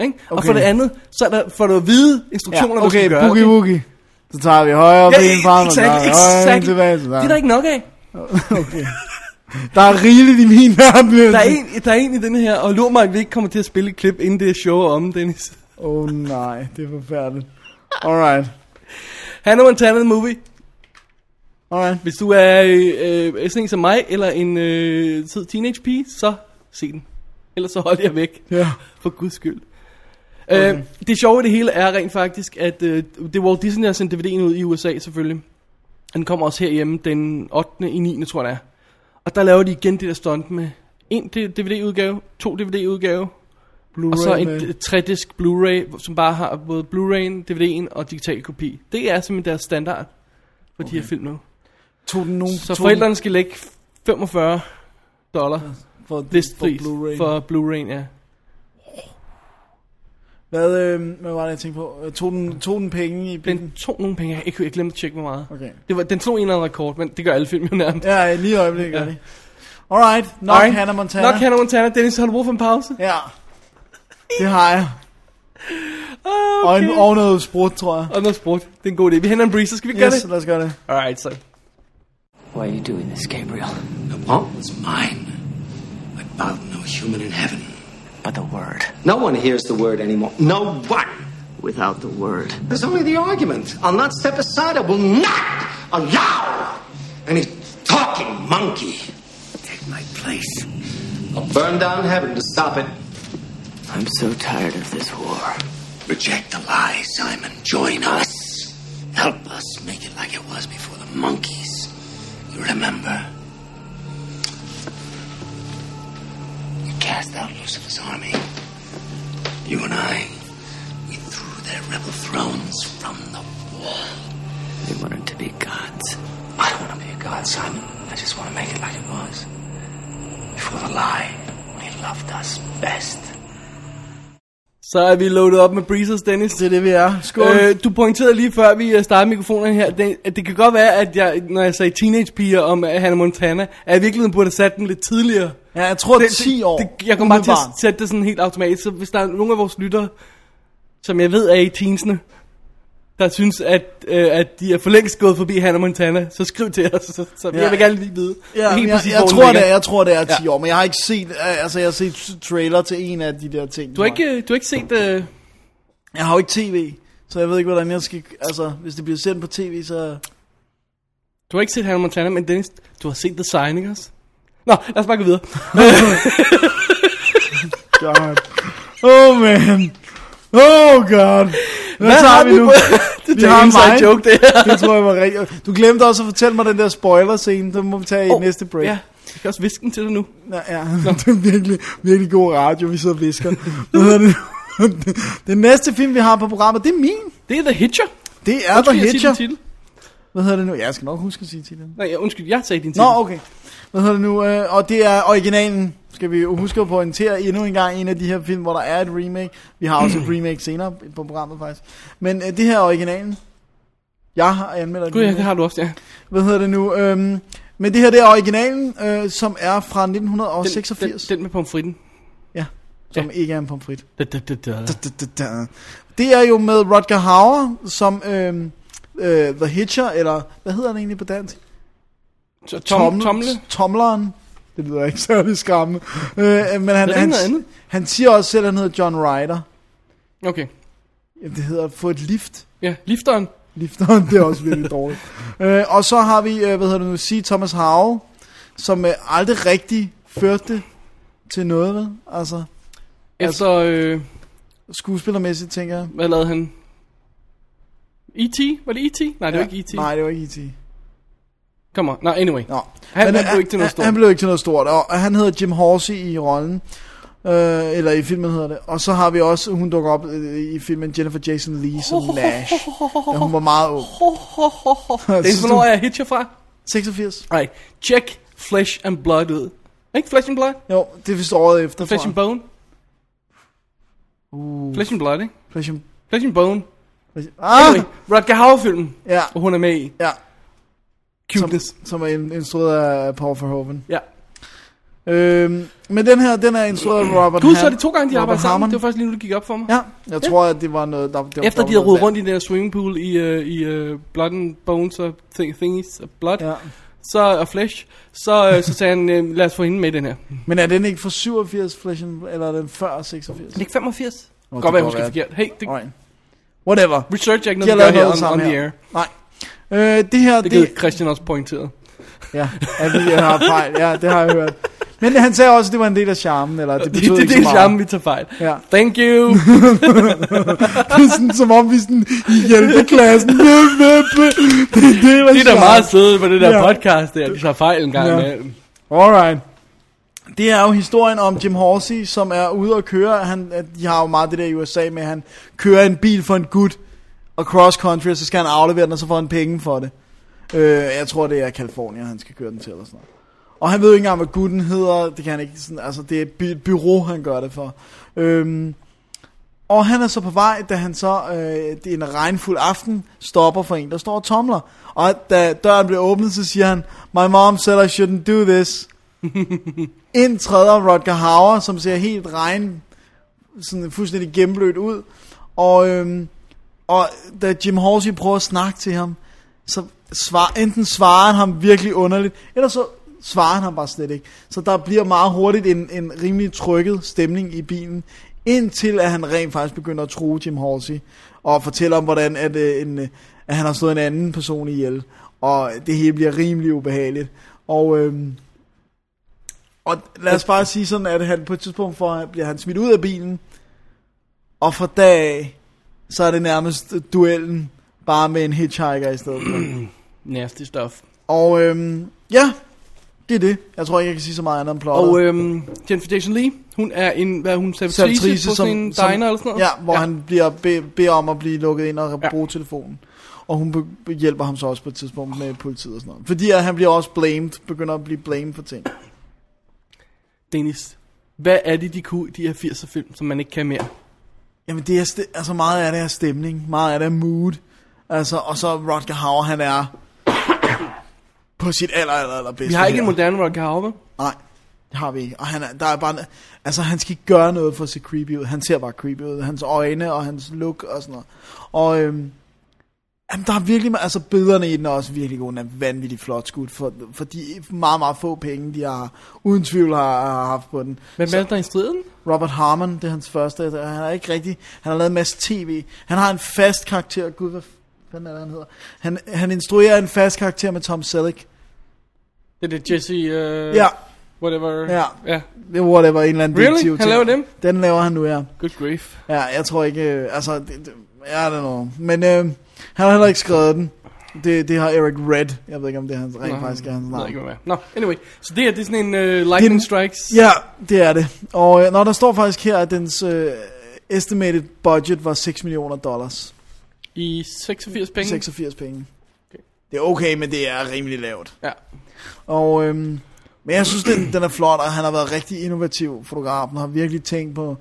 Speaker 1: Ikke? Og
Speaker 2: Okay.
Speaker 1: for det andet, så er der, for du at vide instruktioner,
Speaker 2: Ja,
Speaker 1: du
Speaker 2: okay,
Speaker 1: skal gøre.
Speaker 2: boogie woogie. Så tager vi højre
Speaker 1: Ja,
Speaker 2: ben frem, og
Speaker 1: exakt,
Speaker 2: tager vi højre
Speaker 1: exakt.
Speaker 2: ben tilbage.
Speaker 1: Det er der ikke nok af.
Speaker 2: der er rigeligt i min (laughs) verden.
Speaker 1: Der er, en, der er en i denne her, og lur mig, at vi ikke kommer til at spille et klip, inden det show er om, Dennis. (laughs)
Speaker 2: Åh oh, nej, det er forfærdeligt. Alright,
Speaker 1: Hannah Montana The Movie.
Speaker 2: alright.
Speaker 1: Hvis du er øh, øh, sådan en som mig, eller en øh, sød teenage pige, så se den. Ellers så hold jeg væk, (laughs)
Speaker 2: Ja.
Speaker 1: for guds skyld. Okay. Øh, det sjove i det hele er rent faktisk, at øh, det er Walt Disney, der har sendt DVD'en ud i USA selvfølgelig. Den kommer også herhjemme den 8. i 9. tror jeg det er. Og der laver de igen det der stunt med en DVD-udgave, to DVD-udgave,
Speaker 2: Blu-ray
Speaker 1: og så en
Speaker 2: med-
Speaker 1: d- tre-disk Blu-ray, som bare har både Blu-ray'en, DVD'en og digital kopi. Det er simpelthen deres standard for okay. de her film nu.
Speaker 2: tog den nogen,
Speaker 1: Så forældrene skal lægge 45 dollar
Speaker 2: for,
Speaker 1: listpris
Speaker 2: for Blu-ray.
Speaker 1: for Blu-ray, ja.
Speaker 2: Hvad, øh, hvad var det, jeg tænkte på? Øh, Tog den, tog den penge i bilen?
Speaker 1: Den tog nogle penge, jeg, jeg glemte at tjekke, hvor meget.
Speaker 2: Okay.
Speaker 1: Det var, den tog en eller anden rekord, men det gør alle film jo nærmest.
Speaker 2: Ja, ja, lige i øjeblikket gør
Speaker 1: Ja.
Speaker 2: det. Alright, nok
Speaker 1: Alright.
Speaker 2: Hannah Montana.
Speaker 1: Nok Hannah Montana. Dennis, har du brug for en pause?
Speaker 2: Ja, det har jeg. Okay. Og, en, og noget sprut, tror jeg.
Speaker 1: Ah, Og noget sport. Det er en god idé. Vi henter en breeze, så skal vi gøre
Speaker 2: Yes,
Speaker 1: det.
Speaker 2: lad os gøre det.
Speaker 1: Alright, så.
Speaker 5: Why are you doing this, Gabriel?
Speaker 4: The vault was mine. I bowed no human in heaven.
Speaker 5: But the word.
Speaker 4: No one hears the word anymore. No one.
Speaker 5: Without the word.
Speaker 4: There's only the argument. I'll not step aside. I will not allow any talking monkey to take my place. I'll burn down heaven to stop it.
Speaker 5: I'm so tired of this war.
Speaker 4: Reject the lie, Simon. Join us. Help us make it like it was before the monkeys. You remember? You cast out Lucifer's army. You and I, we threw their rebel thrones from the wall.
Speaker 5: They wanted to be gods.
Speaker 4: I don't want to be a god, Simon. I just want to make it like it was. Before the lie, when he loved us best.
Speaker 1: Så er vi loaded op med breezers, Dennis.
Speaker 2: Det er det, vi er. Skål. Øh,
Speaker 1: Øh, du pointerede lige før vi øh, startede mikrofonen her, det, at det kan godt være, at jeg, når jeg sagde teenagepiger om øh, Hannah Montana, at jeg i virkeligheden burde have sat den lidt tidligere.
Speaker 2: ja, jeg tror
Speaker 1: det,
Speaker 2: 10 år.
Speaker 1: Det, jeg kommer bare til
Speaker 2: umiddelbart.
Speaker 1: at sætte det sådan helt automatisk. Så hvis der er nogle af vores lyttere, som jeg ved er i teensene, der synes, at, øh, at de er for længst gået forbi Hannah Montana, så skriv til os. Så, så
Speaker 2: Ja.
Speaker 1: jeg vil gerne lige vide.
Speaker 2: Ja,
Speaker 1: helt
Speaker 2: men jeg,
Speaker 1: præcis,
Speaker 2: jeg,
Speaker 1: hvor den
Speaker 2: tror,
Speaker 1: ligger.
Speaker 2: det er, jeg tror, det er 10 år, men jeg har ikke set, øh, altså jeg har set t- trailer til en af de der ting.
Speaker 1: Du har ikke, øh, du har ikke set... Øh,
Speaker 2: Jeg har jo ikke tv, så jeg ved ikke, hvordan jeg skal, altså hvis det bliver sendt på tv, så...
Speaker 1: Du har ikke set Hannah Montana, men Dennis, du har set The Sign, ikke også? Nå, lad os bare gå videre.
Speaker 2: God. Oh man. Oh god. Hvad, Hvad tager vi
Speaker 1: (laughs)
Speaker 2: nu?
Speaker 1: det
Speaker 2: Vi
Speaker 1: er
Speaker 2: har
Speaker 1: en
Speaker 2: mig.
Speaker 1: inside joke, det her.
Speaker 2: Det tror jeg var rigtigt. Du glemte også at fortælle mig den der spoiler-scene, den må vi tage i oh, næste break.
Speaker 1: Ja, jeg kan også viske den til dig nu.
Speaker 2: Ja, ja. (laughs) det er virkelig, virkelig god radio, vi sidder og visker. Hvad hedder det? (laughs) Den næste film, vi har på programmet, det er min.
Speaker 1: Det er The Hitcher.
Speaker 2: Det er The
Speaker 1: jeg siger
Speaker 2: Hitcher.
Speaker 1: din titel.
Speaker 2: Hvad hedder det nu? Ja, jeg skal nok huske at sige titlen.
Speaker 1: Nej, jeg- undskyld, jeg sagde din titel.
Speaker 2: Nå, okay. Hvad hedder det nu? Øh, Og det er originalen, skal vi jo huske at pointere endnu en gang, en af de her film, hvor der er et remake. Vi har også et remake senere på programmet, faktisk. Men øh, det her er originalen. Jeg har anmeldt et
Speaker 1: Gud, ja,
Speaker 2: remake.
Speaker 1: det har du også, ja.
Speaker 2: Hvad hedder det nu? Øhm, men det her, det er originalen, øh, som er fra
Speaker 1: Den,
Speaker 2: 1986.
Speaker 1: Den, den med pomfritten.
Speaker 2: ja, som ikke er en pomfrit.
Speaker 1: Da, da, da, da.
Speaker 2: Da, da, da. Det er jo med Rodger Hauer, som øhm, øh, The Hitcher, eller hvad hedder den egentlig på dansk?
Speaker 1: Så Tom, tomle.
Speaker 2: Tomleren. Det lyder ikke særlig skræmmende. Øh, men han,
Speaker 1: ikke
Speaker 2: han,
Speaker 1: noget andet.
Speaker 2: han siger også selv, at han hedder John Ryder.
Speaker 1: Okay.
Speaker 2: Jamen, det hedder at få et lift.
Speaker 1: Ja, lifteren.
Speaker 2: Lifteren, det er også virkelig dårligt. Øh, og så har vi, øh, hvad hedder det nu, C. Thomas Howe, som øh, aldrig rigtig førte til noget, vel? Altså,
Speaker 1: Efter, øh,
Speaker 2: skuespillermæssigt, tænker jeg.
Speaker 1: hvad lavede han? E.T.? Var det E.T.? Nej, det var ikke E E.T.
Speaker 2: Nej, det var ikke E.T.
Speaker 1: Kom (laughs) on. Nå, anyway.
Speaker 2: Nå.
Speaker 1: Han- han
Speaker 2: øh,
Speaker 1: blev ikke til noget
Speaker 2: han-
Speaker 1: stort.
Speaker 2: Han blev ikke til noget stort, og han hedder Jim Horsey i rollen. Øh, eller i filmen hedder det. Og så har vi også, hun dukker op øh, i filmen Jennifer Jason Lee som Nash. Ja, hun var meget ung.
Speaker 1: Det er, hvornår jeg hitcher fra.
Speaker 2: 86.
Speaker 1: Alright, check Flesh and Blood ud. Ikke Flesh and Blood?
Speaker 2: Jo, det er vist året efter.
Speaker 1: Flesh and
Speaker 2: tror jeg.
Speaker 1: Bone? Flesh and Blood, ikke?
Speaker 2: Flesh and...
Speaker 1: Flesh and Bone.
Speaker 2: Flesh... Ah!
Speaker 1: Anyway, Rutger Hauer-filmen,
Speaker 2: Ja,
Speaker 1: hvor hun er med i.
Speaker 2: ja.
Speaker 1: Cuteness.
Speaker 2: Som, som er in- instrueret af Paul Verhoeven.
Speaker 1: Ja.
Speaker 2: Øhm, men den her, den er instrueret af Robert
Speaker 1: Gud, så
Speaker 2: Ham-
Speaker 1: er det to gange, de
Speaker 2: Robert
Speaker 1: arbejder sammen.
Speaker 2: Harmon.
Speaker 1: Det var faktisk lige nu, det gik op for mig.
Speaker 2: Ja, jeg tror, at det var noget... Der, der
Speaker 1: Efter de havde rodet rundt i den her swimmingpool i, uh, i uh, Blood and Bones og thing, Thingies og Blood
Speaker 2: Ja.
Speaker 1: ja. så, øh, og Flesh, så, uh, så sagde han, uh, lad os få hende med i den her. Det
Speaker 2: Men er den ikke fra 87, Flesh and, eller er den før 86?
Speaker 1: er ikke 85.
Speaker 2: Nå,
Speaker 1: Oh,
Speaker 2: det
Speaker 1: godt være, jeg
Speaker 2: kan
Speaker 1: husker
Speaker 2: godt
Speaker 1: forkert. Hey, det,
Speaker 2: Alright. Whatever.
Speaker 1: research er ikke
Speaker 2: De har
Speaker 1: noget, vi gør
Speaker 2: lavet
Speaker 1: her
Speaker 2: noget
Speaker 1: on, on
Speaker 2: sammen
Speaker 1: the
Speaker 2: her.
Speaker 1: air.
Speaker 2: Nej. Øh, det her,
Speaker 1: Det
Speaker 2: det...
Speaker 1: gik Christian også pointeret.
Speaker 2: ja, at vi øh, har fejl. Ja, det har jeg hørt. Men han sagde også, at det var en del af charmen, eller det
Speaker 1: Det, (laughs)
Speaker 2: betød
Speaker 1: det, det er
Speaker 2: ikke så
Speaker 1: det
Speaker 2: meget.
Speaker 1: samme, vi tager fejl.
Speaker 2: Ja.
Speaker 1: Thank you.
Speaker 2: Det er sådan, som om vi sådan i
Speaker 1: (laughs)
Speaker 2: hjælpeklassen. Det er
Speaker 1: De er da meget søde på det der
Speaker 2: Ja.
Speaker 1: podcast der. De tager fejl en gang
Speaker 2: Ja.
Speaker 1: ja.
Speaker 2: Alright. Det er jo historien om Jim Horsey, som er ude og køre. Han, at de har jo meget det der i USA med, at han kører en bil for en gut og cross country, og så skal han aflevere den, og så får han penge for det. Øh, jeg tror, det er California, han skal køre den til, eller sådan noget. Og han ved jo ikke engang, hvad gutten hedder. Det kan han ikke sådan, altså det er et by- et bureau, han gør det for. Øhm, og han er så på vej, da han så, øh, det er en regnfuld aften, stopper for en, der står og tomler. Og da døren bliver åbnet, så siger han, My mom said I shouldn't do this. Ind træder Rodger Hauer, som ser helt regn, sådan fuldstændig gennemblødt ud. Og, øhm, og da Jim Horsey prøver at snakke til ham, så svar, enten svarer han ham virkelig underligt, eller så svarer han ham bare slet ikke. Så der bliver meget hurtigt en, en rimelig trykket stemning i bilen, indtil at han rent faktisk begynder at true Jim Horsey, og fortæller om, hvordan at, øh, en, øh, at han har slået en anden person ihjel, og det hele bliver rimelig ubehageligt. Og, øhm, og lad os bare sige sådan, at han på et tidspunkt får, bliver han smidt ud af bilen, og fra dag af, så er det nærmest duellen bare med en hitchhiker i stedet for.
Speaker 1: Nasty stuff.
Speaker 2: Og øhm, ja, det er det. Jeg tror ikke, jeg kan sige så meget andet om plottet.
Speaker 1: Og øhm, Jennifer Jason Lee, hun er en, hvad er hun, servitrice på sådan en diner eller sådan noget?
Speaker 2: Ja, hvor ja. han bliver be, beder om at blive lukket ind og
Speaker 1: Ja.
Speaker 2: bruge telefonen. Og hun be, be- hjælper ham så også på et tidspunkt med politiet og sådan noget. Fordi at han bliver også blamed, begynder at blive blamed for ting.
Speaker 1: Dennis, hvad er det, de kunne i de her 80'er film, som man ikke kan mere?
Speaker 2: Jamen det er, st- altså meget af det er stemning, meget af det er mood. Altså, og så Rodger Hauer, han er på sit aller, aller, aller bedste
Speaker 1: Vi har ikke
Speaker 2: her.
Speaker 1: en moderne Rocky Hauer.
Speaker 2: Nej, det har vi ikke. Og han er, der er bare, altså han skal ikke gøre noget for at se creepy ud. Han ser bare creepy ud. Hans øjne og hans look og sådan noget. Og øhm, jamen, der er virkelig, ma- altså billederne i den er også virkelig gode. Den er vanvittigt flot skudt for, for de meget, meget få penge, de har, uden tvivl har, har haft på den.
Speaker 1: Hvem er det, der er i striden?
Speaker 2: Robert Harmon, det er hans første. Altså, Han er ikke rigtig, han har lavet en masse tv. Han har en fast karakter. Gud, hvad fanden er det, han hedder? Han, han instruerer en fast karakter med Tom Selleck.
Speaker 1: Det er det Jesse, uh,
Speaker 2: Ja,
Speaker 1: whatever.
Speaker 2: Ja.
Speaker 1: ja.
Speaker 2: det er whatever, en eller anden
Speaker 1: Really?
Speaker 2: detektiv
Speaker 1: Han
Speaker 2: ting.
Speaker 1: laver dem?
Speaker 2: Den laver han nu, ja.
Speaker 1: Good grief.
Speaker 2: Ja, jeg tror ikke, øh, altså, det, det, jeg don't know. Men øh, han har heller ikke skrevet den. Det, det har Eric Red. Jeg ved ikke, om det er hans, rent faktisk er hans
Speaker 1: Jeg ved
Speaker 2: navn.
Speaker 1: ikke, hvad det er. Nå, anyway. Så det her, det er sådan en uh, lightning
Speaker 2: Det-
Speaker 1: strikes.
Speaker 2: Ja, det er det. Og øh, når der står faktisk her, at dens øh, estimated budget var 6 millioner dollars.
Speaker 1: I 86 penge.
Speaker 2: 86 penge.
Speaker 1: Okay.
Speaker 2: Det er okay, men det er rimelig lavt.
Speaker 1: Ja.
Speaker 2: Og, øhm, men jeg synes, den, den er flot, og han har været rigtig innovativ, fotografen, og har virkelig tænkt på,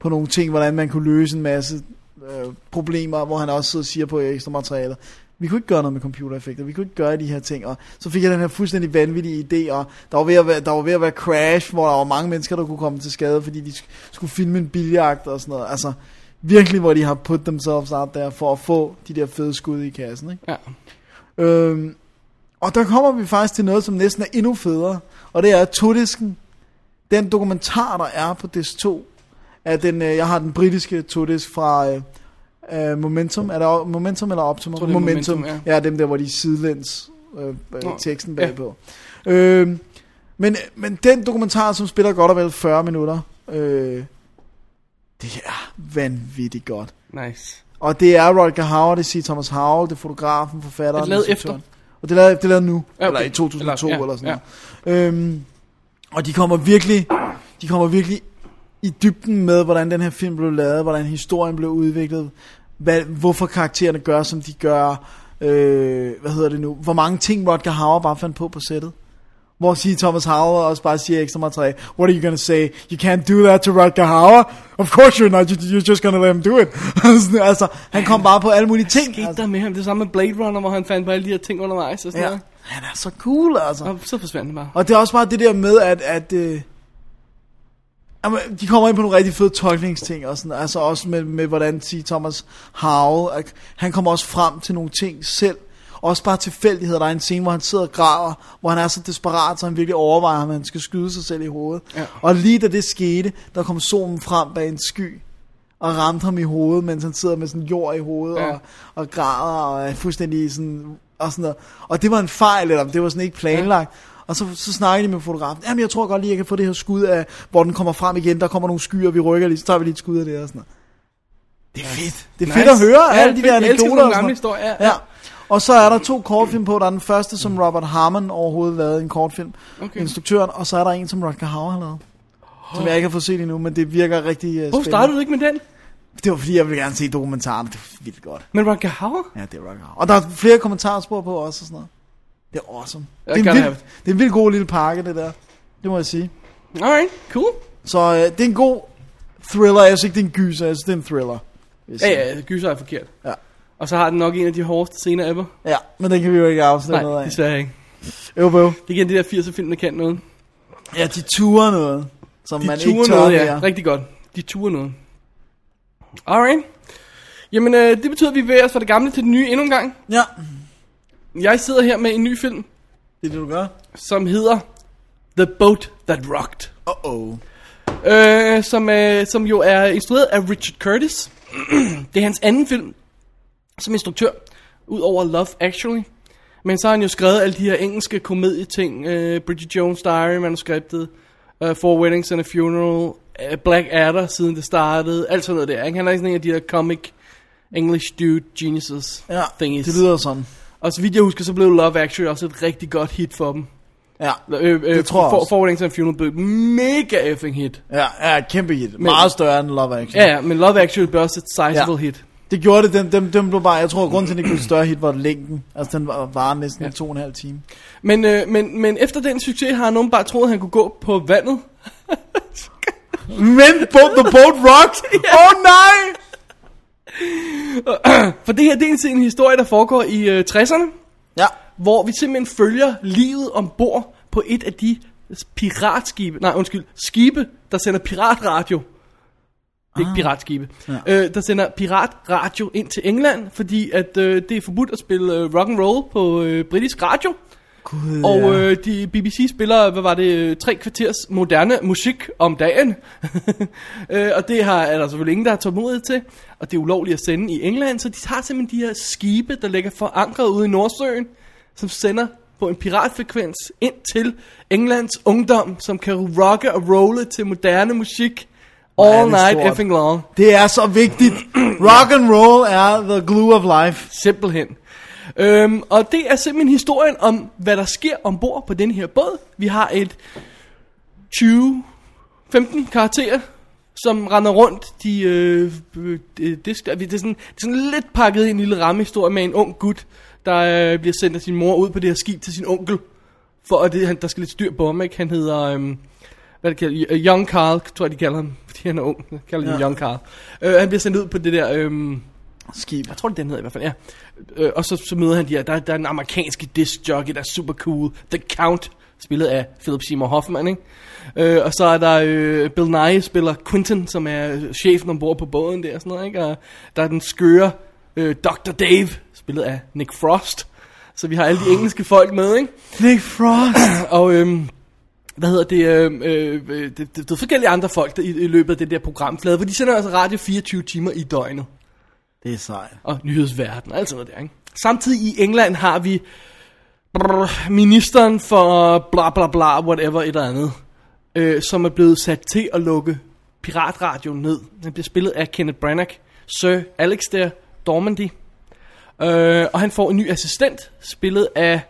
Speaker 2: på nogle ting, hvordan man kunne løse en masse øh, problemer, hvor han også sidder og siger på ekstra materialer. Vi kunne ikke gøre noget med computereffekter, vi kunne ikke gøre de her ting, og så fik jeg den her fuldstændig vanvittige idé, og der var ved at være, der var ved at være crash, hvor der var mange mennesker, der kunne komme til skade, fordi de sk- skulle filme en biljagt og sådan noget. Altså, virkelig, hvor de har put themselves out der, for at få de der fede skud i kassen, ikke?
Speaker 1: Ja.
Speaker 2: Øhm, og der kommer vi faktisk til noget, som næsten er endnu federe, og det er Todisken. Den dokumentar, der er på DS2, er den, øh, jeg har den britiske Todisk fra øh, øh, Momentum, er det o- Momentum eller Optimum?
Speaker 1: tror, det er Momentum,
Speaker 2: ja. ja. dem der, hvor de er sidelæns øh, øh,
Speaker 1: Nå,
Speaker 2: teksten
Speaker 1: ja.
Speaker 2: bagpå. Øhm, men, men den dokumentar, som spiller godt og vel 40 minutter, øh, det er vanvittigt godt.
Speaker 1: Nice.
Speaker 2: Og det er Rodger Howard, det siger Thomas Howell, det er fotografen, forfatteren.
Speaker 1: Er det lavet
Speaker 2: instruktøren. Og det er lavet, det er lavet nu,
Speaker 1: Ja,
Speaker 2: ja,
Speaker 1: okay.
Speaker 2: okay. eller i 2002
Speaker 1: Eller-
Speaker 2: eller,
Speaker 1: ja,
Speaker 2: ja, eller sådan ja. noget. Øhm, og de kommer virkelig, de kommer virkelig i dybden med, hvordan den her film blev lavet, hvordan historien blev udviklet, hvad, hvorfor karaktererne gør, som de gør, øh, hvad hedder det nu, hvor mange ting Rodger Hauer bare fandt på på sættet. Hvor siger Thomas Howell også bare siger ekstra meget træ, What are you gonna say? You can't do that to Rodger Hauer? Of course you're not, you, you're just gonna let him do it. (laughs) Sådan, altså, han kom bare på alle mulige ting.
Speaker 1: Skete
Speaker 2: Altså,
Speaker 1: der med ham? Det samme med Blade Runner, hvor han fandt på alle de her ting undervejs og sådan ja.
Speaker 2: ja.
Speaker 1: noget.
Speaker 2: Han er så cool, altså.
Speaker 1: Og så forsvandt det bare.
Speaker 2: Og det er også bare det der med, at, at øh, jamen, de kommer ind på nogle rigtig fede tolkningsting, og sådan, altså også med, med hvordan siger Thomas Howell, at han kommer også frem til nogle ting selv, også bare tilfældigheder. Der er en scene, hvor han sidder og graver, hvor han er så desperat, så han virkelig overvejer, om han skal skyde sig selv i hovedet.
Speaker 1: Ja.
Speaker 2: Og lige da det skete, der kom solen frem bag en sky, og ramte ham i hovedet, mens han sidder med sådan jord i hovedet
Speaker 1: Ja.
Speaker 2: og, og græder og er fuldstændig sådan, og sådan noget. Og det var en fejl, eller om det var sådan ikke planlagt. Og så, så snakkede de med fotografen, jamen jeg tror godt lige, jeg kan få det her skud af, hvor den kommer frem igen, der kommer nogle skyer, vi rykker lige, så tager vi lige et skud af det og sådan noget. Det er fedt. Det er fedt at høre
Speaker 1: Ja,
Speaker 2: alle de
Speaker 1: fedt.
Speaker 2: der
Speaker 1: Jeg elsker sådan nogle
Speaker 2: anekdoter. og sådan
Speaker 1: gamle
Speaker 2: noget.
Speaker 1: historier. Ja,
Speaker 2: Ja. Og så er der to kortfilm på. Der er den første, som Robert Harmon overhovedet lavede en kortfilm.
Speaker 1: Okay.
Speaker 2: Okay. Instruktøren. Og så er der en, som Rutger Hauer har lavet. Som jeg ikke har fået set endnu, men det virker rigtig uh, spændende.
Speaker 1: Hvor startede du ikke med den?
Speaker 2: Det var fordi, jeg ville gerne se dokumentaren. Det er vildt godt.
Speaker 1: Med Roger Hauer?
Speaker 2: Ja, det er Rock Hard. Og der er flere kommentarspor på også og sådan noget. Det er awesome. Det er,
Speaker 1: gotta
Speaker 2: en
Speaker 1: have
Speaker 2: vild, det er en vild god lille pakke, det der. Det må jeg sige.
Speaker 1: Alright, cool.
Speaker 2: Så øh, det er en god thriller. Jeg synes ikke, det er en gyser. Jeg synes, det er en thriller. vil jeg
Speaker 1: Ja,
Speaker 2: sige.
Speaker 1: ja, gyser er forkert.
Speaker 2: Ja.
Speaker 1: Og så har den nok en af de hårdeste scener ever.
Speaker 2: ja. men den kan vi jo ikke afsløre noget
Speaker 1: Nej,
Speaker 2: af.
Speaker 1: desværre ikke.
Speaker 2: Øv, øv.
Speaker 1: Det er igen det der 80'er film, der kan noget.
Speaker 2: Ja, de turer noget, som
Speaker 1: De
Speaker 2: man
Speaker 1: turer
Speaker 2: ikke tør
Speaker 1: noget, ja.
Speaker 2: mere.
Speaker 1: Rigtig godt. De turer noget. Alright. Jamen, øh, det betyder, at vi bevæger os fra det gamle til det nye endnu en gang.
Speaker 2: Ja,
Speaker 1: Jeg sidder her med en ny film,
Speaker 2: det er det, du gør.
Speaker 1: som hedder The Boat That Rocked.
Speaker 2: Uh-oh.
Speaker 1: øh, som, øh, som jo er instrueret af Richard Curtis. (clears throat) det er hans anden film som instruktør, ud over Love Actually. Men så har han jo skrevet alle de her engelske komedieting, øh, Bridget Jones' Diary-manuskriptet, øh, Four Weddings and a Funeral, øh, Black Adder, siden det startede, alt sådan noget der. Ikke? Han er sådan en af de her comic English dude geniuses
Speaker 2: Ja,
Speaker 1: thingies.
Speaker 2: det lyder sådan.
Speaker 1: Og så vidt jeg husker, så blev Love Actually også et rigtig godt hit for dem.
Speaker 2: Ja,
Speaker 1: Øh, øh,
Speaker 2: Det tror jeg
Speaker 1: For-
Speaker 2: også.
Speaker 1: Four Weddings and a Funeral blev et mega effing hit.
Speaker 2: ja, ja kæmpe hit. Meget større end Love Action.
Speaker 1: Ja, ja, men Love Actually blev også et sizable ja.
Speaker 2: Ja.
Speaker 1: hit.
Speaker 2: Det gjorde det, den, den, den blev bare, jeg tror, grunden til, at det ikke blev et større hit, var længden. Altså, den var, var næsten ja. to og en halv (laughs) time.
Speaker 1: Men, øh, men, men efter den succes har nogen bare troet, at han kunne gå på vandet.
Speaker 2: Men boat, the boat (laughs) rocks! Åh oh, nej!
Speaker 1: For det her det er en- en historie, der foregår i øh, 60'erne,
Speaker 2: Ja,
Speaker 1: hvor vi simpelthen følger livet ombord på et af de piratskibe, nej undskyld, skibe, der sender piratradio. Det er
Speaker 2: Ah.
Speaker 1: ikke piratskibe. Ja. Øh, der sender piratradio ind til England, fordi at øh, det er forbudt at spille øh, rock and roll på øh, britisk radio.
Speaker 2: gud,
Speaker 1: Og
Speaker 2: ja.
Speaker 1: øh, de BBC spiller, hvad var det, øh, tre kvarters moderne musik om dagen. (laughs) øh, og det har, er der selvfølgelig ingen, der har tålmodighed til. Og det er ulovligt at sende i England, så de har simpelthen de her skibe, der ligger forankret ude i Nordsøen, som sender på en piratfrekvens ind til Englands ungdom, som kan rocke og rolle til moderne musik
Speaker 2: er
Speaker 1: all
Speaker 2: det
Speaker 1: night
Speaker 2: stort.
Speaker 1: effing long.
Speaker 2: Det er så vigtigt. Rock and roll er the glue of life.
Speaker 1: Simpelthen. Øhm, og det er simpelthen historien om, hvad der sker ombord på den her båd. Vi har et 20-15 karakterer, som render rundt. De, øh, øh, det, det, skal- det, er sådan, det er sådan lidt pakket i en lille rammehistorie med en ung gut, der øh, bliver sendt af sin mor ud på det her skib til sin onkel. For at det, han, der skal lidt styr på ham, ikke? Han hedder... Øh, hvad det kalder, øh, Young Carl, tror jeg de kalder ham, fordi han er ung, Jeg kalder de ja.
Speaker 2: Ja.
Speaker 1: Young Carl. Øh, han bliver sendt ud på det der, øhm,
Speaker 2: Skib.
Speaker 1: jeg tror, det er den hedder i hvert fald, ja. Øh, og så, så møder han de her, der, der er en amerikansk disc jockey, der er super cool. The Count, spillet af Philip Seymour Hoffman, ikke? Øh, og så er der øh, Bill Nye spiller Quentin, som er øh, chefen ombord på båden der og sådan noget, ikke? Og der er den skøre øh, Dr. Dave, spillet af Nick Frost. Så vi har alle de engelske folk med, ikke?
Speaker 2: Nick (clears throat) Frost.
Speaker 1: Og øhm, hvad hedder det, øhm, øh, øh, det, det, det er forskellige andre folk der, i, i løbet af det der programflade, hvor de sender altså radio 24 timer i døgnet
Speaker 2: Det er sejt.
Speaker 1: og nyhedsverden og alt sådan noget der, ikke? Samtidig i England har vi brr, ministeren for bla bla bla, whatever et eller andet, øh, som er blevet sat til at lukke piratradioen ned. Den bliver spillet af Kenneth Branagh, Sir Alexander Dormandy. Øh, og han får en ny assistent, spillet af,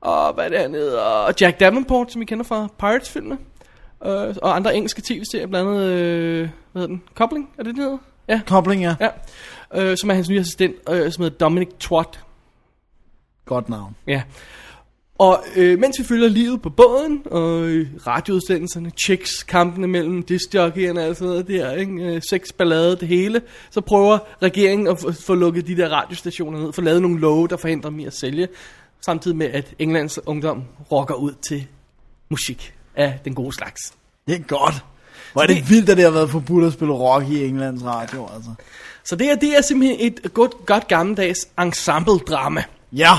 Speaker 1: og hvad er det, han hedder, Jack Davenport, som vi kender fra Pirates-filmene. øh, og andre engelske tv-serier, blandt andet, øh, hvad hedder den, Kobling, er det den hedder? Ja,
Speaker 2: Kobling, ja.
Speaker 1: ja. Øh, som er hans nye assistent, øh, som hedder Dominic Trott.
Speaker 2: Godt navn.
Speaker 1: Ja. Og øh, mens vi følger livet på båden, og øh, radioudsendelserne, checks, kampene mellem discjockeyerne og alt sådan noget der, ikke? Øh, sex, ballade, det hele, så prøver regeringen at få, få lukket de der radiostationer ned, få lavet nogle love, der forhindrer dem i at sælge, samtidig med at Englands ungdom rocker ud til musik af den gode slags.
Speaker 2: Det er godt. Hvor er det vildt, at det har været forbudt at spille rock i Englands radio, altså.
Speaker 1: Så det her, det er simpelthen et godt, godt gammeldags ensemble-drama.
Speaker 2: Ja,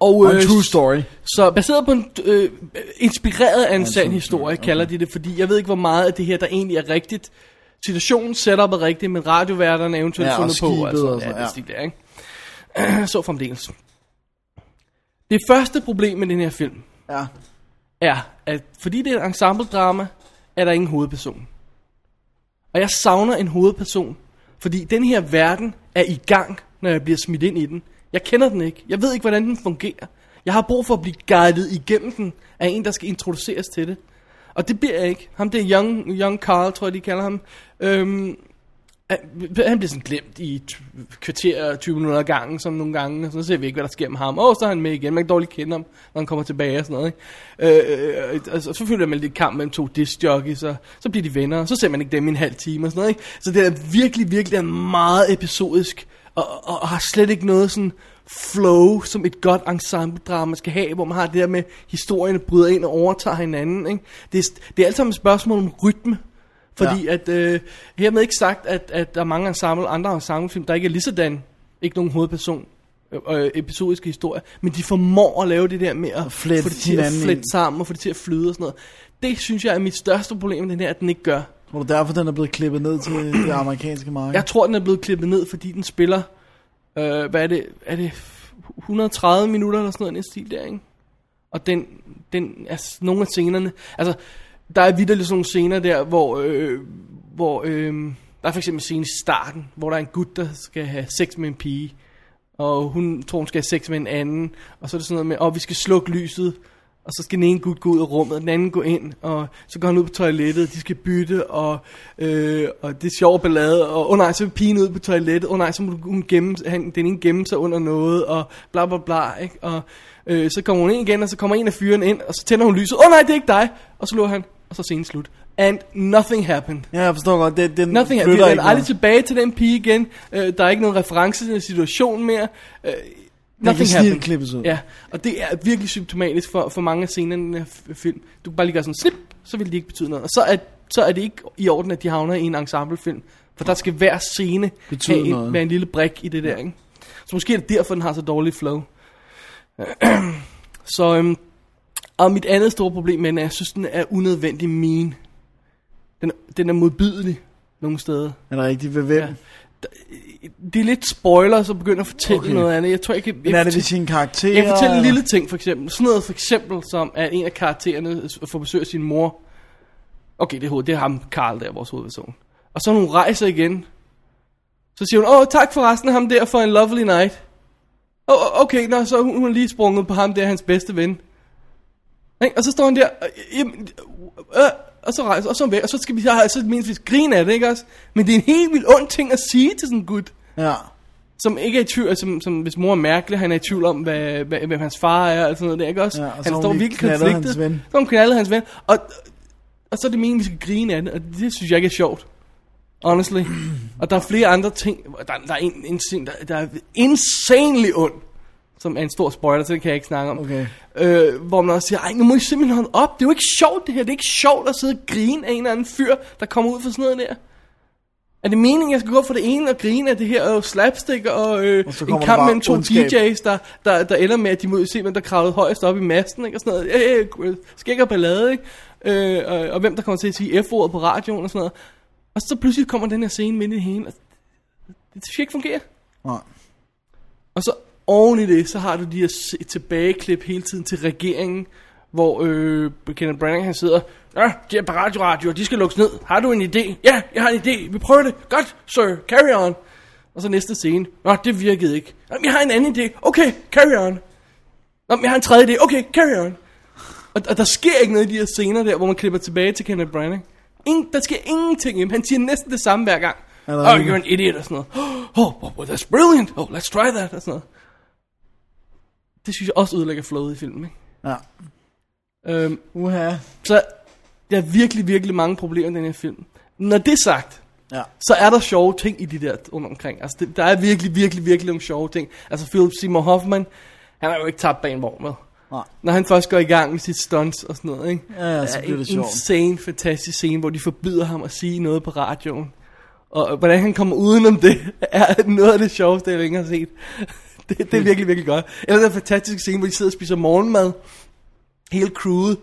Speaker 1: Og, øh,
Speaker 2: og en true story.
Speaker 1: Så baseret på en, øh, inspireret af en sand historie, kalder de det, fordi jeg ved ikke, hvor meget af det her, der egentlig er rigtigt. Situationen, setupet er rigtigt, men radioværterne er eventuelt
Speaker 2: Ja, og
Speaker 1: fundet på.
Speaker 2: skibet
Speaker 1: altså,
Speaker 2: og
Speaker 1: ja,
Speaker 2: sådan,
Speaker 1: det
Speaker 2: ja.
Speaker 1: er stil der, ikke? (clears throat) så fremdeles. Det første problem med den her film
Speaker 2: Ja.
Speaker 1: er, at fordi det er et ensemble-drama, er der ingen hovedperson. Og jeg savner en hovedperson, fordi den her verden er i gang, når jeg bliver smidt ind i den. Jeg kender den ikke. Jeg ved ikke, hvordan den fungerer. Jeg har brug for at blive guidet igennem den af en, der skal introduceres til det. Og det bliver jeg ikke. Ham det er Young, young Carl, tror jeg, de kalder ham. Øhm, han- han bliver sådan glemt i t- kvarter 20 minutter ad gangen, sådan nogle gange, og så ser vi ikke, hvad der sker med ham. Og så er han med igen, man kan dårligt kende ham, når han kommer tilbage og sådan noget. Ikke? Øh, øh, og så- og så føler man lidt kamp mellem to discjockeys, og så bliver de venner, og så ser man ikke dem i en halv time og sådan noget. Ikke? Så det er virkelig, virkelig er meget episodisk, og, og, og har slet ikke noget sådan flow, som et godt ensemble-drama skal have, hvor man har det der med, historierne bryder ind og overtager hinanden. Ikke? Det, er, det er alt sammen et spørgsmål om rytme. Fordi ja. at, øh, hermed ikke sagt, at, at der er mange ensemble, andre ensemblefilm, der ikke er lige sådan, ikke nogen hovedperson, øh, øh, episodiske historier, men de formår at lave det der med at
Speaker 2: flette
Speaker 1: få det til at
Speaker 2: hinanden
Speaker 1: flette
Speaker 2: ind.
Speaker 1: sammen, og få det til at flyde og sådan noget. Det synes jeg er mit største problem med den her, at den ikke gør.
Speaker 2: Tror du derfor, den er blevet klippet ned til det amerikanske marked?
Speaker 1: Jeg tror, den er blevet klippet ned, fordi den spiller, øh, hvad er det, er det 130 minutter eller sådan noget, i den stil der, ikke? Og den, den, altså, nogle af scenerne, altså, der er vidderligt sådan nogle scener der, hvor, øh, hvor, øh, der er for eksempel en scene i starten, hvor der er en gut, der skal have sex med en pige, og hun tror, hun skal have sex med en anden, og så er det sådan noget med, åh, vi skal slukke lyset, og så skal den ene gut gå ud af rummet, og den anden gå ind, og så går han ud på toilettet, de skal bytte, og, øh, og det er sjov ballade, og åh oh, nej, så er pigen ud på toilettet, åh oh, nej, så må hun gemme, han, den ene gemme sig under noget, og bla bla bla, ikke? og øh, så kommer hun ind igen, og så kommer en af fyren ind, og så tænder hun lyset, åh oh, nej, det er ikke dig, og så lukker han, og så er scenen slut. And nothing happened.
Speaker 2: Ja, jeg forstår godt. Det, den
Speaker 1: Nothing happened. Vi
Speaker 2: flytter
Speaker 1: vender
Speaker 2: ikke
Speaker 1: aldrig
Speaker 2: noget.
Speaker 1: tilbage til den pige igen. Øh, der er ikke nogen reference til den situation mere. Øh,
Speaker 2: kan
Speaker 1: nothing
Speaker 2: snildt
Speaker 1: happened.
Speaker 2: klippes ud.
Speaker 1: Ja, og det er virkelig symptomatisk for, for mange af scenerne i den her f- film. Du kan bare lige gøre sådan snip, så vil det ikke betyde noget. Og så er, så er det ikke i orden, at de havner i en ensemblefilm. For der skal hver scene
Speaker 2: Betyde
Speaker 1: have en,
Speaker 2: noget.
Speaker 1: være en lille brik i det der. Ikke? Så måske er det derfor, den har så dårlig flow. (clears throat) så, øhm, og mit andet store problem med den er, at jeg synes, den er unødvendig mean. Den, den er modbydelig nogle steder.
Speaker 2: Er det rigtigt? Ved hvem?
Speaker 1: Ja. Det er lidt spoiler, så begynder at fortælle
Speaker 2: Okay.
Speaker 1: okay. noget andet. Jeg tror, jeg kan...
Speaker 2: Men
Speaker 1: jeg
Speaker 2: er det
Speaker 1: fortæ-
Speaker 2: ved sine karakterer?
Speaker 1: jeg kan fortælle en
Speaker 2: eller?
Speaker 1: lille ting, for eksempel. Sådan noget for eksempel, som at en af karaktererne s- får besøg af sin mor. Okay, det er, hoved, det er ham, Karl der, vores hovedperson. Og så når hun rejser igen, så siger hun, åh, tak for resten af ham der for en lovely night. Åh, oh, okay, nå, så er hun, hun er lige sprunget på ham der, hans bedste ven. Ikke? Og så står han der, og, jamen, øh, og så rejser, og så er hun væk, og så skal vi så, så mindst vi grine af det, ikke også? Men det er en helt vildt ond ting at sige til sådan en gut
Speaker 2: Ja.
Speaker 1: som ikke er i tvivl, som, som hvis mor er mærkelig, han er i tvivl om, hvad, hvad, hvem hans far er, og sådan noget der, ikke også?
Speaker 2: Ja, og så har
Speaker 1: han
Speaker 2: hun
Speaker 1: står
Speaker 2: lige
Speaker 1: virkelig
Speaker 2: knaldet
Speaker 1: konfliktet.
Speaker 2: hans ven.
Speaker 1: Så har hun knaldet hans ven. Og, og så er det meningen, vi skal grine af det, og det synes jeg ikke er sjovt. Honestly. og der er flere andre ting. Der, der er en, en scene, der, der er insanely ond, som er en stor spoiler, så det kan jeg ikke snakke om.
Speaker 2: Okay.
Speaker 1: Øh, hvor man også siger, ej, nu må I simpelthen holde op. Det er jo ikke sjovt, det her. Det er ikke sjovt at sidde og grine af en eller anden fyr, der kommer ud for sådan noget der. Er det meningen, jeg skal gå for det ene og grine af det her øh, slapstick og, øh,
Speaker 2: Og så kommer
Speaker 1: en
Speaker 2: der
Speaker 1: kamp
Speaker 2: bare
Speaker 1: mellem to
Speaker 2: ondskab.
Speaker 1: DJ's, der, der, der ender med, at de må se, hvem der kravlede højest op i masten, ikke? og sådan noget. Øh, øh, skæg og ballade, ikke? Øh, og, og, hvem der kommer til at sige F-ordet på radioen og sådan noget. Og så pludselig kommer den her scene midt i det hele, og det, det skal ikke fungere.
Speaker 2: Nej.
Speaker 1: Og så oven i det, så har du de her se- tilbageklip hele tiden til regeringen, hvor øh, Kenneth Branagh han sidder, Nå, de er på radio, radio, de skal lukkes ned. Har du en idé? Ja, jeg har en idé. Vi prøver det. Godt, sir. Carry on. Og så næste scene. Nå, det virkede ikke. Nå, men jeg har en anden idé. Okay, carry on. Nå, men jeg har en tredje idé. Okay, carry on. Og, og der sker ikke noget i de her scener der, hvor man klipper tilbage til Kenneth Branagh. Ingen, der sker ingenting. Jamen, han siger næsten det samme hver gang.
Speaker 2: Ja, der
Speaker 1: Oh,
Speaker 2: er ikke-
Speaker 1: you're an idiot og sådan noget. (gasps) Oh, oh, oh, that's brilliant. Oh, let's try that og sådan noget. Det synes jeg også ødelægger flowet i filmen, ikke?
Speaker 2: Ja.
Speaker 1: Øhm,
Speaker 2: Uha.
Speaker 1: så der er virkelig, virkelig mange problemer i den her film. Når det er sagt,
Speaker 2: Ja.
Speaker 1: så er der sjove ting i de der rundt omkring. Altså, det, der er virkelig, virkelig, virkelig nogle sjove ting. Altså, Philip Seymour Hoffman, han er jo ikke tabt bag en vogn, vel?
Speaker 2: Nej.
Speaker 1: Når han først går i gang med sit stunts og sådan noget, ikke?
Speaker 2: Ja, så bliver det
Speaker 1: en
Speaker 2: sjovt.
Speaker 1: insane, fantastisk scene, hvor de forbyder ham at sige noget på radioen. Og hvordan han kommer udenom det, (laughs) er noget af det sjoveste, jeg længe har set. (laughs) Det, det er virkelig, virkelig godt. Eller den fantastiske scene, hvor de sidder og spiser morgenmad, hele crewet,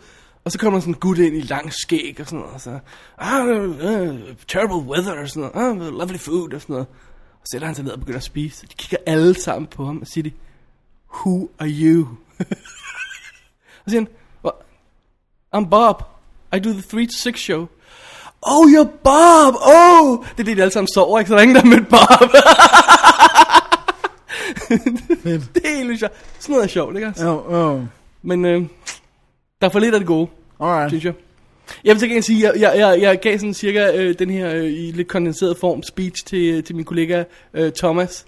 Speaker 1: og så kommer sådan en gut ind i lang skæg og sådan noget, og så, ah, uh, terrible weather og sådan noget, ah, lovely food og sådan noget. Og så sætter han sig ned og begynder at spise, og de kigger alle sammen på ham og siger de, who are you? (laughs) og siger han, "Well, I'm Bob, I do the 3 to 6 show. Oh, you're Bob, oh! Det er det, de alle sammen sover, ikke? Så der er ingen, der har mødt Bob. (laughs) det er helt vildt sjovt. Sådan noget er sjovt, ikke også?
Speaker 2: Jo, jo.
Speaker 1: Men øh, der er for lidt af det gode,
Speaker 2: Alright.
Speaker 1: synes jeg. Jeg vil så gerne sige, jeg, jeg, jeg, jeg gav sådan cirka øh, den her øh, i lidt kondenseret form speech til, til min kollega øh, Thomas,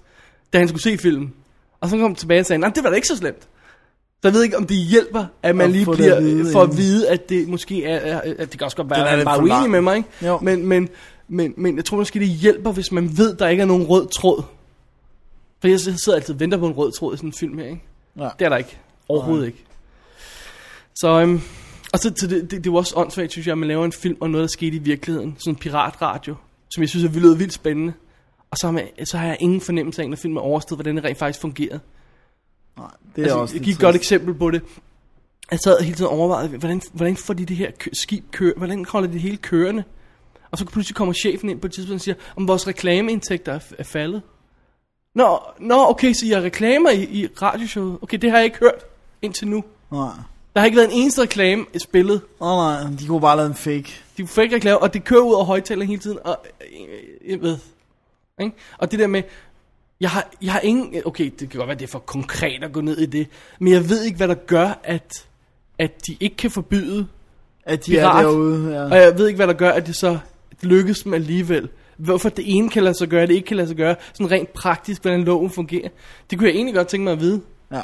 Speaker 1: da han skulle se filmen. Og så kom han tilbage og sagde, nej, det var da ikke så slemt. Så jeg ved ikke, om det hjælper, at man
Speaker 2: At
Speaker 1: lige
Speaker 2: få det
Speaker 1: bliver,
Speaker 2: at vide,
Speaker 1: øh, for at
Speaker 2: ja.
Speaker 1: vide, at det måske er, er- at det kan også godt
Speaker 2: Den
Speaker 1: være,
Speaker 2: er
Speaker 1: at han
Speaker 2: lidt
Speaker 1: bare er
Speaker 2: for
Speaker 1: uenig
Speaker 2: lang.
Speaker 1: med mig, ikke?
Speaker 2: Jo.
Speaker 1: Men, men, men, men jeg tror måske, det hjælper, hvis man ved, der ikke er nogen rød tråd. For jeg sidder altid og venter på en rød tråd i sådan en film her, ikke?
Speaker 2: Ja.
Speaker 1: Det er der ikke. Overhovedet ikke. Så, øhm, og så, så det, det, det var også åndssvagt, synes jeg, at man laver en film om noget, der skete i virkeligheden. Sådan en piratradio, som jeg synes er lyder vildt spændende. Og så har, man, så har jeg ingen fornemmelse af, når filmen er overstået, hvordan det rent faktisk fungerede.
Speaker 2: Nej, det er
Speaker 1: Altså,
Speaker 2: også
Speaker 1: jeg
Speaker 2: lidt
Speaker 1: giver et godt
Speaker 2: trist.
Speaker 1: eksempel på det. Jeg sad og hele tiden og overvejede, hvordan, hvordan får de det her kø- skib køre, hvordan holder de det hele kørende? Og så pludselig kommer chefen ind på et tidspunkt og siger, om vores reklameindtægter er, f- er faldet. Nå, nå, okay, så I har reklamer i, i radioshowet. Okay, det har jeg ikke hørt indtil nu.
Speaker 2: Nej.
Speaker 1: Der har ikke været en eneste reklame spillet.
Speaker 2: Åh oh, nej, de kunne bare lave en fake.
Speaker 1: De får ikke reklame, og det kører ud af højtalerne hele tiden, og øh, jeg ved, ikke? Og det der med, jeg har, jeg har ingen, okay, det kan godt være, det er for konkret at gå ned i det, men jeg ved ikke, hvad der gør, at, at de ikke kan forbyde,
Speaker 2: At de
Speaker 1: Pirat.
Speaker 2: er derude. Ja.
Speaker 1: og jeg ved ikke, hvad der gør, at det så lykkes dem alligevel. Hvorfor det ene kan lade sig gøre, og det ikke kan lade sig gøre, sådan rent praktisk, hvordan loven fungerer. Det kunne jeg egentlig godt tænke mig at vide.
Speaker 2: ja.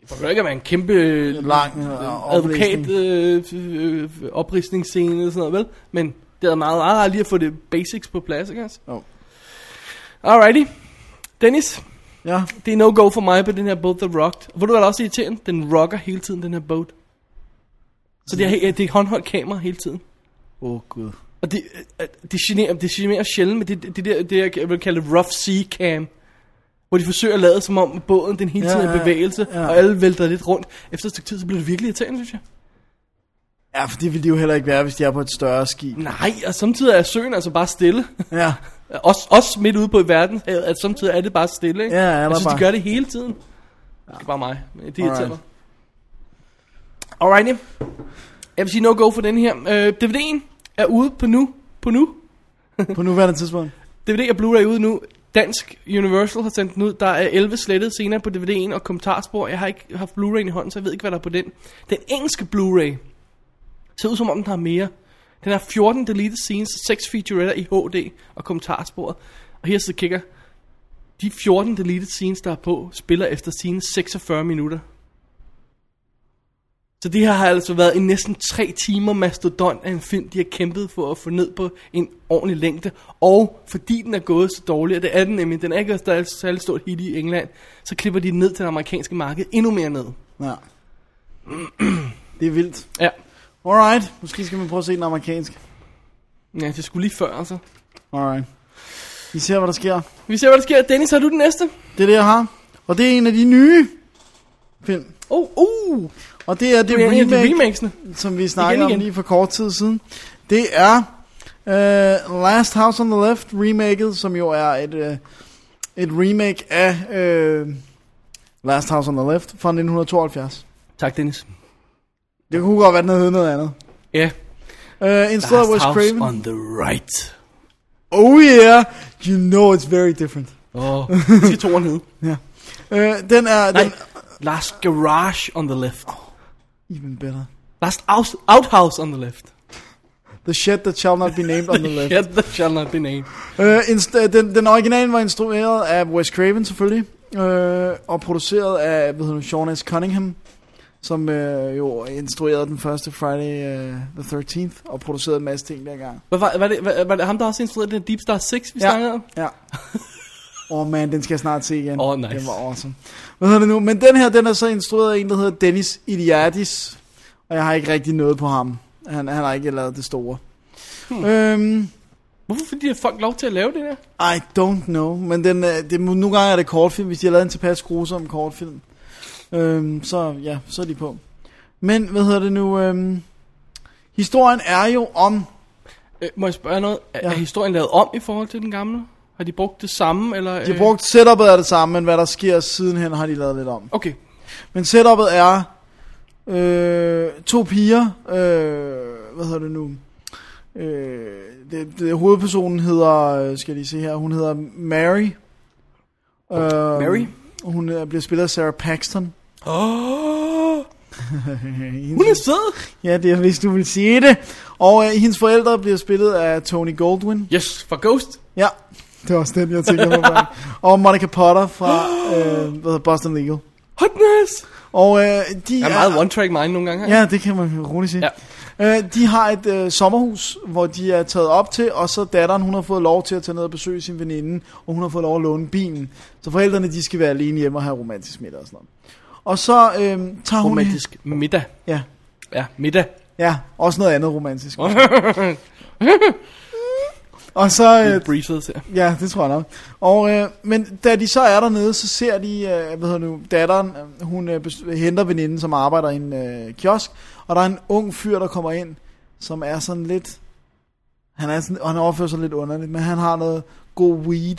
Speaker 1: Det behøver ikke at være en kæmpe øh,
Speaker 2: En lang øh,
Speaker 1: advokat
Speaker 2: oplæsning.
Speaker 1: øh, øh, øh, oprisningsscene eller sådan noget, vel? Men det er meget rart lige at få det basics på plads, ikke også?
Speaker 2: Jo.
Speaker 1: Alrighty. Dennis,
Speaker 2: Ja,
Speaker 1: det er no-go for mig på den her boat, The Rocked. Hvor du er også irriterende, den rocker hele tiden, den her boat. Så det er, he- det er et håndholdt kamera hele tiden.
Speaker 2: åh oh, gud.
Speaker 1: Og det, øh, det, generer, det generer sjældent med det, det, der, det, jeg vil kalde rough sea cam. Hvor de forsøger at lade som om båden den hele
Speaker 2: Ja,
Speaker 1: tiden er i
Speaker 2: ja,
Speaker 1: bevægelse,
Speaker 2: ja.
Speaker 1: og alle vælter lidt rundt. Efter et stykke tid, så bliver det virkelig irriterende, synes jeg.
Speaker 2: Ja, for det ville de jo heller ikke være, hvis de er på et større skib.
Speaker 1: Nej, og samtidig er søen altså bare stille.
Speaker 2: Ja,
Speaker 1: Også, også midt ude på i verden, at samtidig er det bare stille, ikke?
Speaker 2: Ja, ja, der
Speaker 1: Jeg
Speaker 2: er
Speaker 1: synes,
Speaker 2: bare-
Speaker 1: de gør det hele tiden. Det er bare mig, men det irriterer
Speaker 2: Alright.
Speaker 1: mig. Alrighty. Jeg vil sige no-go for den her. Øh, DVD'en er ude på nu. På nu.
Speaker 2: på nuværende tidspunkt.
Speaker 1: DVD og Blu-ray er ude nu. Dansk Universal har sendt den ud. Der er 11 slettede scener på DVD'en og kommentarspor. Jeg har ikke haft Blu-ray'en i hånden, så jeg ved ikke, hvad der er på den. Den engelske Blu-ray ser ud som om, den har mere. Den har 14 deleted scenes, 6 featuretter i HD og kommentarsporet. Og her sidder kigger. De 14 deleted scenes, der er på, spiller efter sine 46 minutter. Så det her har altså været en næsten tre timer mastodont af en film, de har kæmpet for at få ned på en ordentlig længde. Og fordi den er gået så dårligt, og det er den nemlig, den er ikke særlig, særlig stort hit i England, så klipper de den ned til det amerikanske marked endnu mere ned.
Speaker 2: Ja. Det er vildt.
Speaker 1: Ja,
Speaker 2: Alright, måske skal man prøve at se den amerikanske.
Speaker 1: ja det skulle lige før altså.
Speaker 2: Alright. Vi ser, hvad der sker.
Speaker 1: Vi ser, hvad der sker. Dennis, har du den næste?
Speaker 2: Det er det, jeg har. Og det er en af de nye film.
Speaker 1: Oh, uh!
Speaker 2: Og det er det
Speaker 1: Det er en af de
Speaker 2: remake,
Speaker 1: remakesene.
Speaker 2: som vi snakkede
Speaker 1: Igen,
Speaker 2: om
Speaker 1: igen.
Speaker 2: lige for kort tid siden. Det er uh, Last House on the Left remaket, som jo er et, uh, et remake af uh, Last House on the Left fra 1972.
Speaker 1: Tak, Dennis.
Speaker 2: Det kunne godt være, den havde heddet noget andet.
Speaker 1: Ja.
Speaker 2: Uh, instead of Wes Craven.
Speaker 1: on the right.
Speaker 2: Oh yeah, you know it's very different.
Speaker 1: (laughs) Åh, oh. skal toren hed.
Speaker 2: Uh, den er...
Speaker 1: Nej,
Speaker 2: Den,
Speaker 1: Last Garage on the left.
Speaker 2: Even better.
Speaker 1: Last out, outhouse on the left.
Speaker 2: The shit that shall not be named
Speaker 1: (laughs)
Speaker 2: on the left.
Speaker 1: Yeah, that shall not be named.
Speaker 2: Øh, inst- den, den originale var instrueret af Wes Craven selvfølgelig, øh, og produceret af hvad hedder hun, Sean S. Cunningham, som øh, jo instruerede den første Friday øh, the 13th, og producerede en masse ting dengang.
Speaker 1: Hvad var, var, det, var, var det ham, der også instruerede den Deep Star 6, vi ja. snakkede om?
Speaker 2: ja. Åh oh man, den skal jeg snart se igen.
Speaker 1: Åh, nice.
Speaker 2: Den var awesome. Hvad hedder det nu? Men den her, den er så instrueret af en, der hedder Dennis Iliadis, og jeg har ikke rigtig noget på ham. Han, han har ikke lavet det store. Hmm. Øhm,
Speaker 1: Hvorfor får de her folk lov til at lave det der?
Speaker 2: I don't know, men den, øh, det, nu gange er det kortfilm, hvis de har lavet en tilpas grusom kortfilm. Øhm, så ja, så er de på. Men, hvad hedder det nu? Øhm, historien er jo om...
Speaker 1: Øh, må jeg spørge noget? Er,
Speaker 2: Ja.
Speaker 1: ja. er historien lavet om i forhold til den gamle? Har de brugt det samme? Eller,
Speaker 2: De har brugt setup'et af det samme, men hvad der sker sidenhen, har de lavet lidt om.
Speaker 1: øh? Okay.
Speaker 2: Men setup'et er øh, to piger, øh, hvad hedder det nu? Øh, det, det, hovedpersonen hedder, øh, skal jeg lige se her, hun hedder Mary. Øh,
Speaker 1: Mary?
Speaker 2: Hun øh, bliver spillet af Sarah Paxton. (laughs)
Speaker 1: Oh, hun er sød!
Speaker 2: ja, det er, hvis du vil sige det. Og øh, hendes forældre bliver spillet af Tony Goldwyn.
Speaker 1: Yes, for Ghost.
Speaker 2: Ja, det er også den, jeg tænker på. og Monica Potter
Speaker 1: (gasps)
Speaker 2: fra øh, hvad hedder Boston Legal.
Speaker 1: Hotness!
Speaker 2: Og øh, de
Speaker 1: Jeg er meget one-track mind nogle gange her.
Speaker 2: Ja, det kan man roligt sige. Ja. Øh, de har et øh, sommerhus, hvor de er taget op til, og så datteren, hun har fået lov til at tage ned og besøge sin veninde, og hun har fået lov at låne bilen. Så forældrene, de skal være alene hjemme og have romantisk middag og sådan noget. Og så øh, tager hun...
Speaker 1: Romantisk middag.
Speaker 2: Ja,
Speaker 1: Ja, middag.
Speaker 2: ja, også noget andet romantisk. og så... Øh,
Speaker 1: Det breezes her.
Speaker 2: Ja, det tror jeg nok. Og, øh, men da de så er dernede, så ser de, øh, hvad hedder det nu, datteren, øh, hun øh, bes- henter veninden, som arbejder i en øh, kiosk, og der er en ung fyr, der kommer ind, som er sådan lidt, han, er sådan, og han overfører sig lidt underligt, men han har noget god weed,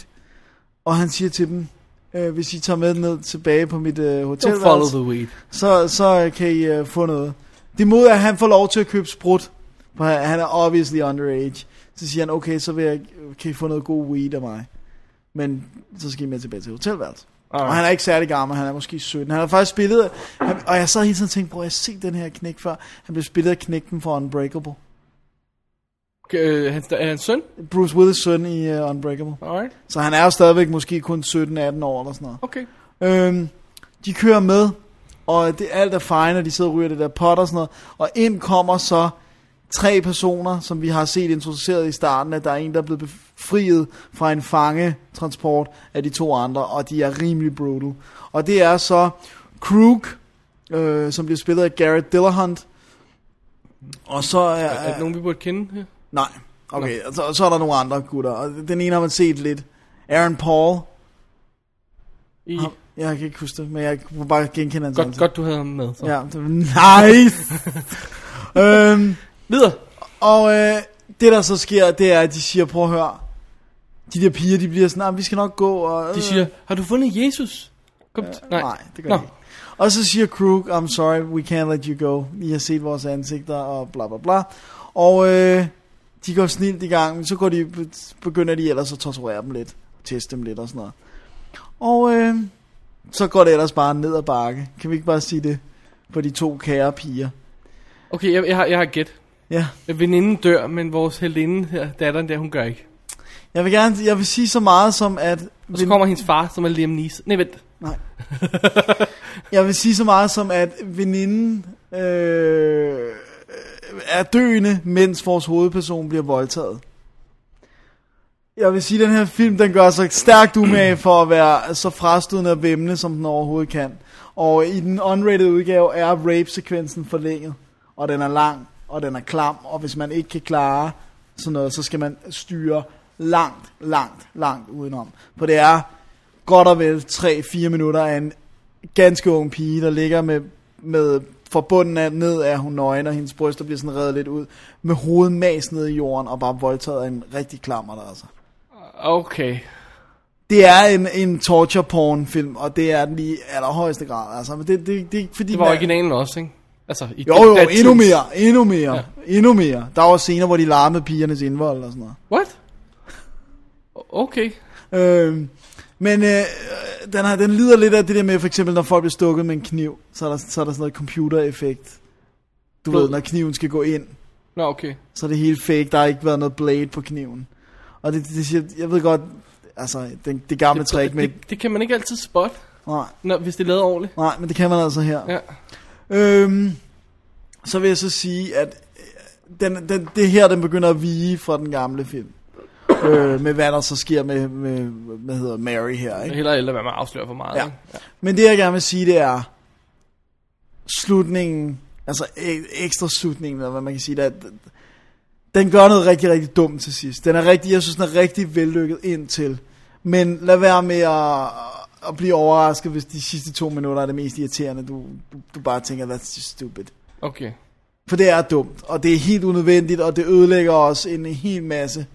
Speaker 2: og han siger til dem, øh, hvis I tager med ned tilbage på mit øh,
Speaker 1: Don't follow
Speaker 2: hotelværelse,
Speaker 1: the weed.
Speaker 2: så, så kan I øh, få noget. Det mod er, at han får lov til at købe sprut, for han han er obviously underage. Så siger han, okay, så vil jeg, kan I få noget god weed af mig. Men så skal I med tilbage til hotelværelset. Og han er ikke særlig gammel, han er måske 17. Han har faktisk spillet, han, og jeg sad hele tiden og tænkte, bror, jeg har set den her knæk før. Han blev spillet af knægten for Unbreakable.
Speaker 1: Øh, hans, er hans søn?
Speaker 2: Bruce Willis søn i uh, Unbreakable.
Speaker 1: Alright.
Speaker 2: Så han er jo stadigvæk måske kun 17-18 år eller sådan noget.
Speaker 1: Okay.
Speaker 2: Øhm, de kører med, og det alt er fine, og de sidder og ryger det der pot og sådan noget. Og ind kommer så tre personer, som vi har set introduceret i starten, at der er en, der er blevet befriet fra en fangetransport af de to andre, og de er rimelig brutal. Og det er så Krug, øh, som bliver spillet af Garrett Dillahunt, og så er...
Speaker 1: Er, er det nogen, vi burde kende? her?
Speaker 2: Nej, okay, og så, så er der nogle andre gutter, og den ene har man set lidt. Aaron Paul,
Speaker 1: I,
Speaker 2: jeg kan ikke huske det, men jeg kunne bare genkende hans
Speaker 1: godt,
Speaker 2: ansigt.
Speaker 1: godt, du havde ham med. Så.
Speaker 2: Ja, det var nice.
Speaker 1: (laughs)
Speaker 2: øhm,
Speaker 1: Videre.
Speaker 2: og øh, det der så sker, det er, at de siger, prøv at høre, de der piger, de bliver sådan, "Ah, vi skal nok gå. Og, øh.
Speaker 1: De siger, har du fundet Jesus? Kom, ja,
Speaker 2: nej.
Speaker 1: nej.
Speaker 2: Øh, nej, det gør
Speaker 1: Nå.
Speaker 2: de ikke. Og så siger Krug, I'm sorry, we can't let you go. I har set vores ansigter, og bla bla bla. Og øh, de går snilt i gang, men så går de, begynder de ellers at torturere dem lidt, teste dem lidt og sådan noget. Og øh, så går det ellers bare ned ad bakke. Kan vi ikke bare sige det? På de to kære piger.
Speaker 1: Okay, jeg, jeg, har, jeg har gæt.
Speaker 2: Ja.
Speaker 1: Veninden dør, men vores helinde her, datteren der, hun gør ikke.
Speaker 2: Jeg vil gerne, jeg vil sige så meget som at,
Speaker 1: Og så kommer hendes far, som er Liam Neeson. Nej, vent.
Speaker 2: nej. jeg vil sige så meget som at veninden øh, er døende, mens vores hovedperson bliver voldtaget. Jeg vil sige, at den her film, den gør sig stærkt umage for at være så frastødende og vemmende, som den overhovedet kan. Og i den unrated udgave er rape-sekvensen forlænget, og den er lang, og den er klam, og hvis man ikke kan klare sådan noget, så skal man styre langt, langt, langt udenom. For det er godt og vel 3-4 minutter af en ganske ung pige, der ligger med, med fra bunden af, ned af hun nøgen, og hendes bryster bliver sådan reddet lidt ud, med hovedet mas ned i jorden, og bare voldtaget af en rigtig klammer der altså.
Speaker 1: Okay.
Speaker 2: Det er en, en torture porn film, og det er den i allerhøjeste grad, altså. Men det, det, det er ikke fordi...
Speaker 1: Det var
Speaker 2: den er-
Speaker 1: originalen også, ikke? Altså, i
Speaker 2: Jo, jo,
Speaker 1: datidens-
Speaker 2: endnu mere, endnu mere, ja. endnu mere. Der var scener, hvor de larmede pigernes indvold og sådan noget.
Speaker 1: What? Okay.
Speaker 2: Øh, men øh, den, har, den lider lidt af det der med, for eksempel når folk bliver stukket med en kniv, så er der, så er der sådan noget computereffekt Du
Speaker 1: Blod.
Speaker 2: ved, når kniven skal gå ind,
Speaker 1: Nå, okay.
Speaker 2: så er det helt fake. Der har ikke været noget blade på kniven. Og det, det siger, jeg ved godt, altså, det, det gamle trick med...
Speaker 1: det, det kan man ikke altid spotte,
Speaker 2: Nej,
Speaker 1: når, hvis det er lavet ordentligt.
Speaker 2: nej, men det kan man altså her.
Speaker 1: Ja.
Speaker 2: Øhm, så vil jeg så sige, at øh, den, den, det her, den begynder at vige fra den gamle film. Øh, med hvad der så sker med, med hvad hedder Mary her.
Speaker 1: Jeg
Speaker 2: Ikke?
Speaker 1: hellere ældre, hvad man afslører for meget.
Speaker 2: Ja.
Speaker 1: ikke? ja.
Speaker 2: Men det jeg gerne vil sige, det er slutningen, altså e- ekstra slutningen, eller hvad man kan sige, der, den gør noget rigtig, rigtig dumt til sidst. Den er rigtig, jeg synes, den er rigtig vellykket indtil. Men lad være med at, at blive overrasket, hvis de sidste to minutter er det mest irriterende. Du, du, du bare tænker, that's just stupid.
Speaker 1: Okay.
Speaker 2: For det er dumt, og det er helt unødvendigt, og det ødelægger os en hel masse.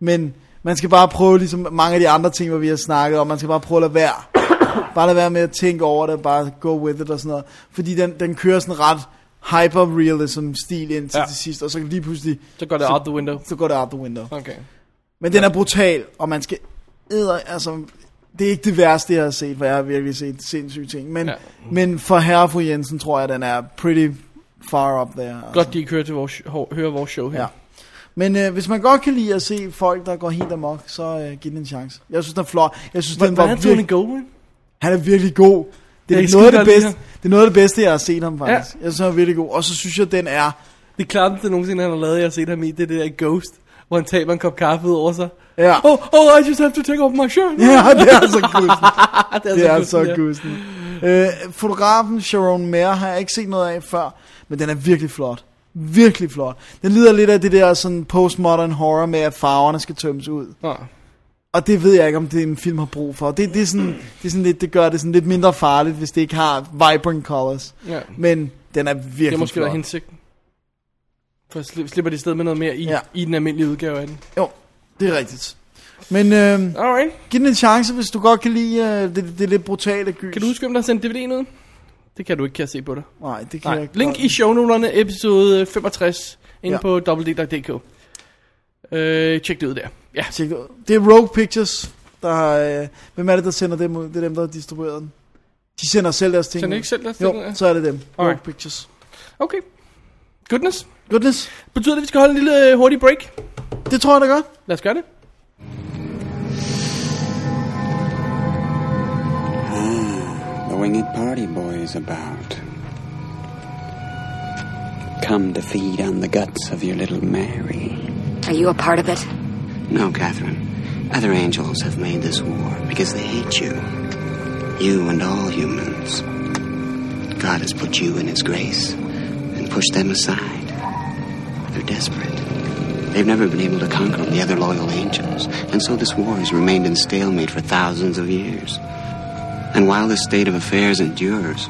Speaker 2: Men man skal bare prøve, ligesom mange af de andre ting, hvor vi har snakket om, man skal bare prøve at lade være. (coughs) Bare lade være med at tænke over det, bare go with it og sådan noget. Fordi den, den kører sådan ret hyper-realism-stil ind til,
Speaker 1: Ja.
Speaker 2: ja. til sidst, og så lige pludselig,
Speaker 1: Så går det out the window.
Speaker 2: så går det out the window.
Speaker 1: Okay.
Speaker 2: Men den er brutal, og man skal æder, altså, det er ikke det værste, jeg har set, for jeg har virkelig set sindssyge ting. Men,
Speaker 1: Ja.
Speaker 2: ja. men for herre og fru Jensen, tror jeg, den er pretty far up there. altså.
Speaker 1: Godt, de ikke hører, til vores, hår- hører vores show her.
Speaker 2: Ja. Men øh, hvis man godt kan lide at se folk, der går helt amok, så øh, giv den en chance. Jeg synes, den er flot. Jeg synes, den var
Speaker 1: Hvordan er Tony
Speaker 2: virkelig,
Speaker 1: Goldwyn?
Speaker 2: han er virkelig god. Det er,
Speaker 1: Jeg
Speaker 2: det
Speaker 1: kan
Speaker 2: noget, af
Speaker 1: skide godt
Speaker 2: det,
Speaker 1: lide
Speaker 2: bedste, det er noget af det bedste, jeg har set ham faktisk.
Speaker 1: Ja.
Speaker 2: Ja. Jeg synes, han er virkelig god. Og så synes jeg, den er...
Speaker 1: Det klammeste nogensinde, han har lavet, jeg har set ham i, det er det der Ghost, hvor han taber en kop kaffe ud over sig.
Speaker 2: Ja,
Speaker 1: Oh, oh, I just have to take off my shirt.
Speaker 2: (laughs) ja det er så gudsen.
Speaker 1: Ah, det er,
Speaker 2: Det er
Speaker 1: gudsen,
Speaker 2: så gudsen. Øh, fotografen Sharon Mayer har jeg ikke set noget af før, men den er virkelig flot. Virkelig flot. Den lider lidt af det der sådan postmodern horror med, at farverne skal tømmes ud.
Speaker 1: Nå,
Speaker 2: Og det ved jeg ikke, om det er en film har brug for. Det, det, er sådan, det, er sådan lidt, det gør det sådan lidt mindre farligt, hvis det ikke har vibrant colors.
Speaker 1: ja.
Speaker 2: Men den er virkelig
Speaker 1: Det er måske
Speaker 2: flot.
Speaker 1: være hensigten. For sli- slipper de sted med noget mere i, ja.
Speaker 2: Ja.
Speaker 1: i den almindelige udgave af den.
Speaker 2: Jo, det er rigtigt. Men øh,
Speaker 1: Alright.
Speaker 2: giv den en chance, hvis du godt kan lide øh, det, det lidt brutale gys.
Speaker 1: Kan du huske, hvem der har sendt DVD'en ud? Det kan du ikke, kan jeg se på dig.
Speaker 2: Nej, det kan jeg
Speaker 1: Nej.
Speaker 2: ikke.
Speaker 1: Link i shownoterne, episode 65, inde ja.
Speaker 2: Ja.
Speaker 1: på www.dk. Øh, tjek det ud der. Ja,
Speaker 2: Tjek det ud. Det er Rogue Pictures, der har... Øh, hvem er det, der sender dem ud? Det er dem, der har distribueret den. De sender selv deres ting
Speaker 1: sender
Speaker 2: ud.
Speaker 1: ikke selv deres ting ud, ja?
Speaker 2: Jo, så er det dem. Rogue
Speaker 1: Alright.
Speaker 2: Pictures.
Speaker 1: okay. Goodness.
Speaker 2: Goodness.
Speaker 1: Betyder det, at vi skal holde en lille øh, hurtig break?
Speaker 2: Det tror jeg, det gør.
Speaker 1: Lad os gøre det.
Speaker 6: The winged party boy is about. Come to feed on the guts of your little Mary.
Speaker 7: Are you a part of it?
Speaker 6: No, Catherine. Other angels have made this war because they hate you. You and all humans. God has put you in His grace and pushed them aside. They're desperate. They've never been able to conquer the other loyal angels, and so this war has remained in stalemate for thousands of years. And while this state of affairs endures,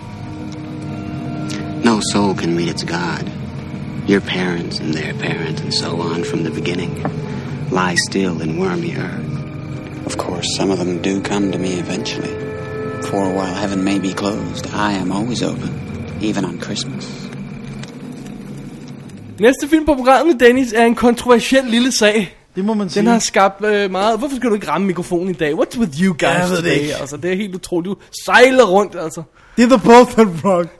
Speaker 6: no soul can meet its God. Your parents and their parents and so on from the beginning lie still and wormy earth. Of course, some of them do come to me eventually. For while heaven may be closed, I am always open, even on Christmas.
Speaker 1: Næste film på programmet, Dennis, er en kontroversiel lille sag.
Speaker 2: Det må man sige.
Speaker 1: Den har skabt øh, meget... Hvorfor skal du ikke ramme mikrofonen i dag? What's with you guys
Speaker 2: Jeg ved det
Speaker 1: today?
Speaker 2: ikke.
Speaker 1: Altså, det er helt utroligt. Du sejler rundt, altså.
Speaker 2: Det er The Both and Rock.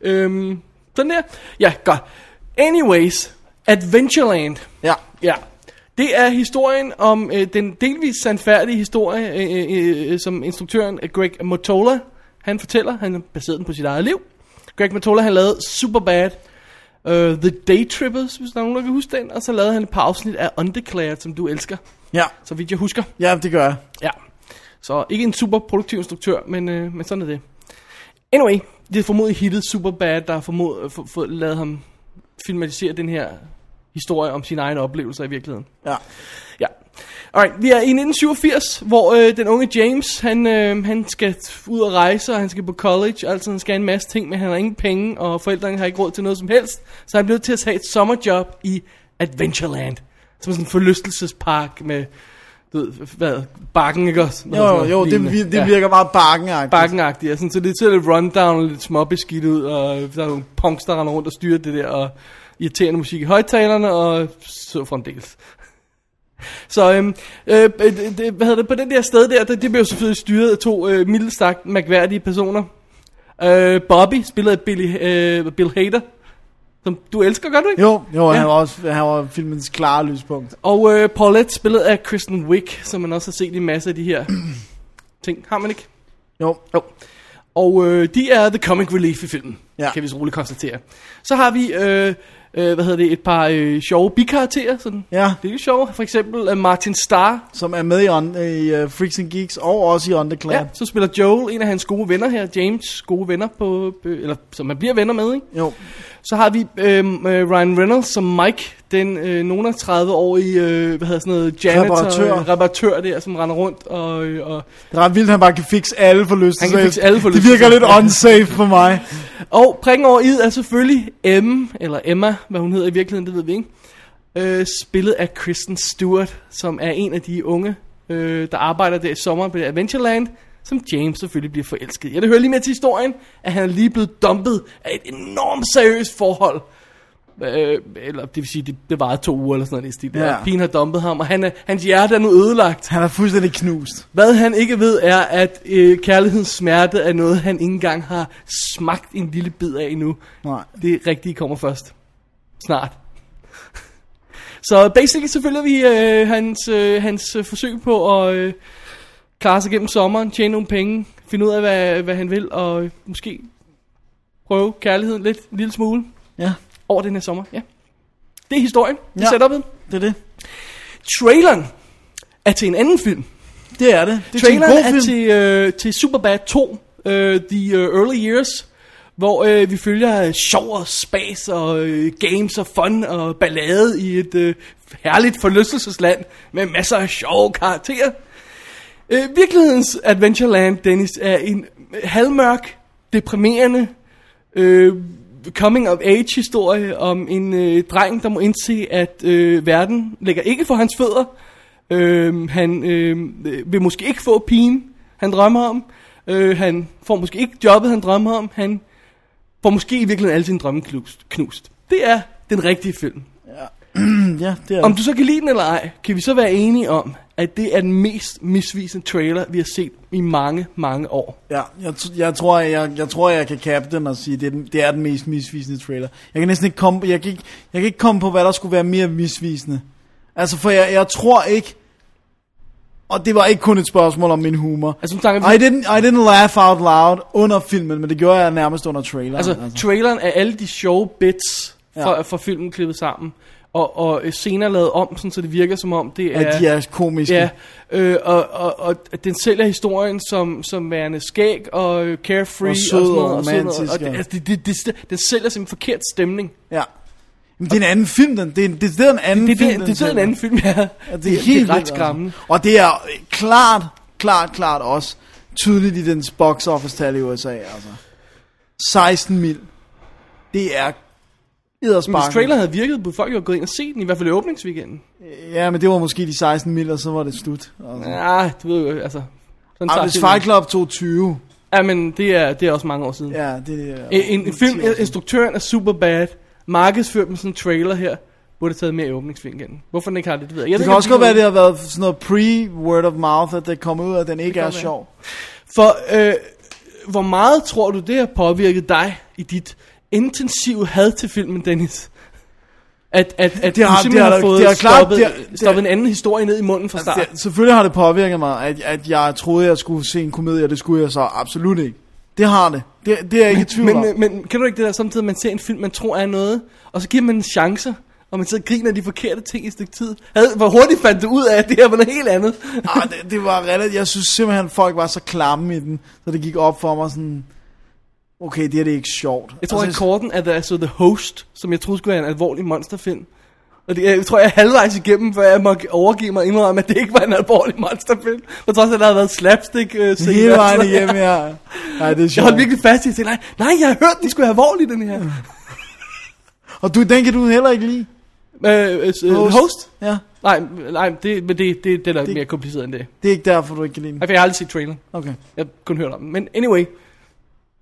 Speaker 1: Øhm, sådan der. Ja, godt. Anyways, Adventureland.
Speaker 2: Ja.
Speaker 1: Ja. Det er historien om øh, den delvis sandfærdige historie, øh, øh, øh, som instruktøren øh, Greg Mottola, han fortæller. Han baserede den på sit eget liv. Greg Mottola, han lavede Superbad, øh, The Day Trippers, hvis der er nogen, der kan huske den. Og så lavede han et par afsnit af Undeclared, som du elsker,
Speaker 2: Ja.
Speaker 1: så vidt jeg husker.
Speaker 2: Ja, det gør jeg.
Speaker 1: Ja. Så ikke en super produktiv instruktør, men, øh, men sådan er det. Anyway, det er formodentlig hittet Superbad, der har formod, for, for, lavet ham filmatisere den her historie om sine egne oplevelser i virkeligheden.
Speaker 2: Ja.
Speaker 1: Ja. Alright, vi er i 1987, hvor øh, den unge James, han, øh, han skal ud og rejse, og han skal på college, altså han skal en masse ting, men han har ingen penge, og forældrene har ikke råd til noget som helst, så han bliver nødt til at tage et sommerjob i Adventureland, som er sådan en forlystelsespark med, du ved, hvad, bakken, ikke også? Noget
Speaker 2: Jo,
Speaker 1: sådan
Speaker 2: jo,
Speaker 1: noget
Speaker 2: jo det,
Speaker 1: lignende.
Speaker 2: vir- det virker meget barkenagtigt.
Speaker 1: Bakkenagtigt, ja, sådan, så det ser lidt rundown og lidt småbeskidt ud, og der er nogle punks, der render rundt og styrer det der, og irriterende musik i højtalerne, og så fremdeles. (laughs) Så øhm, øh, øh, det, det- hvad hedder det, på den der sted der, det, det blev selvfølgelig styret af to øh, middelstagt mærkværdige personer. Øh, Bobby, spillet af Billy, øh, Bill Hader, Som du elsker, gør du ikke?
Speaker 2: Jo, jo, ja.
Speaker 1: Ja.
Speaker 2: han var også han var filmens klare lyspunkt.
Speaker 1: Og øh, Paulette spillet af Kristen Wiig, som man også har set i en masse af de her ting. Har man ikke?
Speaker 2: Jo,
Speaker 1: Jo. Og øh, de er the comic relief i filmen, ja.
Speaker 2: Ja.
Speaker 1: kan vi så roligt konstatere. Så har vi, øh, øh, hvad hedder det, et par øh, sjove bikarakterer, sådan.
Speaker 2: Ja.
Speaker 1: Det er jo sjove. For eksempel øh, Martin Starr,
Speaker 2: som er med i, on, i uh, Freaks and Geeks og også i Underclad.
Speaker 1: ja.
Speaker 2: Ja.
Speaker 1: så spiller Joel, en af hans gode venner her, James' gode venner, på, øh, eller som man bliver venner med, ikke?
Speaker 2: Jo,
Speaker 1: Så har vi øhm, øh, Ryan Reynolds som Mike, den øh, nogen af 30 år i, øh, hvad hedder sådan noget, janitor,
Speaker 2: Reparatør.
Speaker 1: Øh, reparatør der, som render rundt og, øh, og,
Speaker 2: det er ret vildt, at han bare kan fikse alle forlystelser.
Speaker 1: Han kan fikse alle
Speaker 2: Det
Speaker 1: forlystelser.
Speaker 2: virker lidt unsafe for mig.
Speaker 1: og prikken over i er selvfølgelig M, eller Emma, hvad hun hedder i virkeligheden, det ved vi ikke, øh, spillet af Kristen Stewart, som er en af de unge, øh, der arbejder der i sommeren på det Adventureland, som James selvfølgelig bliver forelsket i. Og det hører lige med til historien, at han er lige blevet dumpet af et enormt seriøst forhold. Øh, eller det vil sige, det, det varede to uger eller sådan noget i den stil.
Speaker 2: Ja.
Speaker 1: Ja. Pigen har dumpet ham, og han er, hans hjerte er nu ødelagt.
Speaker 2: Han er fuldstændig knust.
Speaker 1: Hvad han ikke ved er, at øh, kærlighedens smerte er noget, han ikke engang har smagt en lille bid af endnu.
Speaker 2: Nej.
Speaker 1: Det rigtige kommer først. Snart. (laughs) Så basically så følger vi øh, hans, øh, hans øh, forsøg på at øh, klare sig gennem sommeren, tjene nogle penge, finde ud af, hvad, hvad han vil, og øh, måske prøve kærligheden lidt, en lille smule
Speaker 2: Ja,
Speaker 1: over den her sommer. Ja. Det er historien. Det er
Speaker 2: Ja.
Speaker 1: setupet.
Speaker 2: det er det.
Speaker 1: Traileren er til en anden film.
Speaker 2: Det er det. Det er til en
Speaker 1: Traileren
Speaker 2: god
Speaker 1: er
Speaker 2: film.
Speaker 1: til, øh, til Superbad 2, øh, The øh, Early Years, hvor øh, vi følger øh, sjov og spas og øh, games og fun og ballade i et øh, herligt forlystelsesland med masser af sjove karakterer. Øh, virkelighedens Adventureland, Dennis, er en halvmørk, deprimerende øh, coming-of-age-historie om en øh, dreng, der må indse, at øh, verden ligger ikke for hans fødder. Øh, han øh, øh, vil måske ikke få pigen, han drømmer om. Øh, han får måske ikke jobbet, han drømmer om. Han får måske i virkeligheden alle sine drømme knust. knust. Det er den rigtige film.
Speaker 2: Ja, det er
Speaker 1: Om
Speaker 2: det.
Speaker 1: du så kan lide den eller ej, kan vi så være enige om, at det er den mest misvisende trailer, vi har set i mange, mange år.
Speaker 2: Ja, jeg, t- jeg, tror, jeg, jeg tror, jeg kan kappe den og sige, det er den, det er den mest misvisende trailer. Jeg kan næsten ikke komme, jeg kan ikke, jeg kan ikke komme på, hvad der skulle være mere misvisende. Altså, for jeg, jeg tror ikke, og det var ikke kun et spørgsmål om min humor.
Speaker 1: Altså, nu snakker vi-
Speaker 2: I didn't, I didn't laugh out loud under filmen, men det gjorde jeg nærmest under traileren.
Speaker 1: Altså, altså. traileren er alle de sjove bits fra, ja.
Speaker 2: Ja.
Speaker 1: fra filmen klippet sammen, og, og øh, scener lavet om, sådan, så det virker som om, det er...
Speaker 2: at de er komiske.
Speaker 1: Ja, øh, og, og, og den sælger historien som, som værende skæg og øh, carefree
Speaker 2: Og sød
Speaker 1: og sådan
Speaker 2: og
Speaker 1: noget. sådan noget.
Speaker 2: romantisk,
Speaker 1: og det,
Speaker 2: ja.
Speaker 1: altså, det, det, det, den sælger som en forkert stemning.
Speaker 2: ja. Men det er en anden film, den. Det er, det er en anden
Speaker 1: Det,
Speaker 2: film,
Speaker 1: det, det, det, det er
Speaker 2: sælger.
Speaker 1: en anden film, ja.
Speaker 2: Ja, det, er helt
Speaker 1: det er ret
Speaker 2: vildt,
Speaker 1: skræmmende.
Speaker 2: Altså. Og det er øh, klart, klart, klart også tydeligt i dens box office tal i USA, altså. 16 mil. Det er
Speaker 1: Men hvis
Speaker 2: eddersparken.
Speaker 1: trailer havde virket, burde folk jo gået ind og set den, i hvert fald i åbningsweekenden.
Speaker 2: Ja, men det var måske de 16 mil, og så var det slut. Altså.
Speaker 1: Ja, du ved jo, altså... Sådan
Speaker 2: Ej,
Speaker 1: tager
Speaker 2: hvis
Speaker 1: filmen.
Speaker 2: Fight Club tog 20.
Speaker 1: Ja, men det er, det er også mange år siden.
Speaker 2: Ja, det er...
Speaker 1: En, en film,
Speaker 2: 10 år siden.
Speaker 1: instruktøren er super bad, markedsført med sådan en trailer her, burde have taget mere i åbningsvinkelen. Hvorfor den ikke har det, det ved jeg. jeg
Speaker 2: Det
Speaker 1: ved
Speaker 2: kan
Speaker 1: ikke,
Speaker 2: også
Speaker 1: om
Speaker 2: godt være, at det har været sådan noget pre-word of mouth, at det kommer ud, at den ikke
Speaker 1: kan
Speaker 2: er
Speaker 1: være.
Speaker 2: sjov.
Speaker 1: For øh, hvor meget tror du, det har påvirket dig i dit intensive had til filmen, Dennis? At, at, at
Speaker 2: Det har-
Speaker 1: du
Speaker 2: det
Speaker 1: simpelthen
Speaker 2: har
Speaker 1: har,
Speaker 2: der-
Speaker 1: fået
Speaker 2: det er klart,
Speaker 1: stoppet,
Speaker 2: det er- det er-
Speaker 1: stoppet en anden historie ned i munden fra start.
Speaker 2: Altså, det, selvfølgelig har det påvirket mig, at, at jeg troede, jeg skulle se en komedie, og det skulle jeg så absolut ikke. Det har det. Det, det er jeg ikke i tvivl om.
Speaker 1: men, øh, men kan du ikke det der samtidig, at man ser en film, man tror er noget, og så giver man en chance, og man sidder og griner af de forkerte ting i et stykke tid. Havde- Hvor hurtigt fandt du ud af, at det her var noget helt andet?
Speaker 2: Ah, det, det var relativt, jeg synes simpelthen, folk var så klamme i den, så det gik op for mig sådan, okay, det her det er ikke sjovt.
Speaker 1: (laughs) Jeg tror, at
Speaker 2: altså,
Speaker 1: rekorden er The, altså The Host, som jeg troede skulle være en alvorlig monsterfilm. Og det, jeg tror, jeg er halvvejs igennem, før jeg må overgive mig og indrømme, at det ikke var en alvorlig monsterfilm. På trods af, at der havde været slapstick øh,
Speaker 2: jeg
Speaker 1: scener.
Speaker 2: hele vejen igennem, ja. Nej,
Speaker 1: (laughs)
Speaker 2: det er
Speaker 1: Jeg
Speaker 2: sjovt.
Speaker 1: holdt virkelig fast i, at nej, nej, jeg har hørt, den skulle være alvorlig, den her.
Speaker 2: Og du, den kan du heller ikke lide.
Speaker 1: øh, øh, øh, host. host?
Speaker 2: Ja,
Speaker 1: Nej, nej, det, men det, det, det er det...
Speaker 2: Det-
Speaker 1: mere kompliceret end det.
Speaker 2: det er ikke derfor, du ikke kan lide den.
Speaker 1: Altså, jeg har aldrig set traileren.
Speaker 2: Okay.
Speaker 1: Jeg har kun hørt om den. Men anyway,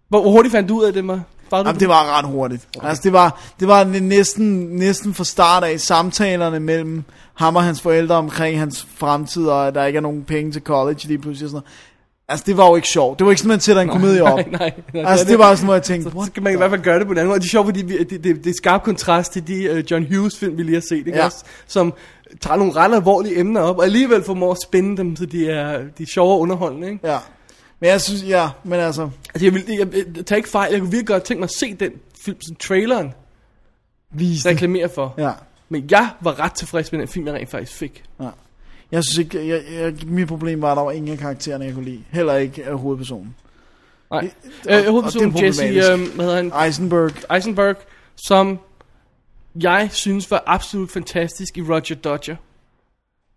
Speaker 1: hvor, hvor hurtigt fandt du ud af, at den var? Var du
Speaker 2: Jamen, det var ret hurtigt. Okay. Altså, det var, det var næsten, næsten fra start af samtalerne mellem ham og hans forældre omkring hans fremtid, og at der ikke er nogen penge til college lige pludselig. og Sådan noget. Altså, det var jo ikke sjovt. Det var ikke sådan, man sætter en komedie op.
Speaker 1: (laughs) Nej, nej, nej,
Speaker 2: altså,
Speaker 1: det
Speaker 2: det,
Speaker 1: er
Speaker 2: var
Speaker 1: det.
Speaker 2: sådan, hvor jeg tænkte,
Speaker 1: Så
Speaker 2: what?
Speaker 1: skal man i hvert fald gøre det på en anden måde. Det er sjovt, fordi vi, det, det, det er skarp kontrast til de uh, John Hughes film, vi lige har set, ikke
Speaker 2: Ja.
Speaker 1: også? Som tager nogle ret alvorlige emner op, og alligevel formår at spænde dem, så de er, de er sjove og underholdende, ikke?
Speaker 2: Ja. Men jeg synes, ja, men altså,
Speaker 1: Altså, jeg, vil, jeg, jeg, jeg tager ikke fejl. Jeg kunne virkelig godt tænke mig at se den film, som traileren
Speaker 2: vis det.
Speaker 1: reklamerer for.
Speaker 2: Ja.
Speaker 1: Men jeg var ret tilfreds med den film, jeg rent faktisk fik.
Speaker 2: Jeg synes ikke, jeg, jeg, mit problem var, at der var ingen af karaktererne, jeg kunne lide. Heller ikke af hovedpersonen.
Speaker 1: Nej.
Speaker 2: og-
Speaker 1: Øh,
Speaker 2: og
Speaker 1: hovedpersonen
Speaker 2: det er
Speaker 1: Jesse,
Speaker 2: problematisk.
Speaker 1: øh, hvad hedder han?
Speaker 2: Eisenberg,
Speaker 1: Eisenberg, som jeg synes var absolut fantastisk i Roger Dodger.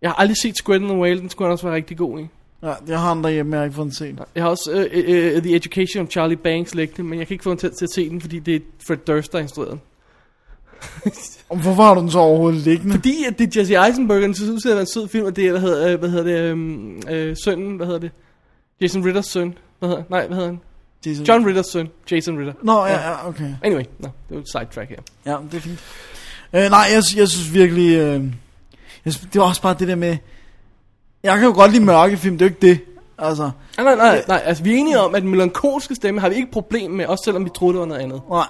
Speaker 1: Jeg har aldrig set Squid and the Whale, den skulle han også være rigtig god i.
Speaker 2: ja, jeg har den derhjemme, jeg har ikke fået den set.
Speaker 1: Jeg har også øh, øh, øh, The Education of Charlie Banks liggende, men jeg kan ikke få den til, til at se den, fordi det er Fred Durst, der har instrueret den.
Speaker 2: Og Hvorfor har du den så overhovedet liggende?
Speaker 1: Fordi at det er Jesse Eisenberg, og den synes ud til at være en sød film, og det er, hvad hedder, øh, hvad hedder det, øhm, øh, sønnen, hvad hedder det? Jason Ritters søn. Hvad hedder, nej, hvad hedder han?
Speaker 2: Jason-
Speaker 1: John Ritters søn, Jason Ritter.
Speaker 2: Nå, ja, ja, okay.
Speaker 1: Anyway, no, det var et sidetrack her.
Speaker 2: Ja, det er fint. Øh, nej, jeg, sy- jeg synes virkelig... Øh, jeg, sy- det var også bare det der med... Jeg kan jo godt lide mørke film, det er jo ikke det. Altså,
Speaker 1: Nej, nej, nej, nej, altså vi er enige om, at den melankolske stemme har vi ikke problem med, også selvom vi troede, det var noget andet.
Speaker 2: nej.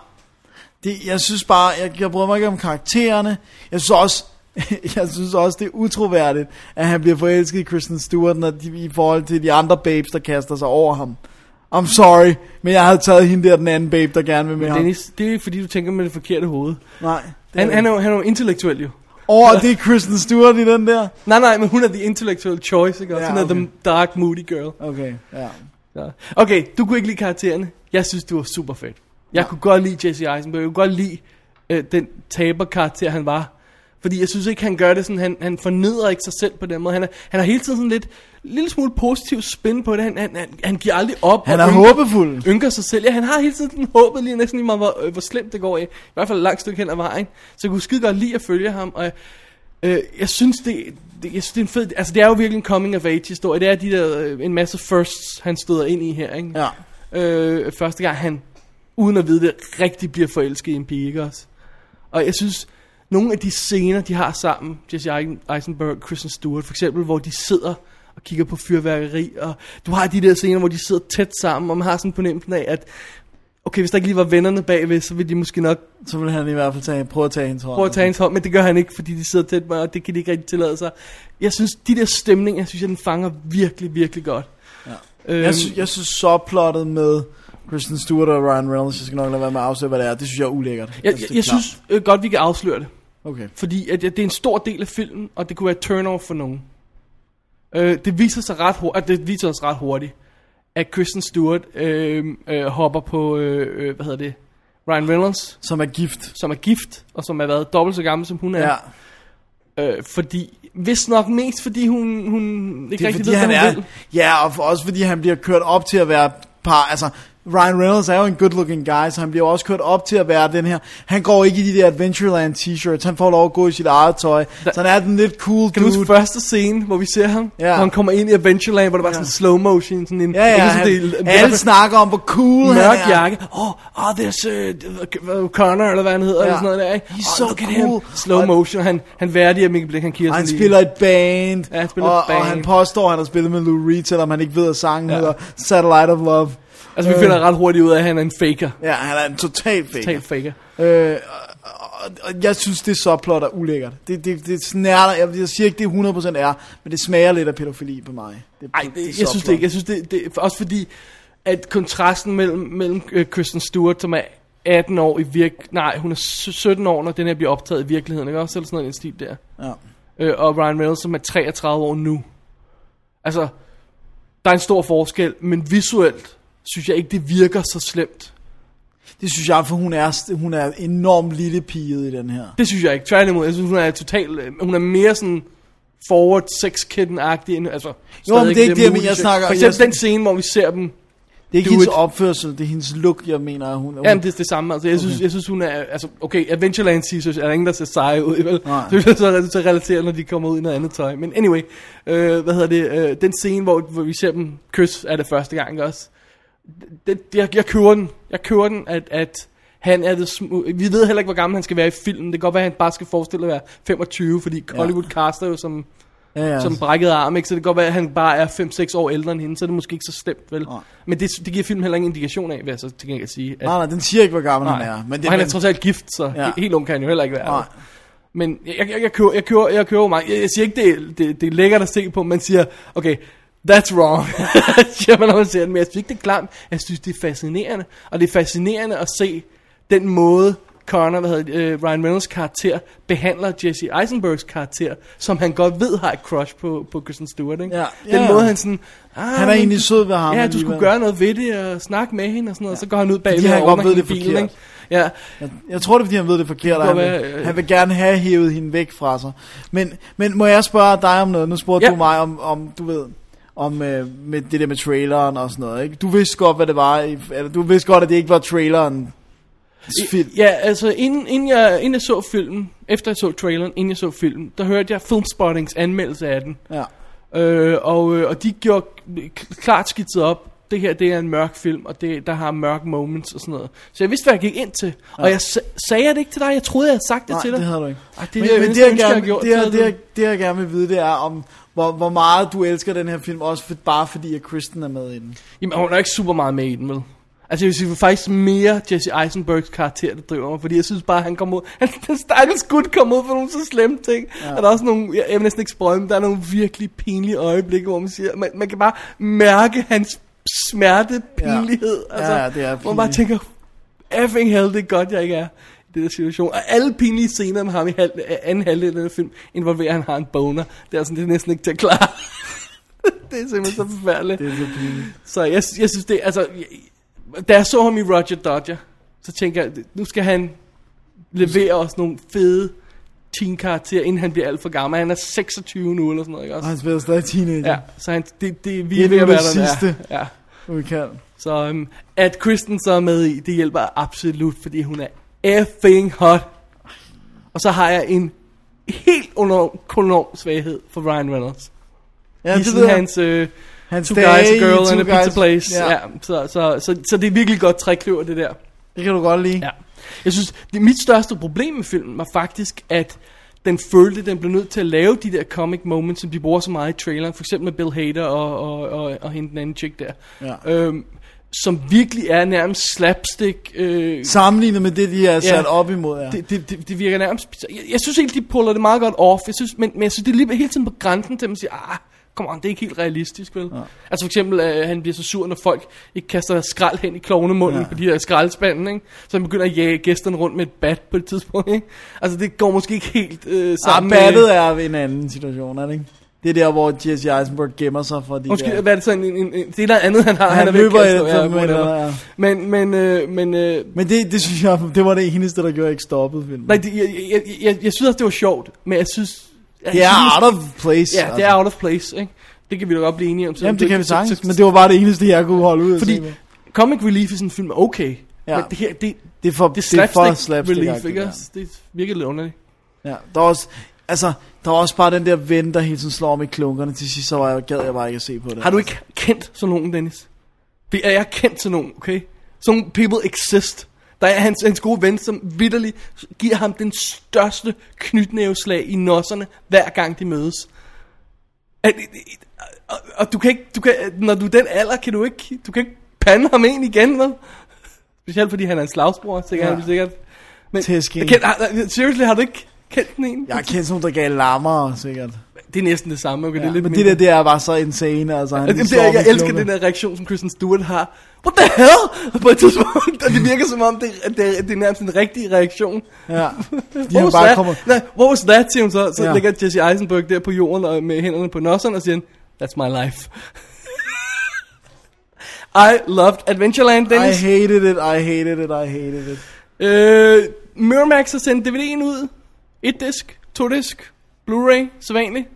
Speaker 2: Det, jeg synes bare, jeg, jeg bryder mig ikke om karaktererne. Jeg synes også, (laughs) jeg synes også, det er utroværdigt, at han bliver forelsket i Kristen Stewart, når de, i forhold til de andre babes, der kaster sig over ham. I'm sorry, men jeg havde taget hende der, den anden babe, der gerne vil med ham.
Speaker 1: Dennis, det er fordi, du tænker med det forkerte hoved.
Speaker 2: Nej. det er
Speaker 1: Han,
Speaker 2: det
Speaker 1: han,
Speaker 2: ikke.
Speaker 1: er, jo, han er jo intellektuel jo.
Speaker 2: Åh, det er Kristen Stewart i den der.
Speaker 1: Nej, nej, men hun er the intellectual choice, ikke? Også?
Speaker 2: Ja,
Speaker 1: hun er
Speaker 2: okay.
Speaker 1: the dark, moody girl.
Speaker 2: Okay, ja.
Speaker 1: Ja. Okay, du kunne ikke lide karaktererne. Jeg synes, du var super fedt. Jeg kunne godt lide Jesse Eisenberg. Jeg kunne godt lide øh, den taberkarakter, han var. Fordi jeg synes ikke, han gør det sådan, han, han fornedrer ikke sig selv på den måde. Han er, han er hele tiden sådan lidt, lille smule positiv spin på det. Han, han, han, han giver aldrig op.
Speaker 2: Han
Speaker 1: og
Speaker 2: er
Speaker 1: ynker-
Speaker 2: håbefuld.
Speaker 1: Ynker sig selv. Ja, han har hele tiden (laughs) håbet lige næsten lige meget, hvor, øh, hvor slemt det går af. I hvert fald et langt stykke hen ad vejen. Så jeg kunne skide godt lide at følge ham. Og jeg, Øh, jeg synes, det, det, jeg synes, det er en fed... Altså, det er jo virkelig en coming-of-age-historie. Det er de der, øh, en masse firsts, han støder ind i her, ikke?
Speaker 2: Ja.
Speaker 1: Øh, første gang han, uden at vide det, rigtig bliver forelsket i en pige, ikke også? Og jeg synes, nogle af de scener, de har sammen, Jesse Eisen- Eisenberg og Kristen Stewart, for eksempel, hvor de sidder og kigger på fyrværkeri, og du har de der scener, hvor de sidder tæt sammen, og man har sådan fornemmelsen af, at okay, hvis der ikke lige var vennerne bagved, så ville de måske nok
Speaker 2: Så vil han i hvert fald tage, prøve at tage hendes hånd.
Speaker 1: prøver at tage hans hånd, men det gør han ikke, fordi de sidder tæt med, og det kan de ikke rigtig tillade sig. Jeg synes, de der stemninger, jeg synes, jeg, den fanger virkelig, virkelig godt. Ja. Øhm,
Speaker 2: Jeg, sy- jeg synes så plottet med Kristen Stewart og Ryan Reynolds, jeg skal nok lade være med at afsløre, hvad det er. Det synes jeg er ulækkert.
Speaker 1: jeg,
Speaker 2: Altså,
Speaker 1: jeg,
Speaker 2: det er
Speaker 1: jeg
Speaker 2: klart.
Speaker 1: synes øh, godt, vi kan afsløre det,
Speaker 2: Okay.
Speaker 1: fordi at, at det er en stor del af filmen, og det kunne være turn-off for nogen. Øh, det viser sig ret hurtigt, det viser os ret hurtigt, at Kristen Stewart øh, øh, hopper på, øh, øh, hvad hedder det, Ryan Reynolds,
Speaker 2: Som er gift.
Speaker 1: som er gift, og som er været dobbelt så gammel, som hun er.
Speaker 2: Ja. ja.
Speaker 1: Øh, fordi, hvis nok mest, fordi hun, hun ikke
Speaker 2: Det er
Speaker 1: rigtig
Speaker 2: fordi
Speaker 1: ved, hvad
Speaker 2: han
Speaker 1: hun
Speaker 2: er...
Speaker 1: vil.
Speaker 2: Ja, og for, også fordi han bliver kørt op til at være par... Altså, Ryan Reynolds er jo en good looking guy, så han bliver jo også kørt op til at være den her... Han går ikke i de der Adventureland t-shirts, han får lov at gå i sit eget tøj. Så han er den lidt cool
Speaker 1: Kan du huske
Speaker 2: dude.
Speaker 1: første scene, hvor vi ser ham?
Speaker 2: Ja.
Speaker 1: Når han kommer ind i Adventureland, hvor der var sådan en slow motion, sådan en...
Speaker 2: Ja, ja, han, alle snakker om, hvor cool han er.
Speaker 1: Mørk jakke. Åh, oh, oh, there's uh, Connor, eller hvad han hedder,
Speaker 2: Ja.
Speaker 1: ja. eller sådan noget der, ikke?
Speaker 2: He's
Speaker 1: Åh,
Speaker 2: so
Speaker 1: look at him.
Speaker 2: cool.
Speaker 1: Slow
Speaker 2: Og-
Speaker 1: motion, han, han værdiger Mikkel Blik, han kigger
Speaker 2: Og han
Speaker 1: sådan
Speaker 2: spiller et band,
Speaker 1: Ja, han spiller
Speaker 2: og,
Speaker 1: et band.
Speaker 2: og han påstår, at han har spillet med Lou Reed, selvom han ikke ved, at sangen ja.
Speaker 1: Ja.
Speaker 2: hedder Satellite of Love.
Speaker 1: lige. Altså, vi finder
Speaker 2: Øh.
Speaker 1: ret hurtigt ud af, at han er en faker.
Speaker 2: Ja, han er en total fake.
Speaker 1: Total faker.
Speaker 2: Øh, og, og, og jeg synes, det subplot er ulækkert. Det, det, det snærter, jeg, jeg siger ikke, det 100% er, men det smager lidt af pædofili på mig. Det,
Speaker 1: Ej, det, jeg synes det ikke. Jeg synes det, det for- også fordi, at kontrasten mellem, mellem øh, Kristen Stewart, som er 18 år i virk... Nej, hun er sy- 17 år, når den her bliver optaget i virkeligheden, ikke også? Eller sådan noget i den stil der.
Speaker 2: Ja.
Speaker 1: øh, og Ryan Reynolds, som er 33 år nu. Altså, der er en stor forskel, men visuelt synes jeg ikke, det virker så slemt.
Speaker 2: Det synes jeg, for hun er, hun er enormt lille piget i den her.
Speaker 1: Det synes jeg ikke. Tværtimod, jeg synes, hun er total, øh, hun er mere sådan forward sex kitten-agtig. end- Altså,
Speaker 2: Jo, men
Speaker 1: stadig
Speaker 2: det er ikke det,
Speaker 1: moody
Speaker 2: men jeg
Speaker 1: shit.
Speaker 2: snakker-
Speaker 1: For eksempel
Speaker 2: jeg-
Speaker 1: den scene, hvor vi ser dem.
Speaker 2: Det er ikke
Speaker 1: Do
Speaker 2: hendes
Speaker 1: it.
Speaker 2: opførsel, det er hendes look, jeg mener. at Hun, hun,
Speaker 1: Jamen, det er det samme. Altså, jeg, synes, jeg synes, hun er... Altså, okay, Adventureland t-shirts er der ingen, der ser seje ud, vel?
Speaker 2: Nej.
Speaker 1: Så (laughs) det er så relateret, når de kommer ud i noget andet tøj. Men anyway, øh, hvad hedder det? Øh, den scene, hvor, hvor vi ser dem kysse, er det første gang, ikke også? det, det, jeg, jeg køber den. Jeg køber den, at, at han er det smu- Vi ved heller ikke, hvor gammel han skal være i filmen. Det kan godt være, at han bare skal forestille at være 25, fordi Hollywood ja. caster jo som
Speaker 2: Ja, ja.
Speaker 1: som brækkede arm, ikke? Så det kan godt være, at han bare er 5-6 år ældre end hende, så er det måske ikke så slemt, vel?
Speaker 2: Nej.
Speaker 1: Men det, det giver filmen heller ingen indikation af, hvad jeg så til gengæld sige. At,
Speaker 2: Nej, nej, den siger ikke, hvor gammel han er. Men
Speaker 1: men
Speaker 2: det,
Speaker 1: og han er
Speaker 2: men-
Speaker 1: trods alt gift, så
Speaker 2: Ja.
Speaker 1: ja. helt ung kan han jo heller ikke være.
Speaker 2: Nej.
Speaker 1: Men jeg, jeg, jeg, kører, jeg, kører, jeg kører jo mange. Jeg, jeg siger ikke, det, er- det, det er lækkert at se på, men siger, okay, that's wrong, (laughs) siger man, når man ser den. Men jeg synes ikke, det er klamt. Jeg synes, det er fascinerende. Og det er fascinerende at se den måde, Connor, hvad hedder, det, øh, Ryan Reynolds karakter, behandler Jesse Eisenbergs karakter, som han godt ved har et crush på, på Kristen Stewart. Ikke?
Speaker 2: Ja.
Speaker 1: Den
Speaker 2: Ja.
Speaker 1: måde, han sådan... Ah,
Speaker 2: Han er
Speaker 1: men-
Speaker 2: egentlig sød ved ham
Speaker 1: Ja, du skulle
Speaker 2: alligevel."
Speaker 1: gøre noget ved det, og snakke med hende og sådan noget. Ja. Så går han ud bag
Speaker 2: han godt ved, det er forkert.
Speaker 1: Ja,
Speaker 2: Jeg, jeg tror, det er, fordi han ved det forkert, og
Speaker 1: Det
Speaker 2: han
Speaker 1: må være,
Speaker 2: vil,
Speaker 1: øh,
Speaker 2: han vil gerne have hævet hende væk fra sig. Men, men må jeg spørge dig om noget? Nu spurgte
Speaker 1: Ja.
Speaker 2: du mig om, om du ved, om øh, med det der med traileren og sådan noget. Ikke? Du vidste godt, hvad det var. i- Eller, du vidste godt, at det ikke var traileren. Film.
Speaker 1: Ja, altså inden, inden, jeg, inden jeg så filmen, efter jeg så traileren, inden jeg så filmen, der hørte jeg Filmspottings anmeldelse af den.
Speaker 2: Ja.
Speaker 1: Øh, og, øh, og de gjorde k- klart skitset op, det her det er en mørk film, og det, der har mørk moments og sådan noget. Så jeg vidste, hvad jeg gik ind til. Og jeg sa- sagde jeg det ikke til dig, jeg troede, jeg havde sagt det
Speaker 2: Nej,
Speaker 1: til dig.
Speaker 2: det havde du ikke.
Speaker 1: Ej, det,
Speaker 2: Det,
Speaker 1: er
Speaker 2: men,
Speaker 1: det,
Speaker 2: men det,
Speaker 1: jeg
Speaker 2: jeg
Speaker 1: ønsker, jeg havde
Speaker 2: gerne,
Speaker 1: gjort.
Speaker 2: det, jeg,
Speaker 1: Så
Speaker 2: det,
Speaker 1: havde
Speaker 2: jeg, det, jeg gerne vil vide, det er, om, hvor, hvor meget du elsker den her film, også for, bare fordi, at Kristen er med i den.
Speaker 1: Jamen, hun er ikke super meget med i den, vel? Altså, jeg vil sige, det er faktisk mere Jesse Eisenbergs karakter, der driver mig, fordi jeg synes bare, han kommer ud... (laughs) Han, den stakkels gut kommer ud for nogle så slemme ting. Ja. Og der er også nogle... Jeg, jeg vil næsten ikke spoil, men der er nogle virkelig pinlige øjeblikke, hvor man siger... Man, man kan bare mærke hans smerte, pinlighed.
Speaker 2: Ja,
Speaker 1: Altså,
Speaker 2: ja, det er
Speaker 1: Hvor man bare
Speaker 2: pinligt.
Speaker 1: tænker, effing hell, det er godt, jeg ikke er i den her situation. Og alle pinlige scener med ham i halv, anden halvdel af den her film, involverer, at han har en boner. Det er sådan, det er næsten ikke til at klare. (laughs) det er simpelthen så forfærdeligt.
Speaker 2: Det er så pinligt.
Speaker 1: Så jeg, jeg synes det, altså, jeg, da jeg så ham i Roger Dodger, så tænker jeg, nu skal han levere os nogle fede teen-karakterer, inden han bliver alt for gammel. Han er 26 nu, eller sådan noget, ikke
Speaker 2: Og
Speaker 1: også?
Speaker 2: han spiller stadig teenager.
Speaker 1: Ja, så han, det, det, vi
Speaker 2: Det er
Speaker 1: er ved
Speaker 2: nu
Speaker 1: at være
Speaker 2: det
Speaker 1: der, hvor vi
Speaker 2: sidste.
Speaker 1: er. Ja.
Speaker 2: Vi kan.
Speaker 1: Så um, at Kristen så er med i, det hjælper absolut, fordi hun er effing hot. Og så har jeg en helt enorm, enorm svaghed for Ryan Reynolds.
Speaker 2: Ja,
Speaker 1: Ja, I
Speaker 2: det
Speaker 1: sådan
Speaker 2: ved jeg.
Speaker 1: hans... Øh,
Speaker 2: Hans
Speaker 1: Two
Speaker 2: dage
Speaker 1: guys, a
Speaker 2: i
Speaker 1: girl
Speaker 2: Two
Speaker 1: and a pizza
Speaker 2: Guys.
Speaker 1: place. Ja. Ja, så, så, så, så det er virkelig godt trækløver, det der.
Speaker 2: Det kan du godt lide.
Speaker 1: Ja. Jeg synes, det, mit største problem med filmen var faktisk, at den følte, at den blev nødt til at lave de der comic moments, som de bruger så meget i traileren. For eksempel med Bill Hader og, og, og, og hende den anden chick der.
Speaker 2: Ja.
Speaker 1: Øhm, som virkelig er nærmest slapstick. Øh,
Speaker 2: Sammenlignet med det, de er sat op imod, ja.
Speaker 1: det, det, det, det virker nærmest... bizarrt. Jeg, jeg synes egentlig, de puller det meget godt off. Jeg synes, men, men jeg synes, det er lige hele tiden på grænsen til, at man siger, ah, come on, det er ikke helt realistisk, vel? Ja. Altså for eksempel, øh, han bliver så sur, når folk ikke kaster skrald hen i klovnemunden
Speaker 2: Ja.
Speaker 1: ja. på de der skraldespanden, ikke? Så han begynder at jage gæsterne rundt med et bat på et tidspunkt, ikke? Altså det går måske ikke helt øh, sammen
Speaker 2: ah,
Speaker 1: med...
Speaker 2: battet er en anden situation, er det ikke? Det er der, hvor Jesse Eisenberg gemmer sig for de
Speaker 1: Undskyld,
Speaker 2: der...
Speaker 1: hvad er det så en, en, en, det er noget andet, han har.
Speaker 2: Han
Speaker 1: er ved at
Speaker 2: løber
Speaker 1: kaste-
Speaker 2: efter dem,
Speaker 1: whatever.
Speaker 2: eller hvad, ja.
Speaker 1: Men, men, øh, men øh,
Speaker 2: Men det, det synes jeg, det var det eneste, der gjorde, at jeg ikke stoppede filmen.
Speaker 1: nej, det, jeg, jeg, jeg, jeg, jeg synes også, det var sjovt, men jeg synes... jeg
Speaker 2: det er
Speaker 1: synes-
Speaker 2: out of place. altså.
Speaker 1: Ja, det er out of place, ikke? Det kan vi da godt blive enige om. selvom
Speaker 2: Jamen, det kan vi
Speaker 1: så-
Speaker 2: sagtens,
Speaker 1: så-
Speaker 2: men det var bare det eneste, jeg kunne holde ud
Speaker 1: Fordi
Speaker 2: at se. med.
Speaker 1: Comic Relief i sådan en film er okay.
Speaker 2: Ja.
Speaker 1: Ja. Men det her, det, det,
Speaker 2: Det er for,
Speaker 1: det er
Speaker 2: det er
Speaker 1: slapstick,
Speaker 2: for
Speaker 1: slapstick Relief,
Speaker 2: slapstick
Speaker 1: ikke?
Speaker 2: ja.
Speaker 1: også? Det virker lidt underligt.
Speaker 2: ja. Der er også, altså, der er også bare den der ven, der hele tiden slår om i klunkerne. Til sidst, så var jeg, gad jeg bare ikke at se på det.
Speaker 1: Har du ikke kendt sådan nogen, Dennis? Vi er jeg kendt sådan nogen, okay? Sådan nogle people exist. Der er hans, hans gode ven, som vidderligt giver ham den største knytnæveslag i nosserne, hver gang de mødes. At, og, og, du kan ikke, du kan, når du er den alder, kan du ikke, du kan ikke pande ham ind igen, vel? Specielt fordi han er en slagsbror, så kan
Speaker 2: Ja.
Speaker 1: ja. han sikkert... Men,
Speaker 2: Tæsk en.
Speaker 1: Kend, har, seriously, har du ikke kendt den en?
Speaker 2: Jeg har kendt sådan nogle, der gav lammer, sikkert.
Speaker 1: Det er næsten det samme, okay? Ja, det
Speaker 2: Ja,
Speaker 1: er lidt
Speaker 2: men det
Speaker 1: mindre.
Speaker 2: der, det er bare så insane, altså. Han
Speaker 1: Og det,
Speaker 2: slår
Speaker 1: det,
Speaker 2: om i
Speaker 1: jeg elsker
Speaker 2: klunkerne.
Speaker 1: den der reaktion, som Kristen Stewart har. What the hell? (laughs) På et tidspunkt, og det virker som om, det, at det, det er nærmest en rigtig reaktion. (laughs)
Speaker 2: Ja, de
Speaker 1: What
Speaker 2: har
Speaker 1: was
Speaker 2: bare
Speaker 1: that?
Speaker 2: kommet...
Speaker 1: Nej, what was that, siger hun så. Så
Speaker 2: Ja.
Speaker 1: ja. ligger Jesse Eisenberg der på jorden og med hænderne på nosseren og siger, that's my life. (laughs) I loved Adventureland,
Speaker 2: I
Speaker 1: Dennis.
Speaker 2: hated it, I hated it, I hated it.
Speaker 1: Øh, Miramax har sendt DVD'en ud. Et disk, to disk, Blu-ray, sædvanlig.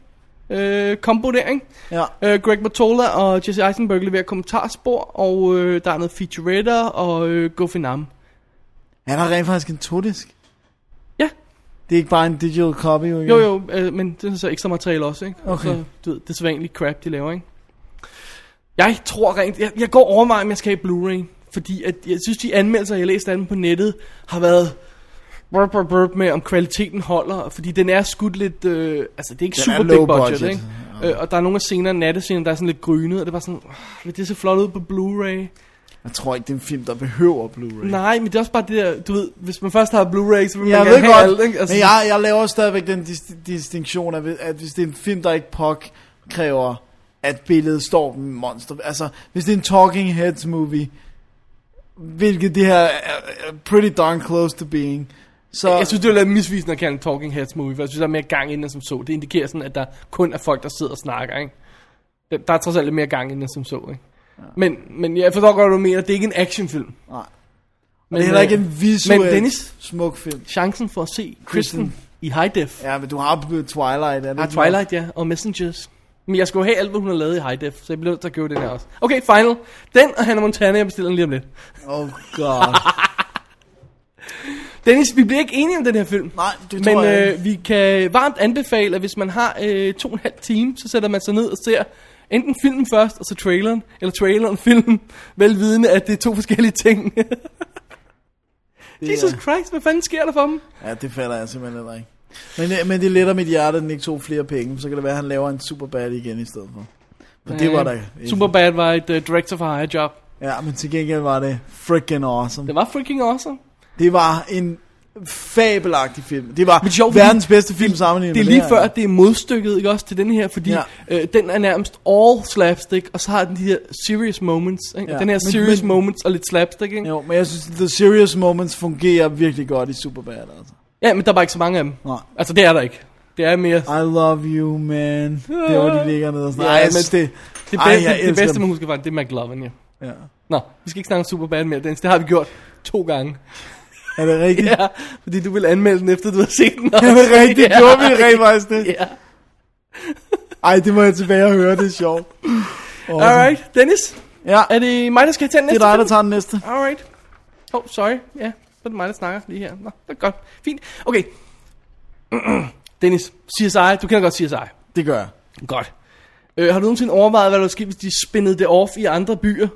Speaker 1: Øh, combo der, ikke?
Speaker 2: Ja.
Speaker 1: Øh, Greg Matola og Jesse Eisenberg leverer kommentarspor, og øh, der er noget featuretter og øh, Gofinam.
Speaker 2: Han har rent faktisk en todisk.
Speaker 1: Ja,
Speaker 2: Det er ikke bare en digital copy, jo. ikke?
Speaker 1: jo jo, øh, men det er så ekstra materiale også, ikke? Og
Speaker 2: Okay.
Speaker 1: Så, du ved, det er så vanligt crap, de laver, ikke? Jeg tror rent, jeg, jeg går overveje, om jeg skal have Blu-ray, fordi at, jeg synes, de anmeldelser, jeg har læst af dem på nettet, har været burp, burp, burp med, om kvaliteten holder, fordi den er skudt lidt, øh, altså det er ikke
Speaker 2: Den er
Speaker 1: super
Speaker 2: low
Speaker 1: big budget,
Speaker 2: budget,
Speaker 1: ikke? Øh, og der er nogle af scenerne, nattescener, der er sådan lidt grynet, og det er bare sådan, "Ah, vil det se flot ud på Blu-ray?
Speaker 2: Jeg tror ikke, det er en film, der behøver Blu-ray.
Speaker 1: Nej, men det er også bare det der, du ved, hvis man først har Blu-ray, så vil man
Speaker 2: Jeg
Speaker 1: gerne
Speaker 2: ved
Speaker 1: have
Speaker 2: godt,
Speaker 1: alt, ikke? Altså,
Speaker 2: men jeg, jeg laver stadigvæk den dis- distinktion, af, at hvis det er en film, der ikke pok kræver, at billedet står med monster. Altså, hvis det er en Talking Heads movie, hvilket det her er, er pretty darn close to being, så...
Speaker 1: Jeg synes, det er lidt misvisende at kalde en Talking Heads movie, for jeg synes, der er mere gang inden som så. Det indikerer sådan, at der kun er folk, der sidder og snakker, ikke? Der- Der er trods alt lidt mere gang inden som så, ikke? Ja. Men, men jeg forstår godt, hvad du mener. Det er ikke en actionfilm.
Speaker 2: Nej.
Speaker 1: Men
Speaker 2: det er heller ikke
Speaker 1: øh,
Speaker 2: en visuel
Speaker 1: Men Dennis,
Speaker 2: smuk film.
Speaker 1: chancen for at se
Speaker 2: Kristen.
Speaker 1: Kristen i High Def. Ja.
Speaker 2: Ja, men du har Twilight, er det
Speaker 1: Ah,
Speaker 2: ikke?
Speaker 1: Twilight, ja. Og Messengers. Men jeg skulle jo have alt, hvad hun har lavet i High Def, så jeg blev nødt til at købe den her også. Okay, final. Den og Hannah Montana, jeg bestiller den lige om lidt.
Speaker 2: Oh
Speaker 1: (laughs)
Speaker 2: god.
Speaker 1: Dennis, vi bliver ikke enige om den her film.
Speaker 2: Nej, det tror
Speaker 1: Men
Speaker 2: jeg ikke.
Speaker 1: øh, vi kan varmt anbefale, at hvis man har øh, to og en halv time, så sætter man sig ned og ser enten filmen først, og så traileren, eller traileren og filmen, (laughs) velvidende, at det er to forskellige ting. (laughs) Jesus Christ, hvad fanden sker der for dem?
Speaker 2: Ja, det falder jeg simpelthen heller ikke. Men, øh, men det letter mit hjerte, at den ikke tog flere penge, for så kan det være, at han laver en superbad igen i stedet for. Men det var da...
Speaker 1: Øh, Superbad var et uh, director for hire job.
Speaker 2: Ja, men til gengæld var det freaking awesome.
Speaker 1: Det var freaking awesome.
Speaker 2: Det var en fabelagtig film. Det var
Speaker 1: Men sjovt, fordi
Speaker 2: verdens bedste film sammenlignet
Speaker 1: Det er
Speaker 2: med
Speaker 1: lige
Speaker 2: her.
Speaker 1: før, at det er modstykket ikke også til den her, fordi
Speaker 2: Ja.
Speaker 1: ja. øh, den er nærmest all slapstick, og så har den de her serious moments. Ikke?
Speaker 2: Ja,
Speaker 1: Ja. Den her
Speaker 2: men-
Speaker 1: serious
Speaker 2: men-
Speaker 1: moments og lidt slapstick. Ikke?
Speaker 2: Jo, men jeg synes, The Serious Moments fungerer virkelig godt i Superbad, altså.
Speaker 1: Ja, men der er bare ikke så mange af dem.
Speaker 2: Nej.
Speaker 1: Altså, det er der ikke. Det er mere
Speaker 2: I love you, man. Det var de ligger nede og snakker.
Speaker 1: Ja,
Speaker 2: Ej, jeg synes,
Speaker 1: men
Speaker 2: det,
Speaker 1: Det
Speaker 2: Ej,
Speaker 1: bedste,
Speaker 2: jeg
Speaker 1: Ej, det
Speaker 2: elsker
Speaker 1: bedste
Speaker 2: dem.
Speaker 1: man husker faktisk, det er McLovin, ja.
Speaker 2: Ja.
Speaker 1: Nå, vi skal ikke snakke om Superbad mere, Dennis. Det har vi gjort to gange.
Speaker 2: Er det rigtigt?
Speaker 1: Ja, fordi du vil anmelde den, efter du har set den.
Speaker 2: Er det rigtigt?
Speaker 1: (laughs) Ja.
Speaker 2: Gjorde vi rent faktisk det?
Speaker 1: Ja.
Speaker 2: Ej, det må jeg tilbage og høre, det er (laughs) sjovt. Oh.
Speaker 1: Alright, Dennis,
Speaker 2: Ja,
Speaker 1: er det mig, der skal tage den
Speaker 2: det
Speaker 1: næste?
Speaker 2: er dig, der tager den næste.
Speaker 1: tager Alright. Oh, sorry. Ja, så er det mig, der snakker lige her. Nå, det er godt. Fint. Okay. (clears throat) Dennis, CSI, du kender godt CSI.
Speaker 2: Det gør jeg.
Speaker 1: Godt. Øh, har du nogensinde overvejet, hvad der sker, hvis de spinnede det off i andre byer?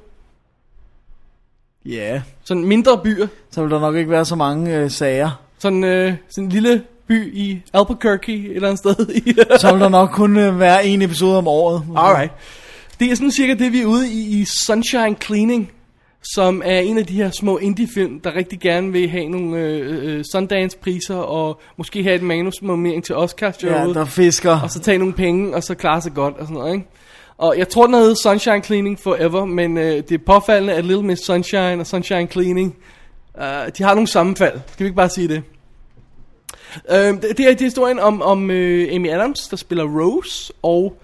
Speaker 2: Ja. Yeah.
Speaker 1: Sådan mindre byer.
Speaker 2: Så vil der nok ikke være så mange øh, sager.
Speaker 1: Sådan, øh, sådan en lille by i Albuquerque, et eller andet sted i,
Speaker 2: (laughs) Så vil der nok kun øh, være en episode om året.
Speaker 1: Alright. Det er sådan cirka det, vi er ude i, i Sunshine Cleaning, som er en af de her små indie-film, der rigtig gerne vil have nogle øh, øh, Sundance-priser, og måske have et manus nominering til Oscar
Speaker 2: Ja,
Speaker 1: ja,
Speaker 2: der fisker.
Speaker 1: og så tage nogle penge, og så klare sig godt, og sådan noget, ikke? Og jeg tror, den hedder Sunshine Cleaning Forever, men øh, det er påfaldende, at Little Miss Sunshine og Sunshine Cleaning, øh, de har nogle sammenfald. Skal vi ikke bare sige det? Øh, det, det er det er historien om, om øh, Amy Adams, der spiller Rose, og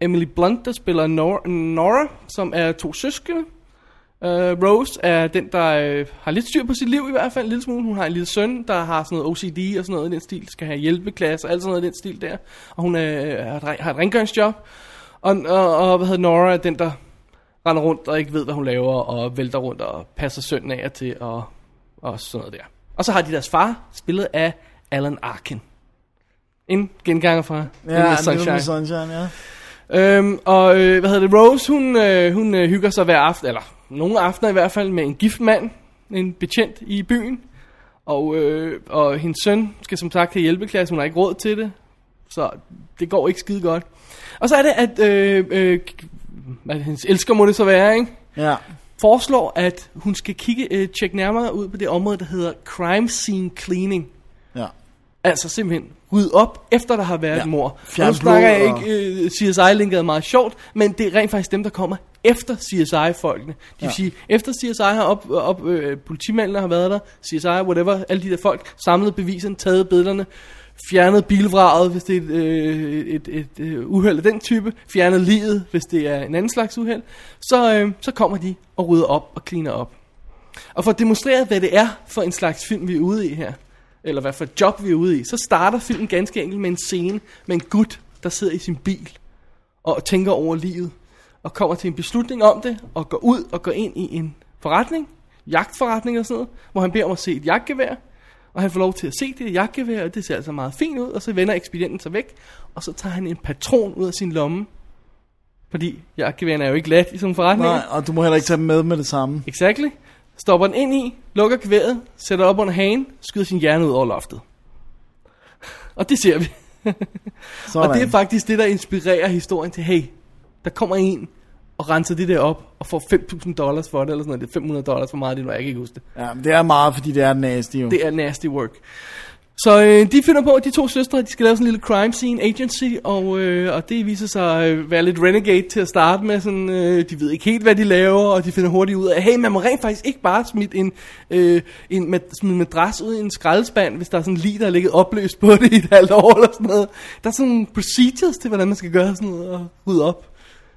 Speaker 1: Emily Blunt, der spiller Nora, Nora som er to søskende. Øh, Rose er den, der øh, har lidt styr på sit liv i hvert fald, en lille smule. Hun har en lille søn, der har sådan noget OCD og sådan noget i den stil, skal have hjælpeklasse og alt sådan noget i den stil der. Og hun øh, har et ren- har et rengøringsjob. Og, og, og hvad hedder Nora er den, der render rundt og ikke ved, hvad hun laver, og vælter rundt og passer sønnen af og til, og, og sådan noget der. Og så har de deres far, spillet af Alan Arkin. En genganger fra Little
Speaker 2: ja,
Speaker 1: Miss
Speaker 2: Little Miss Sunshine, ja.
Speaker 1: Øhm, og øh, hvad hedder det, Rose, hun, øh, hun øh, hygger sig hver aften, eller nogle aftener i hvert fald, med en gift mand, en betjent i byen. Og, øh, og hendes søn skal som sagt have hjælpeklasse, hun har ikke råd til det, så det går ikke skide godt. Og så er det, at, øh, øh, hvad hendes elsker må det så være, ikke?
Speaker 2: Ja.
Speaker 1: foreslår, at hun skal kigge, øh, tjekke nærmere ud på det område, der hedder crime scene cleaning.
Speaker 2: ja.
Speaker 1: Altså simpelthen rydde op, efter der har været
Speaker 2: Ja.
Speaker 1: ja. et mor.
Speaker 2: Fjern
Speaker 1: Og nu snakker jeg
Speaker 2: blod og-
Speaker 1: ikke, øh, CSI-linket er meget sjovt, men det er rent faktisk dem, der kommer efter CSI-folkene. Det vil
Speaker 2: Ja.
Speaker 1: ja. sige, efter CSI har op, op øh, politimændene har været der, CSI, whatever, alle de der folk, samlet beviserne, taget billederne, fjernet bilvraget, hvis det er et, øh, et, et, et øh, uheld af den type, fjernet livet, hvis det er en anden slags uheld, så, øh, så kommer de og rydder op og cleaner op. Og for at demonstrere, hvad det er for en slags film, vi er ude i her, eller hvad for et job, vi er ude i, så starter filmen ganske enkelt med en scene med en gut, der sidder i sin bil og tænker over livet, og kommer til en beslutning om det, og går ud og går ind i en forretning, jagtforretning og sådan noget, hvor han beder om at se et jagtgevær, og han får lov til at se det jagtgevær, og det ser altså meget fint ud, og så vender ekspedienten sig væk, og så tager han en patron ud af sin lomme, fordi jagtgeværerne er jo ikke let i sådan en forretning.
Speaker 2: Nej, og du må heller ikke tage dem med med det samme.
Speaker 1: Exactly. Stopper den ind i, lukker kvædet, sætter op under hagen, skyder sin hjerne ud over loftet. Og det ser vi. (laughs)
Speaker 2: Sådan.
Speaker 1: Og det er faktisk det, der inspirerer historien til, hey, der kommer en og renser det der op og får 5.000 dollars for det, eller sådan noget. Det er 500 dollars for meget, det nu jeg kan ikke huske det.
Speaker 2: Ja, men det er meget, fordi det er nasty jo. Det...
Speaker 1: Det er nasty work. Så øh, de finder på, at de to søstre, de skal lave sådan en lille crime scene agency, og, øh, og det viser sig at være lidt renegade til at starte med. Sådan, øh, de ved ikke helt, hvad de laver, og de finder hurtigt ud af, hey, man må rent faktisk ikke bare smide en, øh, en, mad- smide en madras ud i en skraldespand, hvis der er sådan lige, der er ligget opløst på (laughs) det i et halvt år eller sådan noget. Der er sådan procedures til, hvordan man skal gøre sådan noget og rydde op.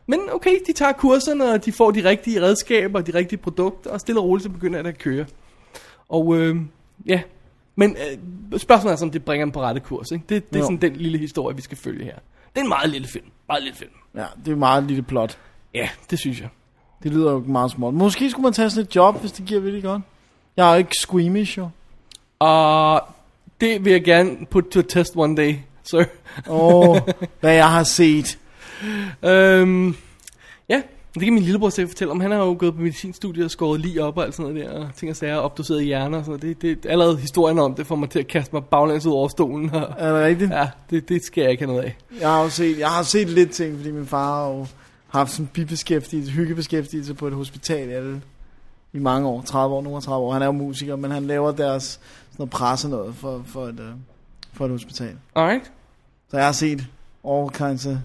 Speaker 1: Men okay, de tager kurserne, og de får de rigtige redskaber og de rigtige produkter, og stille og roligt så begynder det at køre. Og øh, ja, men øh, spørgsmålet er, så, om det bringer dem på rette kurs. Ikke? Det, det er
Speaker 2: Jo.
Speaker 1: sådan den lille historie, vi skal følge her. Det er en meget lille film. Meget lille film.
Speaker 2: Ja, det er meget lille plot.
Speaker 1: Ja, det synes jeg.
Speaker 2: Det lyder jo meget småt. Måske skulle man tage sådan et job, hvis det giver virkelig godt. Jeg er jo ikke squeamish jo.
Speaker 1: Og det vil jeg gerne put to a test one day, sir. (laughs)
Speaker 2: (laughs) Åh, oh, hvad jeg har set.
Speaker 1: øhm, ja, det kan min lillebror selv fortælle om. Han har jo gået på medicinstudiet og skåret lige op og alt sådan noget der, og ting og sager, og opdoseret hjerner og sådan noget. Det, det, allerede historien om det får mig til at kaste mig baglæns ud over stolen. Og,
Speaker 2: Er det rigtigt? Ja.
Speaker 1: ja, det, det skal jeg ikke have noget af.
Speaker 2: Jeg har jo set, jeg har set lidt ting, fordi min far har jo haft sådan en bibeskæftigelse, hyggebeskæftigelse på et hospital i, alle, i mange år, 30 år, nogle 30 år. Han er jo musiker, men han laver deres sådan noget presse noget for, for, et, øh, for et hospital.
Speaker 1: Alright?
Speaker 2: Så jeg har set all kinds of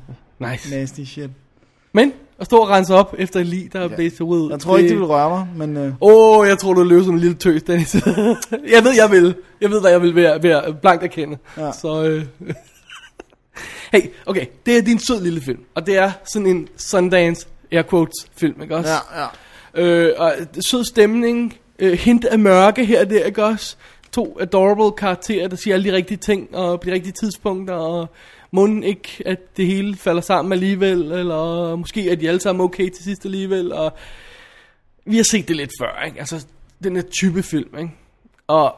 Speaker 1: Nice.
Speaker 2: nasty shit.
Speaker 1: Men at stå og rense op efter et lig, der er blæst til ud.
Speaker 2: Jeg tror ikke, det vil røre mig, men øh,
Speaker 1: Åh, oh, jeg tror, du løber som en lille tøs, Dennis. (laughs) jeg ved, jeg vil. Jeg ved, hvad jeg vil ved, at- ved at blankt erkende.
Speaker 2: Ja.
Speaker 1: Så, øh. (laughs) hey, okay. Det er din sød lille film. Og det er sådan en Sundance air quotes film, ikke også?
Speaker 2: ja, ja.
Speaker 1: Øh, og sød stemning, øh, hint af mørke her og der, ikke også? To adorable karakterer, der siger alle de rigtige ting, og på de rigtige tidspunkter, og munden ikke, at det hele falder sammen alligevel, eller måske er de alle sammen okay til sidst alligevel, og vi har set det lidt før, ikke? Altså, den her type film, ikke? Og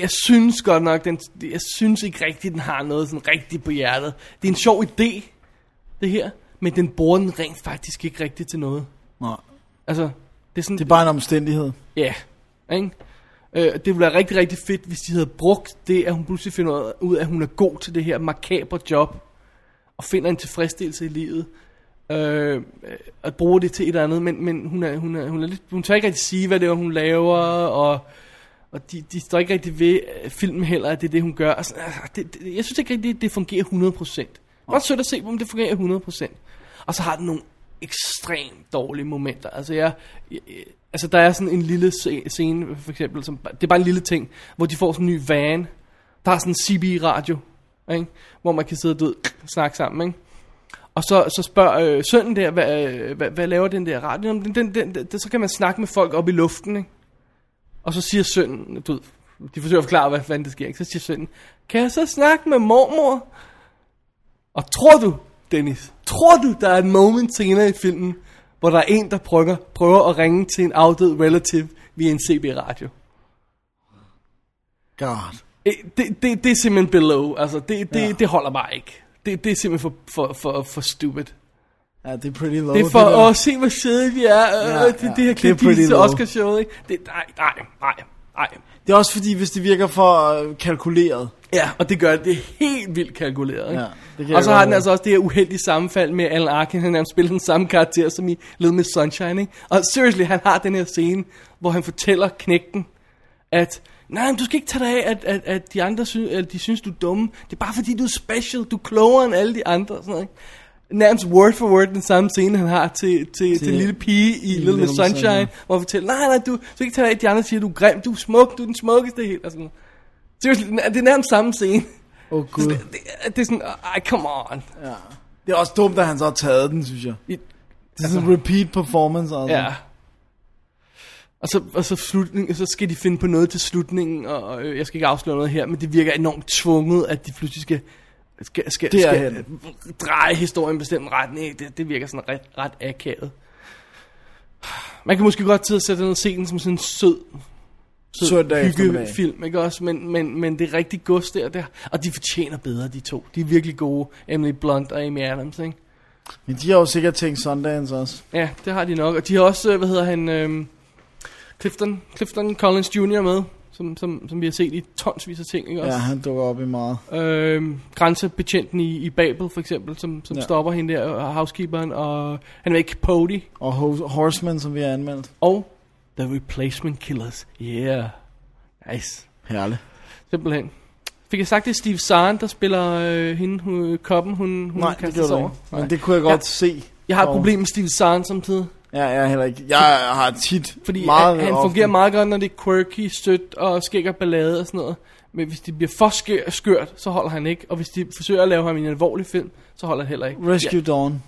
Speaker 1: jeg synes godt nok, den, jeg synes ikke rigtigt, den har noget sådan rigtigt på hjertet. Det er en sjov idé, det her, men den bruger den rent faktisk ikke rigtigt til noget.
Speaker 2: Nej.
Speaker 1: Altså, det er sådan,
Speaker 2: Det er bare en omstændighed.
Speaker 1: Ja, ikke? Øh, det ville være rigtig, rigtig fedt, hvis de havde brugt det, at hun pludselig finder ud af, at hun er god til det her makabre job, og finder en tilfredsstillelse i livet, øh, øh, at bruge det til et eller andet, men, men hun, er, hun, er, hun, er lidt, hun tør ikke rigtig sige, hvad det er, hun laver, og, og de, de står ikke rigtig ved øh, filmen heller, at det er det, hun gør. Altså, altså, det, det, jeg synes ikke rigtig, det, det fungerer 100%. Det var sødt at se, om det fungerer 100%. Og så har den nogle ekstremt dårlige momenter. Altså, jeg, jeg, jeg- altså der er sådan en lille se- scene, for eksempel, som, det er bare en lille ting, hvor de får sådan en ny van. Der er sådan en CB-radio, ikke? hvor man kan sidde og du ved, snakke sammen. Ikke? Og så, så spørger øh, sønnen der, hvad, øh, hvad, hvad laver den der radio? Jamen, Den, den, den, den, så kan man snakke med folk op i luften, ikke? Og så siger sønnen, du ved, de forsøger at forklare, hvad fanden der sker, ikke? Så siger sønnen, kan jeg så snakke med mormor? Og tror du, Dennis, tror du, der er et moment senere i filmen, hvor der er en, der prøver, prøver at ringe til en afdød relative via en CB-radio?
Speaker 2: God.
Speaker 1: Øh, Det, det, det er simpelthen below, altså det, det, ja. det holder bare ikke. Det, det er simpelthen for, for, for, for stupid.
Speaker 2: Ja, det er pretty low.
Speaker 1: Det er for
Speaker 2: der.
Speaker 1: at se, hvor søde vi er. Ja,
Speaker 2: Ja,
Speaker 1: det, det
Speaker 2: ja.
Speaker 1: her
Speaker 2: Det er
Speaker 1: klip
Speaker 2: pretty
Speaker 1: det til
Speaker 2: low.
Speaker 1: Oscar-showet, ikke? Det, nej, nej, nej, nej.
Speaker 2: Det er også fordi, hvis det virker for øh, kalkuleret.
Speaker 1: Ja, og det gør det. Det er helt vildt kalkuleret. Ikke?
Speaker 2: Ja, det kan
Speaker 1: og
Speaker 2: jeg
Speaker 1: så
Speaker 2: godt
Speaker 1: har den
Speaker 2: høre.
Speaker 1: altså også det her uheldige sammenfald med at Alan Arkin. Han har spillet den samme karakter som i Little Miss Sunshine. Ikke? Og seriously, han har den her scene, hvor han fortæller knægten, at Nej, men du skal ikke tage dig af, at, at, at de andre synes, at de synes, du er dumme. Det er bare fordi, du er special. Du er klogere end alle de andre. og Sådan noget, ikke? Nærmest word for word den samme scene, han har til, til, til den lille pige i Little Miss
Speaker 2: Miss Sunshine.
Speaker 1: Sunshine, hvor han fortæller, nej, nej, du, du skal ikke tage dig af, at de andre siger, du er grim, du er smuk, du er den smukkeste i hele. Og sådan noget. Seriously, den er- det er nærmest samme scene.
Speaker 2: Åh, oh, gud.
Speaker 1: Det, det er sådan, ej, come on.
Speaker 2: Ja. Det er også dumt, at han så har taget den, synes jeg.
Speaker 1: I-
Speaker 2: Det er sådan en repeat performance, altså.
Speaker 1: Ja. Og så, og så, slutning, så skal de finde på noget til slutningen, og øh, jeg skal ikke afsløre noget her, men det virker enormt tvunget, at de pludselig skal, skal, skal, skal
Speaker 2: Derhen.
Speaker 1: øh, dreje historien i en bestemt retning. Det, det virker sådan ret, ret akavet. Man kan måske godt til at sætte den og se den som sådan en sød,
Speaker 2: Søndag eftermiddag.
Speaker 1: hyggefilm, ikke også? Men, men, men det er rigtig gods der, der, og de fortjener bedre, de to. De er virkelig gode, Emily Blunt og Amy Adams, ikke?
Speaker 2: Men de har jo sikkert tænkt Sundance også.
Speaker 1: Ja, det har de nok. Og de har også, øh, hvad hedder han, øh, Clifton, Clifton Collins Jr. med, som, som, som vi har set i tonsvis af ting, ikke også?
Speaker 2: Ja, han dukker op i meget.
Speaker 1: Øhm, grænsebetjenten i, i Babel for eksempel, som, som
Speaker 2: Ja.
Speaker 1: ja. stopper hende der, og housekeeperen, og han er ikke Pody,
Speaker 2: Og Ho- Horseman, som vi har anmeldt.
Speaker 1: og The Replacement Killers. Yeah. Nice.
Speaker 2: Herligt.
Speaker 1: Simpelthen. Fik jeg sagt, det er Steve Zahn, der spiller øh, hende, hun, koppen, hun, hun
Speaker 2: Nej, det
Speaker 1: kaster sig
Speaker 2: gjorde du
Speaker 1: over?
Speaker 2: ikke.
Speaker 1: Nej.
Speaker 2: Men det kunne jeg godt se.
Speaker 1: Jeg har et
Speaker 2: Og-
Speaker 1: problem med Steve Zahn samtidig.
Speaker 2: Ja, jeg er heller ikke. Jeg har tit
Speaker 1: Fordi
Speaker 2: meget
Speaker 1: meget han, han
Speaker 2: ofte-
Speaker 1: fungerer meget godt, når det er quirky, sødt og skæg og ballade og sådan noget. Men hvis det bliver for skør, skørt, så holder han ikke. Og hvis de forsøger at lave ham i en alvorlig film, så holder han heller ikke.
Speaker 2: Rescue Dawn.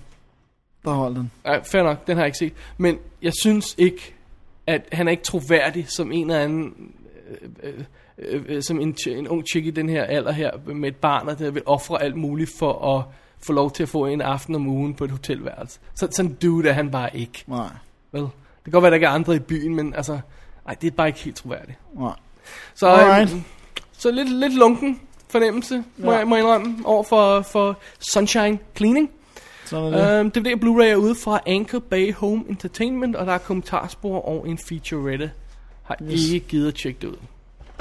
Speaker 2: Der holdt den.
Speaker 1: Ja, nej, fair nok, den har jeg ikke set. Men jeg synes ikke, at han er ikke troværdig som en eller anden... Øh, øh, øh, som en, ch- en ung chick i den her alder her, med et barn, og der vil ofre alt muligt for at få lov til at få en aften om ugen på et hotelværelse. Så, sådan en dude er han bare ikke.
Speaker 2: Nej,
Speaker 1: Vel? Det kan godt være, der ikke er andre i byen, men altså... Nej, det er bare ikke helt troværdigt.
Speaker 2: nej.
Speaker 1: Så,
Speaker 2: Alright.
Speaker 1: øhm, så lidt, lidt lunken fornemmelse, må,
Speaker 2: Ja.
Speaker 1: jeg, må jeg indrømme, over for, for Sunshine Cleaning.
Speaker 2: Sådan er det.
Speaker 1: Øhm, DVD og Blu-ray er ude fra Anchor Bay Home Entertainment, og der er kommentarspor og en featurette. Har yes.
Speaker 2: Yes.
Speaker 1: ikke givet at tjekke det ud.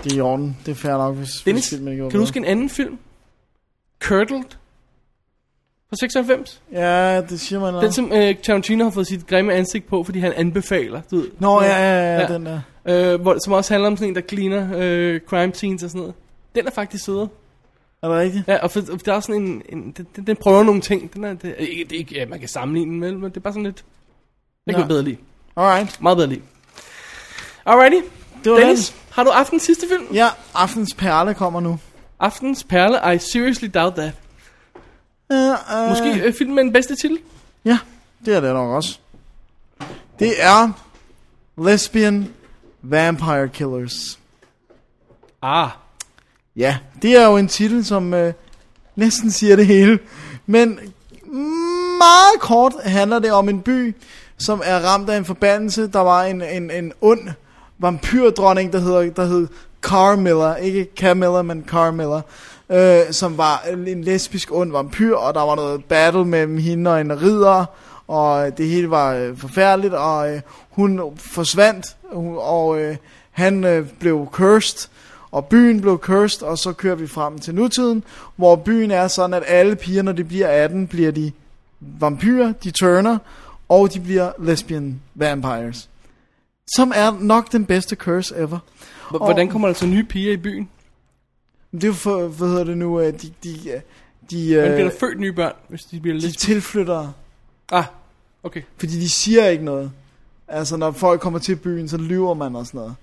Speaker 2: Det er i orden. Det er fair nok, hvis...
Speaker 1: Dennis,
Speaker 2: hvis filmen ikke var
Speaker 1: kan du
Speaker 2: bedre.
Speaker 1: huske en anden film? Curdled fra 96?
Speaker 2: Ja, det siger man
Speaker 1: Den,
Speaker 2: noget.
Speaker 1: som øh, Tarantino har fået sit grimme ansigt på, fordi han anbefaler. Du ved,
Speaker 2: Nå, ja, ja, ja,
Speaker 1: Ja.
Speaker 2: ja, den der.
Speaker 1: øh, hvor, som også handler om sådan en, der cleaner øh, crime scenes og sådan noget. Den er faktisk sødere.
Speaker 2: Er det rigtigt?
Speaker 1: Ja, og for, og der er sådan en, en den, den- den prøver nogle ting. Den er, det, ikke, det, er ikke, ja, man kan sammenligne den med, men det er bare sådan lidt... Det kan
Speaker 2: Ja.
Speaker 1: jeg bedre lide.
Speaker 2: Alright.
Speaker 1: Meget bedre lide. Alrighty.
Speaker 2: Det var
Speaker 1: Dennis,
Speaker 2: den.
Speaker 1: har du aftens sidste film?
Speaker 2: Ja, aftens perle kommer nu.
Speaker 1: Aftens perle, I seriously doubt that.
Speaker 2: Uh, uh,
Speaker 1: Måske øh, filmen med den bedste titel?
Speaker 2: Ja, det er det nok også. Det er Lesbian Vampire Killers.
Speaker 1: Ah,
Speaker 2: Ja, det er jo en titel, som øh, næsten siger det hele. Men meget kort handler det om en by, som er ramt af en forbandelse. Der var en, en, en ond vampyrdronning, der hedder, der hed Carmilla. Ikke Camilla, men Carmilla. Øh, som var en lesbisk ond vampyr, og der var noget battle mellem hende og en ridder. Og det hele var øh, forfærdeligt, og øh, hun forsvandt, og, og øh, han øh, blev cursed. Og byen blev cursed, og så kører vi frem til nutiden, hvor byen er sådan, at alle piger, når de bliver 18, bliver de vampyrer, de turner, og de bliver lesbian vampires. Som er nok den bedste curse ever.
Speaker 1: h- hvordan kommer der så nye piger i byen?
Speaker 2: Men Det er jo for, hvad hedder det nu, øh, de, de, øh, de,
Speaker 1: Hvordan
Speaker 2: øh,
Speaker 1: bliver der født nye børn, hvis de bliver
Speaker 2: de
Speaker 1: lidt...
Speaker 2: tilflyttere,
Speaker 1: Ah, okay.
Speaker 2: fordi de siger ikke noget. Altså, når folk kommer til byen, så lyver man og sådan noget.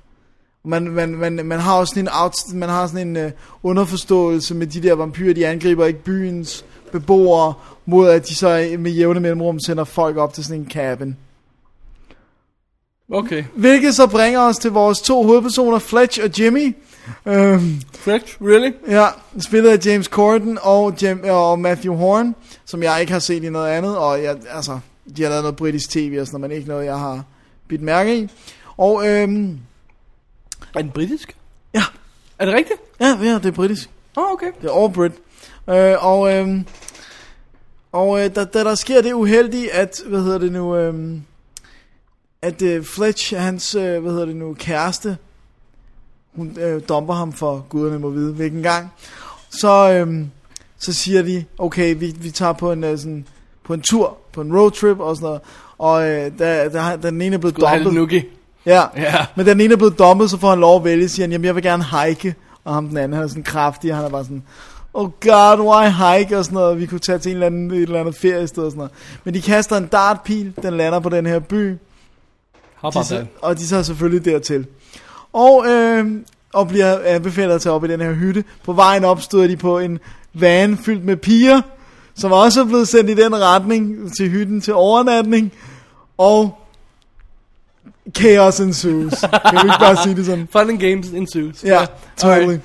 Speaker 2: Man, man, man, man har også sådan en, out, man har sådan en øh, underforståelse med de der vampyrer, de angriber ikke byens beboere, mod at de så øh, med jævne mellemrum sender folk op til sådan en cabin.
Speaker 1: Okay.
Speaker 2: Hvilket så bringer os til vores to hovedpersoner, Fletch og Jimmy. Øhm,
Speaker 1: Correct, really?
Speaker 2: ja, spillet af James Corden og, Jim, og Matthew Horn, som jeg ikke har set i noget andet, og jeg, altså, de har lavet noget britisk tv og sådan noget, men ikke noget, jeg har bidt mærke i. Og øhm,
Speaker 1: Er den britisk?
Speaker 2: ja,
Speaker 1: Er det rigtigt?
Speaker 2: ja, ja, det er britisk.
Speaker 1: Åh, oh, okay.
Speaker 2: Det er all Brit. Øh, og øhm, og øh, da, da der sker det uheldige, at, hvad hedder det nu, øhm, at øh, Fletch, hans, øh, hvad hedder det nu, kæreste, hun øh, domper ham for, guderne må vide, hvilken gang, så, øhm, så siger de, okay, vi, vi tager på en, øh, sådan, på en tur, på en roadtrip og sådan noget, og øh, da, da, da den ene er blevet
Speaker 1: Du har lidt
Speaker 2: dumpet,
Speaker 1: nuki.
Speaker 2: ja,
Speaker 1: Ja.
Speaker 2: men da den ene er blevet dommet, så får han lov at vælge, siger han, jamen jeg vil gerne hike. Og ham den anden, han er sådan kraftig, og han er bare sådan, oh god, why hike, og sådan noget. Vi kunne tage til en eller anden, et eller andet ferie i stedet, og sådan noget. Men de kaster en dartpil, den lander på den her by,
Speaker 1: How
Speaker 2: de,
Speaker 1: about
Speaker 2: så,
Speaker 1: that?
Speaker 2: og de tager selvfølgelig dertil. Og, øh, og bliver anbefalet at tage op i den her hytte. På vejen opstod de på en van fyldt med piger, som også er blevet sendt i den retning til hytten til overnatning. Og chaos ensues. kan vi ikke bare sige det sådan?
Speaker 1: Fun and games ensues.
Speaker 2: Ja, totally.
Speaker 1: alright.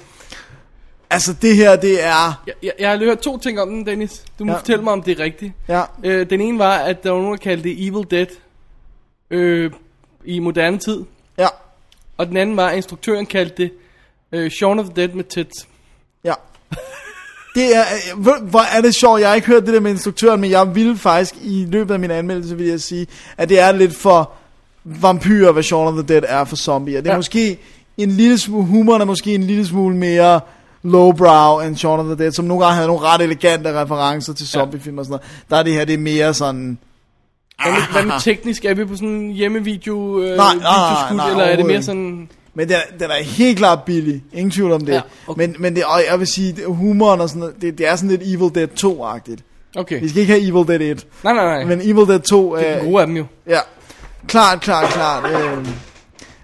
Speaker 2: Altså det her, det er...
Speaker 1: Jeg, jeg, jeg har lige hørt to ting om den, Dennis. Du må
Speaker 2: Ja.
Speaker 1: ja. fortælle mig, om det er rigtigt.
Speaker 2: Ja,
Speaker 1: Øh, den ene var, at der var nogen, der kaldte det Evil Dead øh, i moderne tid.
Speaker 2: ja,
Speaker 1: Og den anden var, at instruktøren kaldte det øh, Shaun of the Dead med tits.
Speaker 2: ja. Det er, øh, hvor- hvor er det sjovt, jeg har ikke hørt det der med instruktøren, men jeg ville faktisk i løbet af min anmeldelse, vil jeg sige, at det er lidt for vampyrer, hvad Shaun of the Dead er for zombier. Det er
Speaker 1: Ja.
Speaker 2: ja. måske en lille smule, humoren er måske en lille smule mere lowbrow end Shaun of the Dead, som nogle gange havde nogle ret elegante referencer til zombiefilm og sådan noget. Der er det her, det er mere sådan...
Speaker 1: Hvad med, hvad med teknisk? Er vi på sådan en hjemmevideo, øh,
Speaker 2: nej, nej,
Speaker 1: videoskud,
Speaker 2: nej,
Speaker 1: eller er det mere
Speaker 2: overhovedet
Speaker 1: sådan...
Speaker 2: Men den, den er helt klart billig, ingen tvivl om det.
Speaker 1: Ja,
Speaker 2: Ja,
Speaker 1: okay.
Speaker 2: okay. Men, men det, og jeg vil sige, det- humoren og sådan noget, det, det er sådan lidt Evil Dead 2-agtigt.
Speaker 1: Okay.
Speaker 2: Vi skal ikke have Evil Dead 1,
Speaker 1: Nej, nej, nej. Men,
Speaker 2: men øh, Evil Dead 2
Speaker 1: det er
Speaker 2: er...
Speaker 1: den Ah, gode af dem jo.
Speaker 2: Ja, klart, klart, klart. Øh,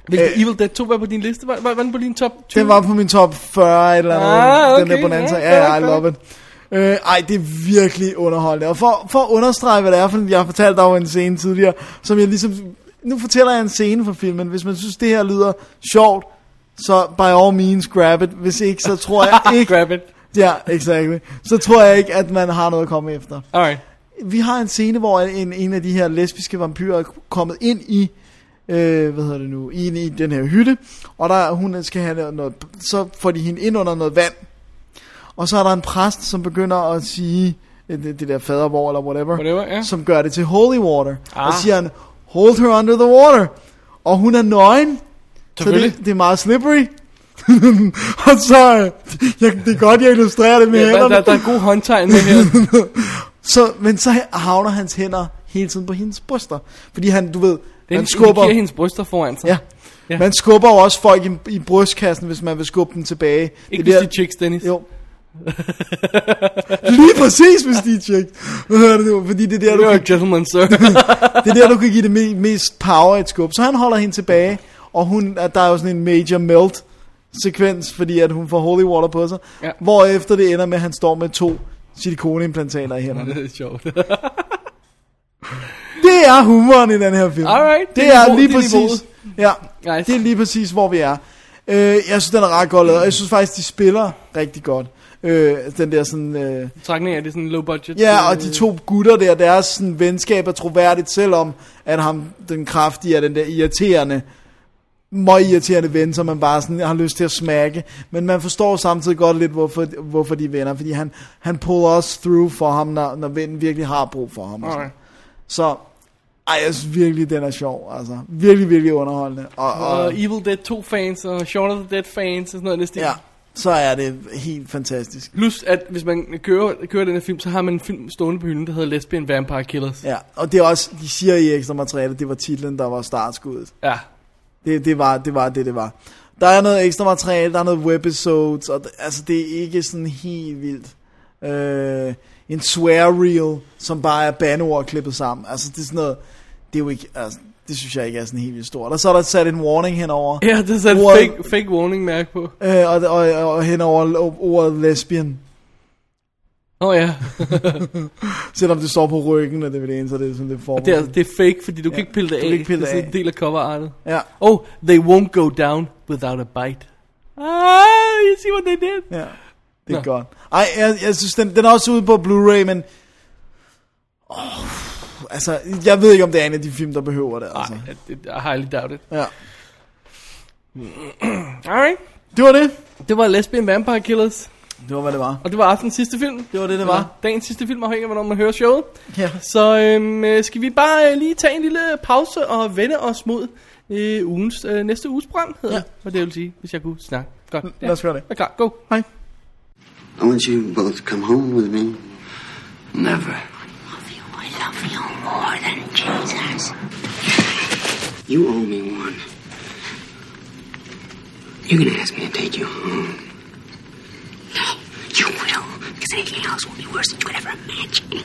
Speaker 1: Hvilken
Speaker 2: øh,
Speaker 1: Evil Dead 2 var på din liste? Var, var, var den på din top 20?
Speaker 2: den var på min top 40 eller noget.
Speaker 1: Ah,
Speaker 2: den
Speaker 1: okay,
Speaker 2: der bonanza.
Speaker 1: ja,
Speaker 2: Ja, ja, I
Speaker 1: fair,
Speaker 2: love it. Øh, ej, det er virkelig underholdende. Og for, for at understrege, hvad det er, for jeg har fortalt dig jo en scene tidligere, som jeg ligesom... Nu fortæller jeg en scene fra filmen. Hvis man synes, det her lyder sjovt, så by all means grab it. Hvis ikke, så tror jeg ikke...
Speaker 1: (laughs) Ah, Grab it.
Speaker 2: Ja, exactly. Så tror jeg ikke, at man har noget at komme efter.
Speaker 1: Alright.
Speaker 2: Vi har en scene, hvor en, en af de her lesbiske vampyrer er kommet ind i, øh, hvad hedder det nu, ind i den her hytte, og der, hun skal have noget- noget, så får de hende ind under noget vand, og så er der en præst, som begynder at sige, øh, det, det der fadervor eller whatever,
Speaker 1: Whatever, ja.
Speaker 2: som gør det til holy water, ah.
Speaker 1: Ah.
Speaker 2: og siger han, hold her under the water, og hun er nøgen, så det,
Speaker 1: Selvfølgelig.
Speaker 2: det er meget slippery, (laughs) og så, øh, jeg, det er godt, jeg illustrerer det med
Speaker 1: Ja, der,
Speaker 2: hænderne.
Speaker 1: der, der er god håndtegn med
Speaker 2: (laughs)
Speaker 1: her.
Speaker 2: Så, men så havner hans hænder hele tiden på hendes bryster. Fordi han, du ved,
Speaker 1: Den
Speaker 2: man skubber...
Speaker 1: giver hendes bryster foran sig.
Speaker 2: Ja.
Speaker 1: Ja.
Speaker 2: ja. Man skubber jo også folk i, i brystkassen, hvis man vil skubbe dem tilbage.
Speaker 1: Ikke
Speaker 2: Det
Speaker 1: hvis
Speaker 2: er
Speaker 1: de er chicks, Dennis.
Speaker 2: Jo. Lige præcis, hvis de er tjekket. Hvad hedder det nu? Fordi det er der, du
Speaker 1: You're
Speaker 2: kan,
Speaker 1: a gentleman, sir.
Speaker 2: det er der, du kan give det me- mest power i et skub. Så han holder hende tilbage, og hun, at der er jo sådan en major melt sekvens, fordi at hun får holy water på sig.
Speaker 1: Ja.
Speaker 2: Hvorefter det ender med, at han står med to silikoneimplantater i hænderne.
Speaker 1: (laughs) (laughs) det er sjovt.
Speaker 2: Det er humoren i den her film.
Speaker 1: Alright,
Speaker 2: det,
Speaker 1: det
Speaker 2: det
Speaker 1: er
Speaker 2: er
Speaker 1: niveau-
Speaker 2: lige
Speaker 1: det er niveauet.
Speaker 2: præcis. Ja,
Speaker 1: Nice.
Speaker 2: det er lige præcis, hvor vi er. Øh, jeg synes, den er ret godt lavet, og jeg synes faktisk, de spiller rigtig godt. Øh, den der sådan... Øh,
Speaker 1: Trækning er det sådan low budget.
Speaker 2: ja, og de to gutter der, deres sådan, venskab er troværdigt, selvom at ham, den kraftige, er den der irriterende, meget irriterende ven, som man bare sådan, har lyst til at smække. Men man forstår samtidig godt lidt, hvorfor, hvorfor de er venner, fordi han, han puller os through for ham, når, når vennen virkelig har brug for ham. og sådan.
Speaker 1: Alright.
Speaker 2: Så, ej, jeg synes virkelig, den er sjov, altså. Virkelig, virkelig underholdende. Og,
Speaker 1: Og
Speaker 2: og
Speaker 1: Evil Dead 2 fans og Shaun of the Dead fans og sådan noget næste
Speaker 2: ja, så er det helt fantastisk.
Speaker 1: Plus at hvis man kører, kører den her film, så har man en film stående på hylden, der hedder Lesbian Vampire Killers.
Speaker 2: Ja, og det er også, de siger i ekstra materiale, det var titlen, der var startskuddet.
Speaker 1: Ja.
Speaker 2: Det, det, var, det var det, det var. Der er noget ekstra materiale, der er noget webisodes, og det, altså, det er ikke sådan helt vildt. Øh, en swear reel, som bare er bandeord klippet sammen. Altså, det er sådan noget, det er jo ikke, altså, det synes jeg ikke er sådan helt vildt stort. Og så er der sat en warning henover.
Speaker 1: Ja, det er sådan et
Speaker 2: Wow.
Speaker 1: fake, fake warning mærke på.
Speaker 2: Øh, og, og, og hen over lo- ordet lesbian.
Speaker 1: Åh oh, ja,
Speaker 2: Selvom det står på ryggen af DVD'en, så er det sådan, det får.
Speaker 1: og det er, det er fake, fordi du ja, kan ikke pille det
Speaker 2: du
Speaker 1: af.
Speaker 2: kan ikke pille
Speaker 1: det er sådan
Speaker 2: det
Speaker 1: en
Speaker 2: af.
Speaker 1: del af coverartet.
Speaker 2: Ja,
Speaker 1: Oh, they won't go down without a bite. Ah, you see what they did?
Speaker 2: ja. Det er Nå. godt. Ej, jeg, jeg synes, den, den er også ude på Blu-ray, men... Oh, altså, jeg ved ikke, om det er en af de film, der behøver det, altså.
Speaker 1: Nej, Ah, det- I highly doubt it.
Speaker 2: Ja.
Speaker 1: Alright.
Speaker 2: Det var det.
Speaker 1: Det var Lesbian Vampire Killers,
Speaker 2: Det var, hvad det var.
Speaker 1: og det var aftenens sidste film.
Speaker 2: Det var det, det
Speaker 1: Eller
Speaker 2: var.
Speaker 1: dagens sidste film, afhængig af, hvornår man hører showet.
Speaker 2: Ja.
Speaker 1: Så øhm, øh, skal vi bare øh, lige tage en lille pause og vende os mod øh, ugens, øh, næste uges program, hedder
Speaker 2: Ja. Mm,
Speaker 1: ja. det. Hvad det vil sige, hvis jeg kunne snakke. Godt.
Speaker 2: Lad os gøre det.
Speaker 1: Er klar, go.
Speaker 2: Hej.
Speaker 6: I want you both to come home with me. Never.
Speaker 7: I love you more than Jesus.
Speaker 6: You owe me one. You're gonna ask me to take you home.
Speaker 7: You will, because anything else will be worse than you could ever imagine.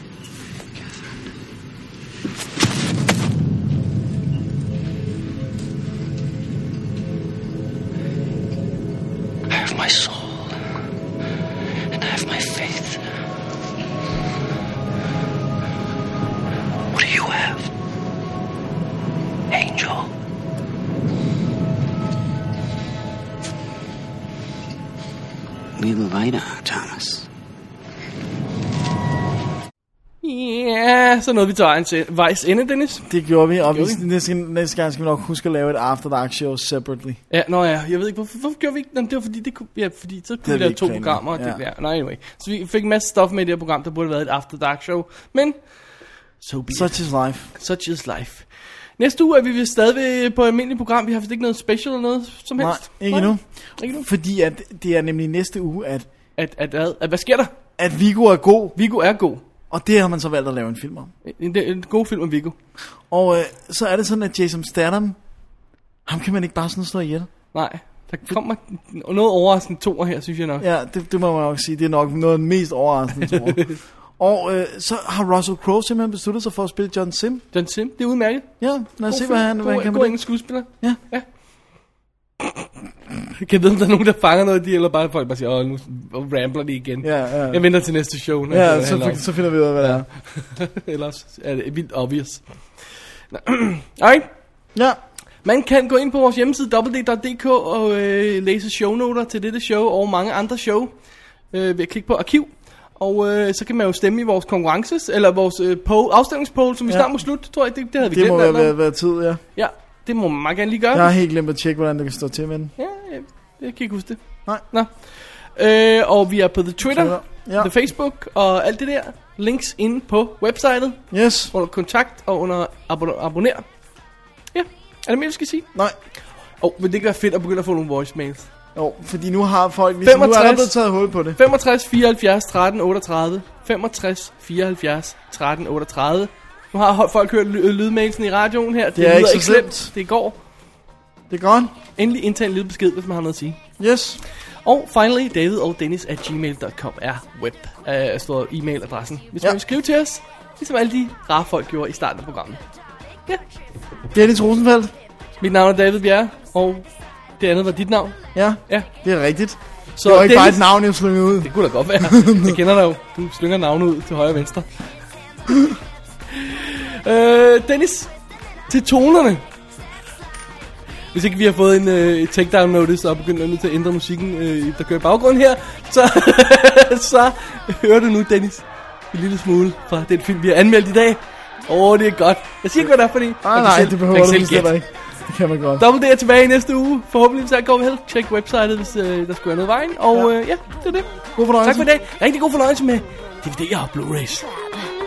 Speaker 6: I have my soul, and I have my faith. What do you have? Angel. We have a light on, Thomas.
Speaker 1: Ja, så nåede vi til vejens en- vejs ende, Dennis.
Speaker 2: Det gjorde vi, og vi,
Speaker 1: Gjorde vi?
Speaker 2: næste, næste gang skal vi nok huske at lave et After Dark show separately.
Speaker 1: Ja, nå ja, jeg ved ikke, hvorfor, hvorfor gjorde vi ikke? Jamen, det var fordi, det kunne, ja, fordi så kunne vi
Speaker 2: havde vi
Speaker 1: lave
Speaker 2: ikke
Speaker 1: to
Speaker 2: planlagt,
Speaker 1: programmer. Og det, ja.
Speaker 2: ja.
Speaker 1: no, anyway. Så vi fik en masse stof med i det her program, der burde have været et After Dark show. Men, so be it.
Speaker 2: Such is life.
Speaker 1: Such is life. Næste uge er vi vist stadigvæk på almindeligt program. Vi har vist ikke noget special eller noget som
Speaker 2: Nej,
Speaker 1: helst.
Speaker 2: ikke endnu.
Speaker 1: Ikke nu.
Speaker 2: Fordi at det er nemlig næste uge, at,
Speaker 1: At, at, at, at, hvad sker der?
Speaker 2: at Vigo er god,
Speaker 1: Viggo er god.
Speaker 2: og det har man så valgt at lave en film om.
Speaker 1: En, en god film om Viggo.
Speaker 2: Og øh, så er det sådan, at Jason Statham, ham kan man ikke bare sådan slå ihjel.
Speaker 1: Nej, der kommer noget overraskende toer her, synes jeg nok. Ja.
Speaker 2: Ja, det, det må man nok sige. Det er nok noget af den mest overraskende, tror
Speaker 1: (laughs)
Speaker 2: jeg. Og øh, så har Russell Crowe simpelthen besluttet sig for at spille John Sim.
Speaker 1: John Sim, det er udmærket.
Speaker 2: Ja, lad os se, hvad han,
Speaker 1: god,
Speaker 2: hvad han
Speaker 1: god
Speaker 2: kan med det.
Speaker 1: engelsk skuespiller.
Speaker 2: Ja.
Speaker 1: ja. (laughs) Jeg kan vide, om der er nogen, der fanger noget af de, eller bare folk bare siger, åh, nu rambler de igen.
Speaker 2: Ja, ja.
Speaker 1: Jeg venter til næste show. når det
Speaker 2: Ja, så,
Speaker 1: handler om.
Speaker 2: fi- så finder vi ud af, hvad det er.
Speaker 1: (laughs) Ellers er det vildt obvious. (clears throat) Nå, Alright.
Speaker 2: Ja,
Speaker 1: Man kan gå ind på vores hjemmeside www.dk og øh, læse shownoter til dette show og mange andre show øh, ved at klikke på arkiv. Og øh, så kan man jo stemme i vores konkurrences, eller vores øh, poll, afstemningspoll, som vi
Speaker 2: Ja.
Speaker 1: snart må slutte, tror jeg. Det, det havde vi
Speaker 2: det må
Speaker 1: glemt.
Speaker 2: være,
Speaker 1: alt om.
Speaker 2: være, være tid, ja.
Speaker 1: Ja, det må man meget gerne lige gøre.
Speaker 2: Jeg har helt glemt at tjekke, hvordan det kan stå til med den.
Speaker 1: Ja, jeg, jeg kan ikke huske det.
Speaker 2: Nej.
Speaker 1: Nå. Øh, og vi er på the Twitter,
Speaker 2: Twitter, ja.
Speaker 1: the Facebook og alt det der. Links inde på websitet,
Speaker 2: Yes,
Speaker 1: under kontakt og under abon- abonner. Ja, er det mere, vi skal sige?
Speaker 2: nej.
Speaker 1: Og oh, vil det ikke være fedt at begynde at få nogle voicemails?
Speaker 2: Jo, fordi nu har folk ligesom, nu er der
Speaker 1: 65.
Speaker 2: blevet taget hul på det.
Speaker 1: 65 74 13 38 65 74 13 38 Nu har ho- folk hørt ly- lydmailsen i radioen her. Det,
Speaker 2: er
Speaker 1: lyder
Speaker 2: ikke så slemt.
Speaker 1: Det går.
Speaker 2: Det er godt.
Speaker 1: Endelig indtag en lydbesked, hvis man har noget at sige.
Speaker 2: Yes.
Speaker 1: Og finally, David og Dennis at gmail.com er web, øh, står e-mailadressen. Hvis ja.
Speaker 2: Ja.
Speaker 1: man vil skrive til os, ligesom alle de rare folk gjorde i starten af programmet.
Speaker 2: Dennis Rosenfeldt.
Speaker 1: Mit navn er David Bjerre, og det andet var dit navn.
Speaker 2: Ja,
Speaker 1: Ja.
Speaker 2: det er rigtigt.
Speaker 1: Så
Speaker 2: Det var ikke bare
Speaker 1: Dennis-
Speaker 2: et navn, jeg slyngede ud.
Speaker 1: Det kunne da godt være. Jeg kender dig jo. Du slynger navne ud til højre og venstre. (laughs) øh, Dennis, til tonerne. Hvis ikke vi har fået en øh, takedown notice og begynder nu til at ændre musikken, øh, der kører i baggrunden her, så, (laughs) så hører du nu, Dennis, en lille smule fra den film, vi har anmeldt i dag. Åh, oh, det er godt. Jeg siger ikke, hvad det er, fordi...
Speaker 2: Nej, Ah, nej, det behøver
Speaker 1: man
Speaker 2: du
Speaker 1: kan
Speaker 2: bestemt
Speaker 1: selv gætte.
Speaker 2: ikke. Det kan man godt.
Speaker 1: Double D er tilbage i næste uge. Forhåbentlig så går vi helt tjek websitet, hvis øh, der skulle være noget i vejen. Og ja. Øh, ja, det er det.
Speaker 2: God fornøjelse.
Speaker 1: Tak for i dag. Rigtig god fornøjelse med DVD'er og Blu-rays.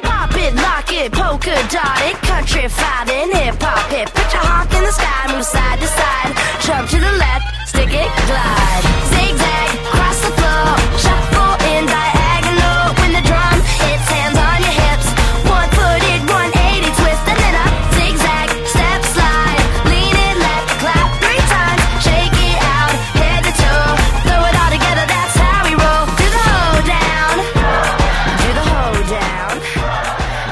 Speaker 8: Pop it, lock it, polka dot it, countrified and hip hop hit. Put your honk in the sky, move side to side, jump to the left, stick it, glide, zigzag, cross the floor, shuffle in diagonal. When the drum hits, hands on your hips, one footed, 180 twist, and then up, zigzag, step slide, lean it left, clap three times, shake it out, head to toe, throw it all together, that's how we roll. Do the hold down, do the hold down.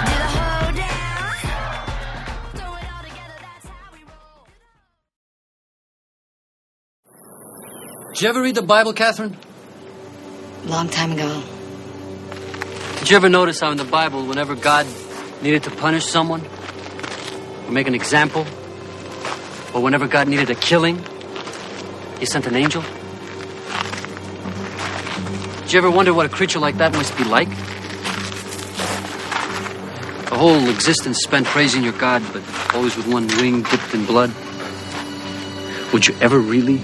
Speaker 8: Do the hold down. Throw it all together, that's how we roll.
Speaker 4: Did you ever read the Bible, Catherine?
Speaker 7: Long time ago.
Speaker 4: Did you ever notice how in the Bible, whenever God needed to punish someone or make an example, or whenever God needed a killing, he sent an angel? Did you ever wonder what a creature like that must be like? A whole existence spent praising your God, but always with one wing dipped in blood? Would you ever really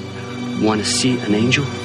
Speaker 4: want to see an angel?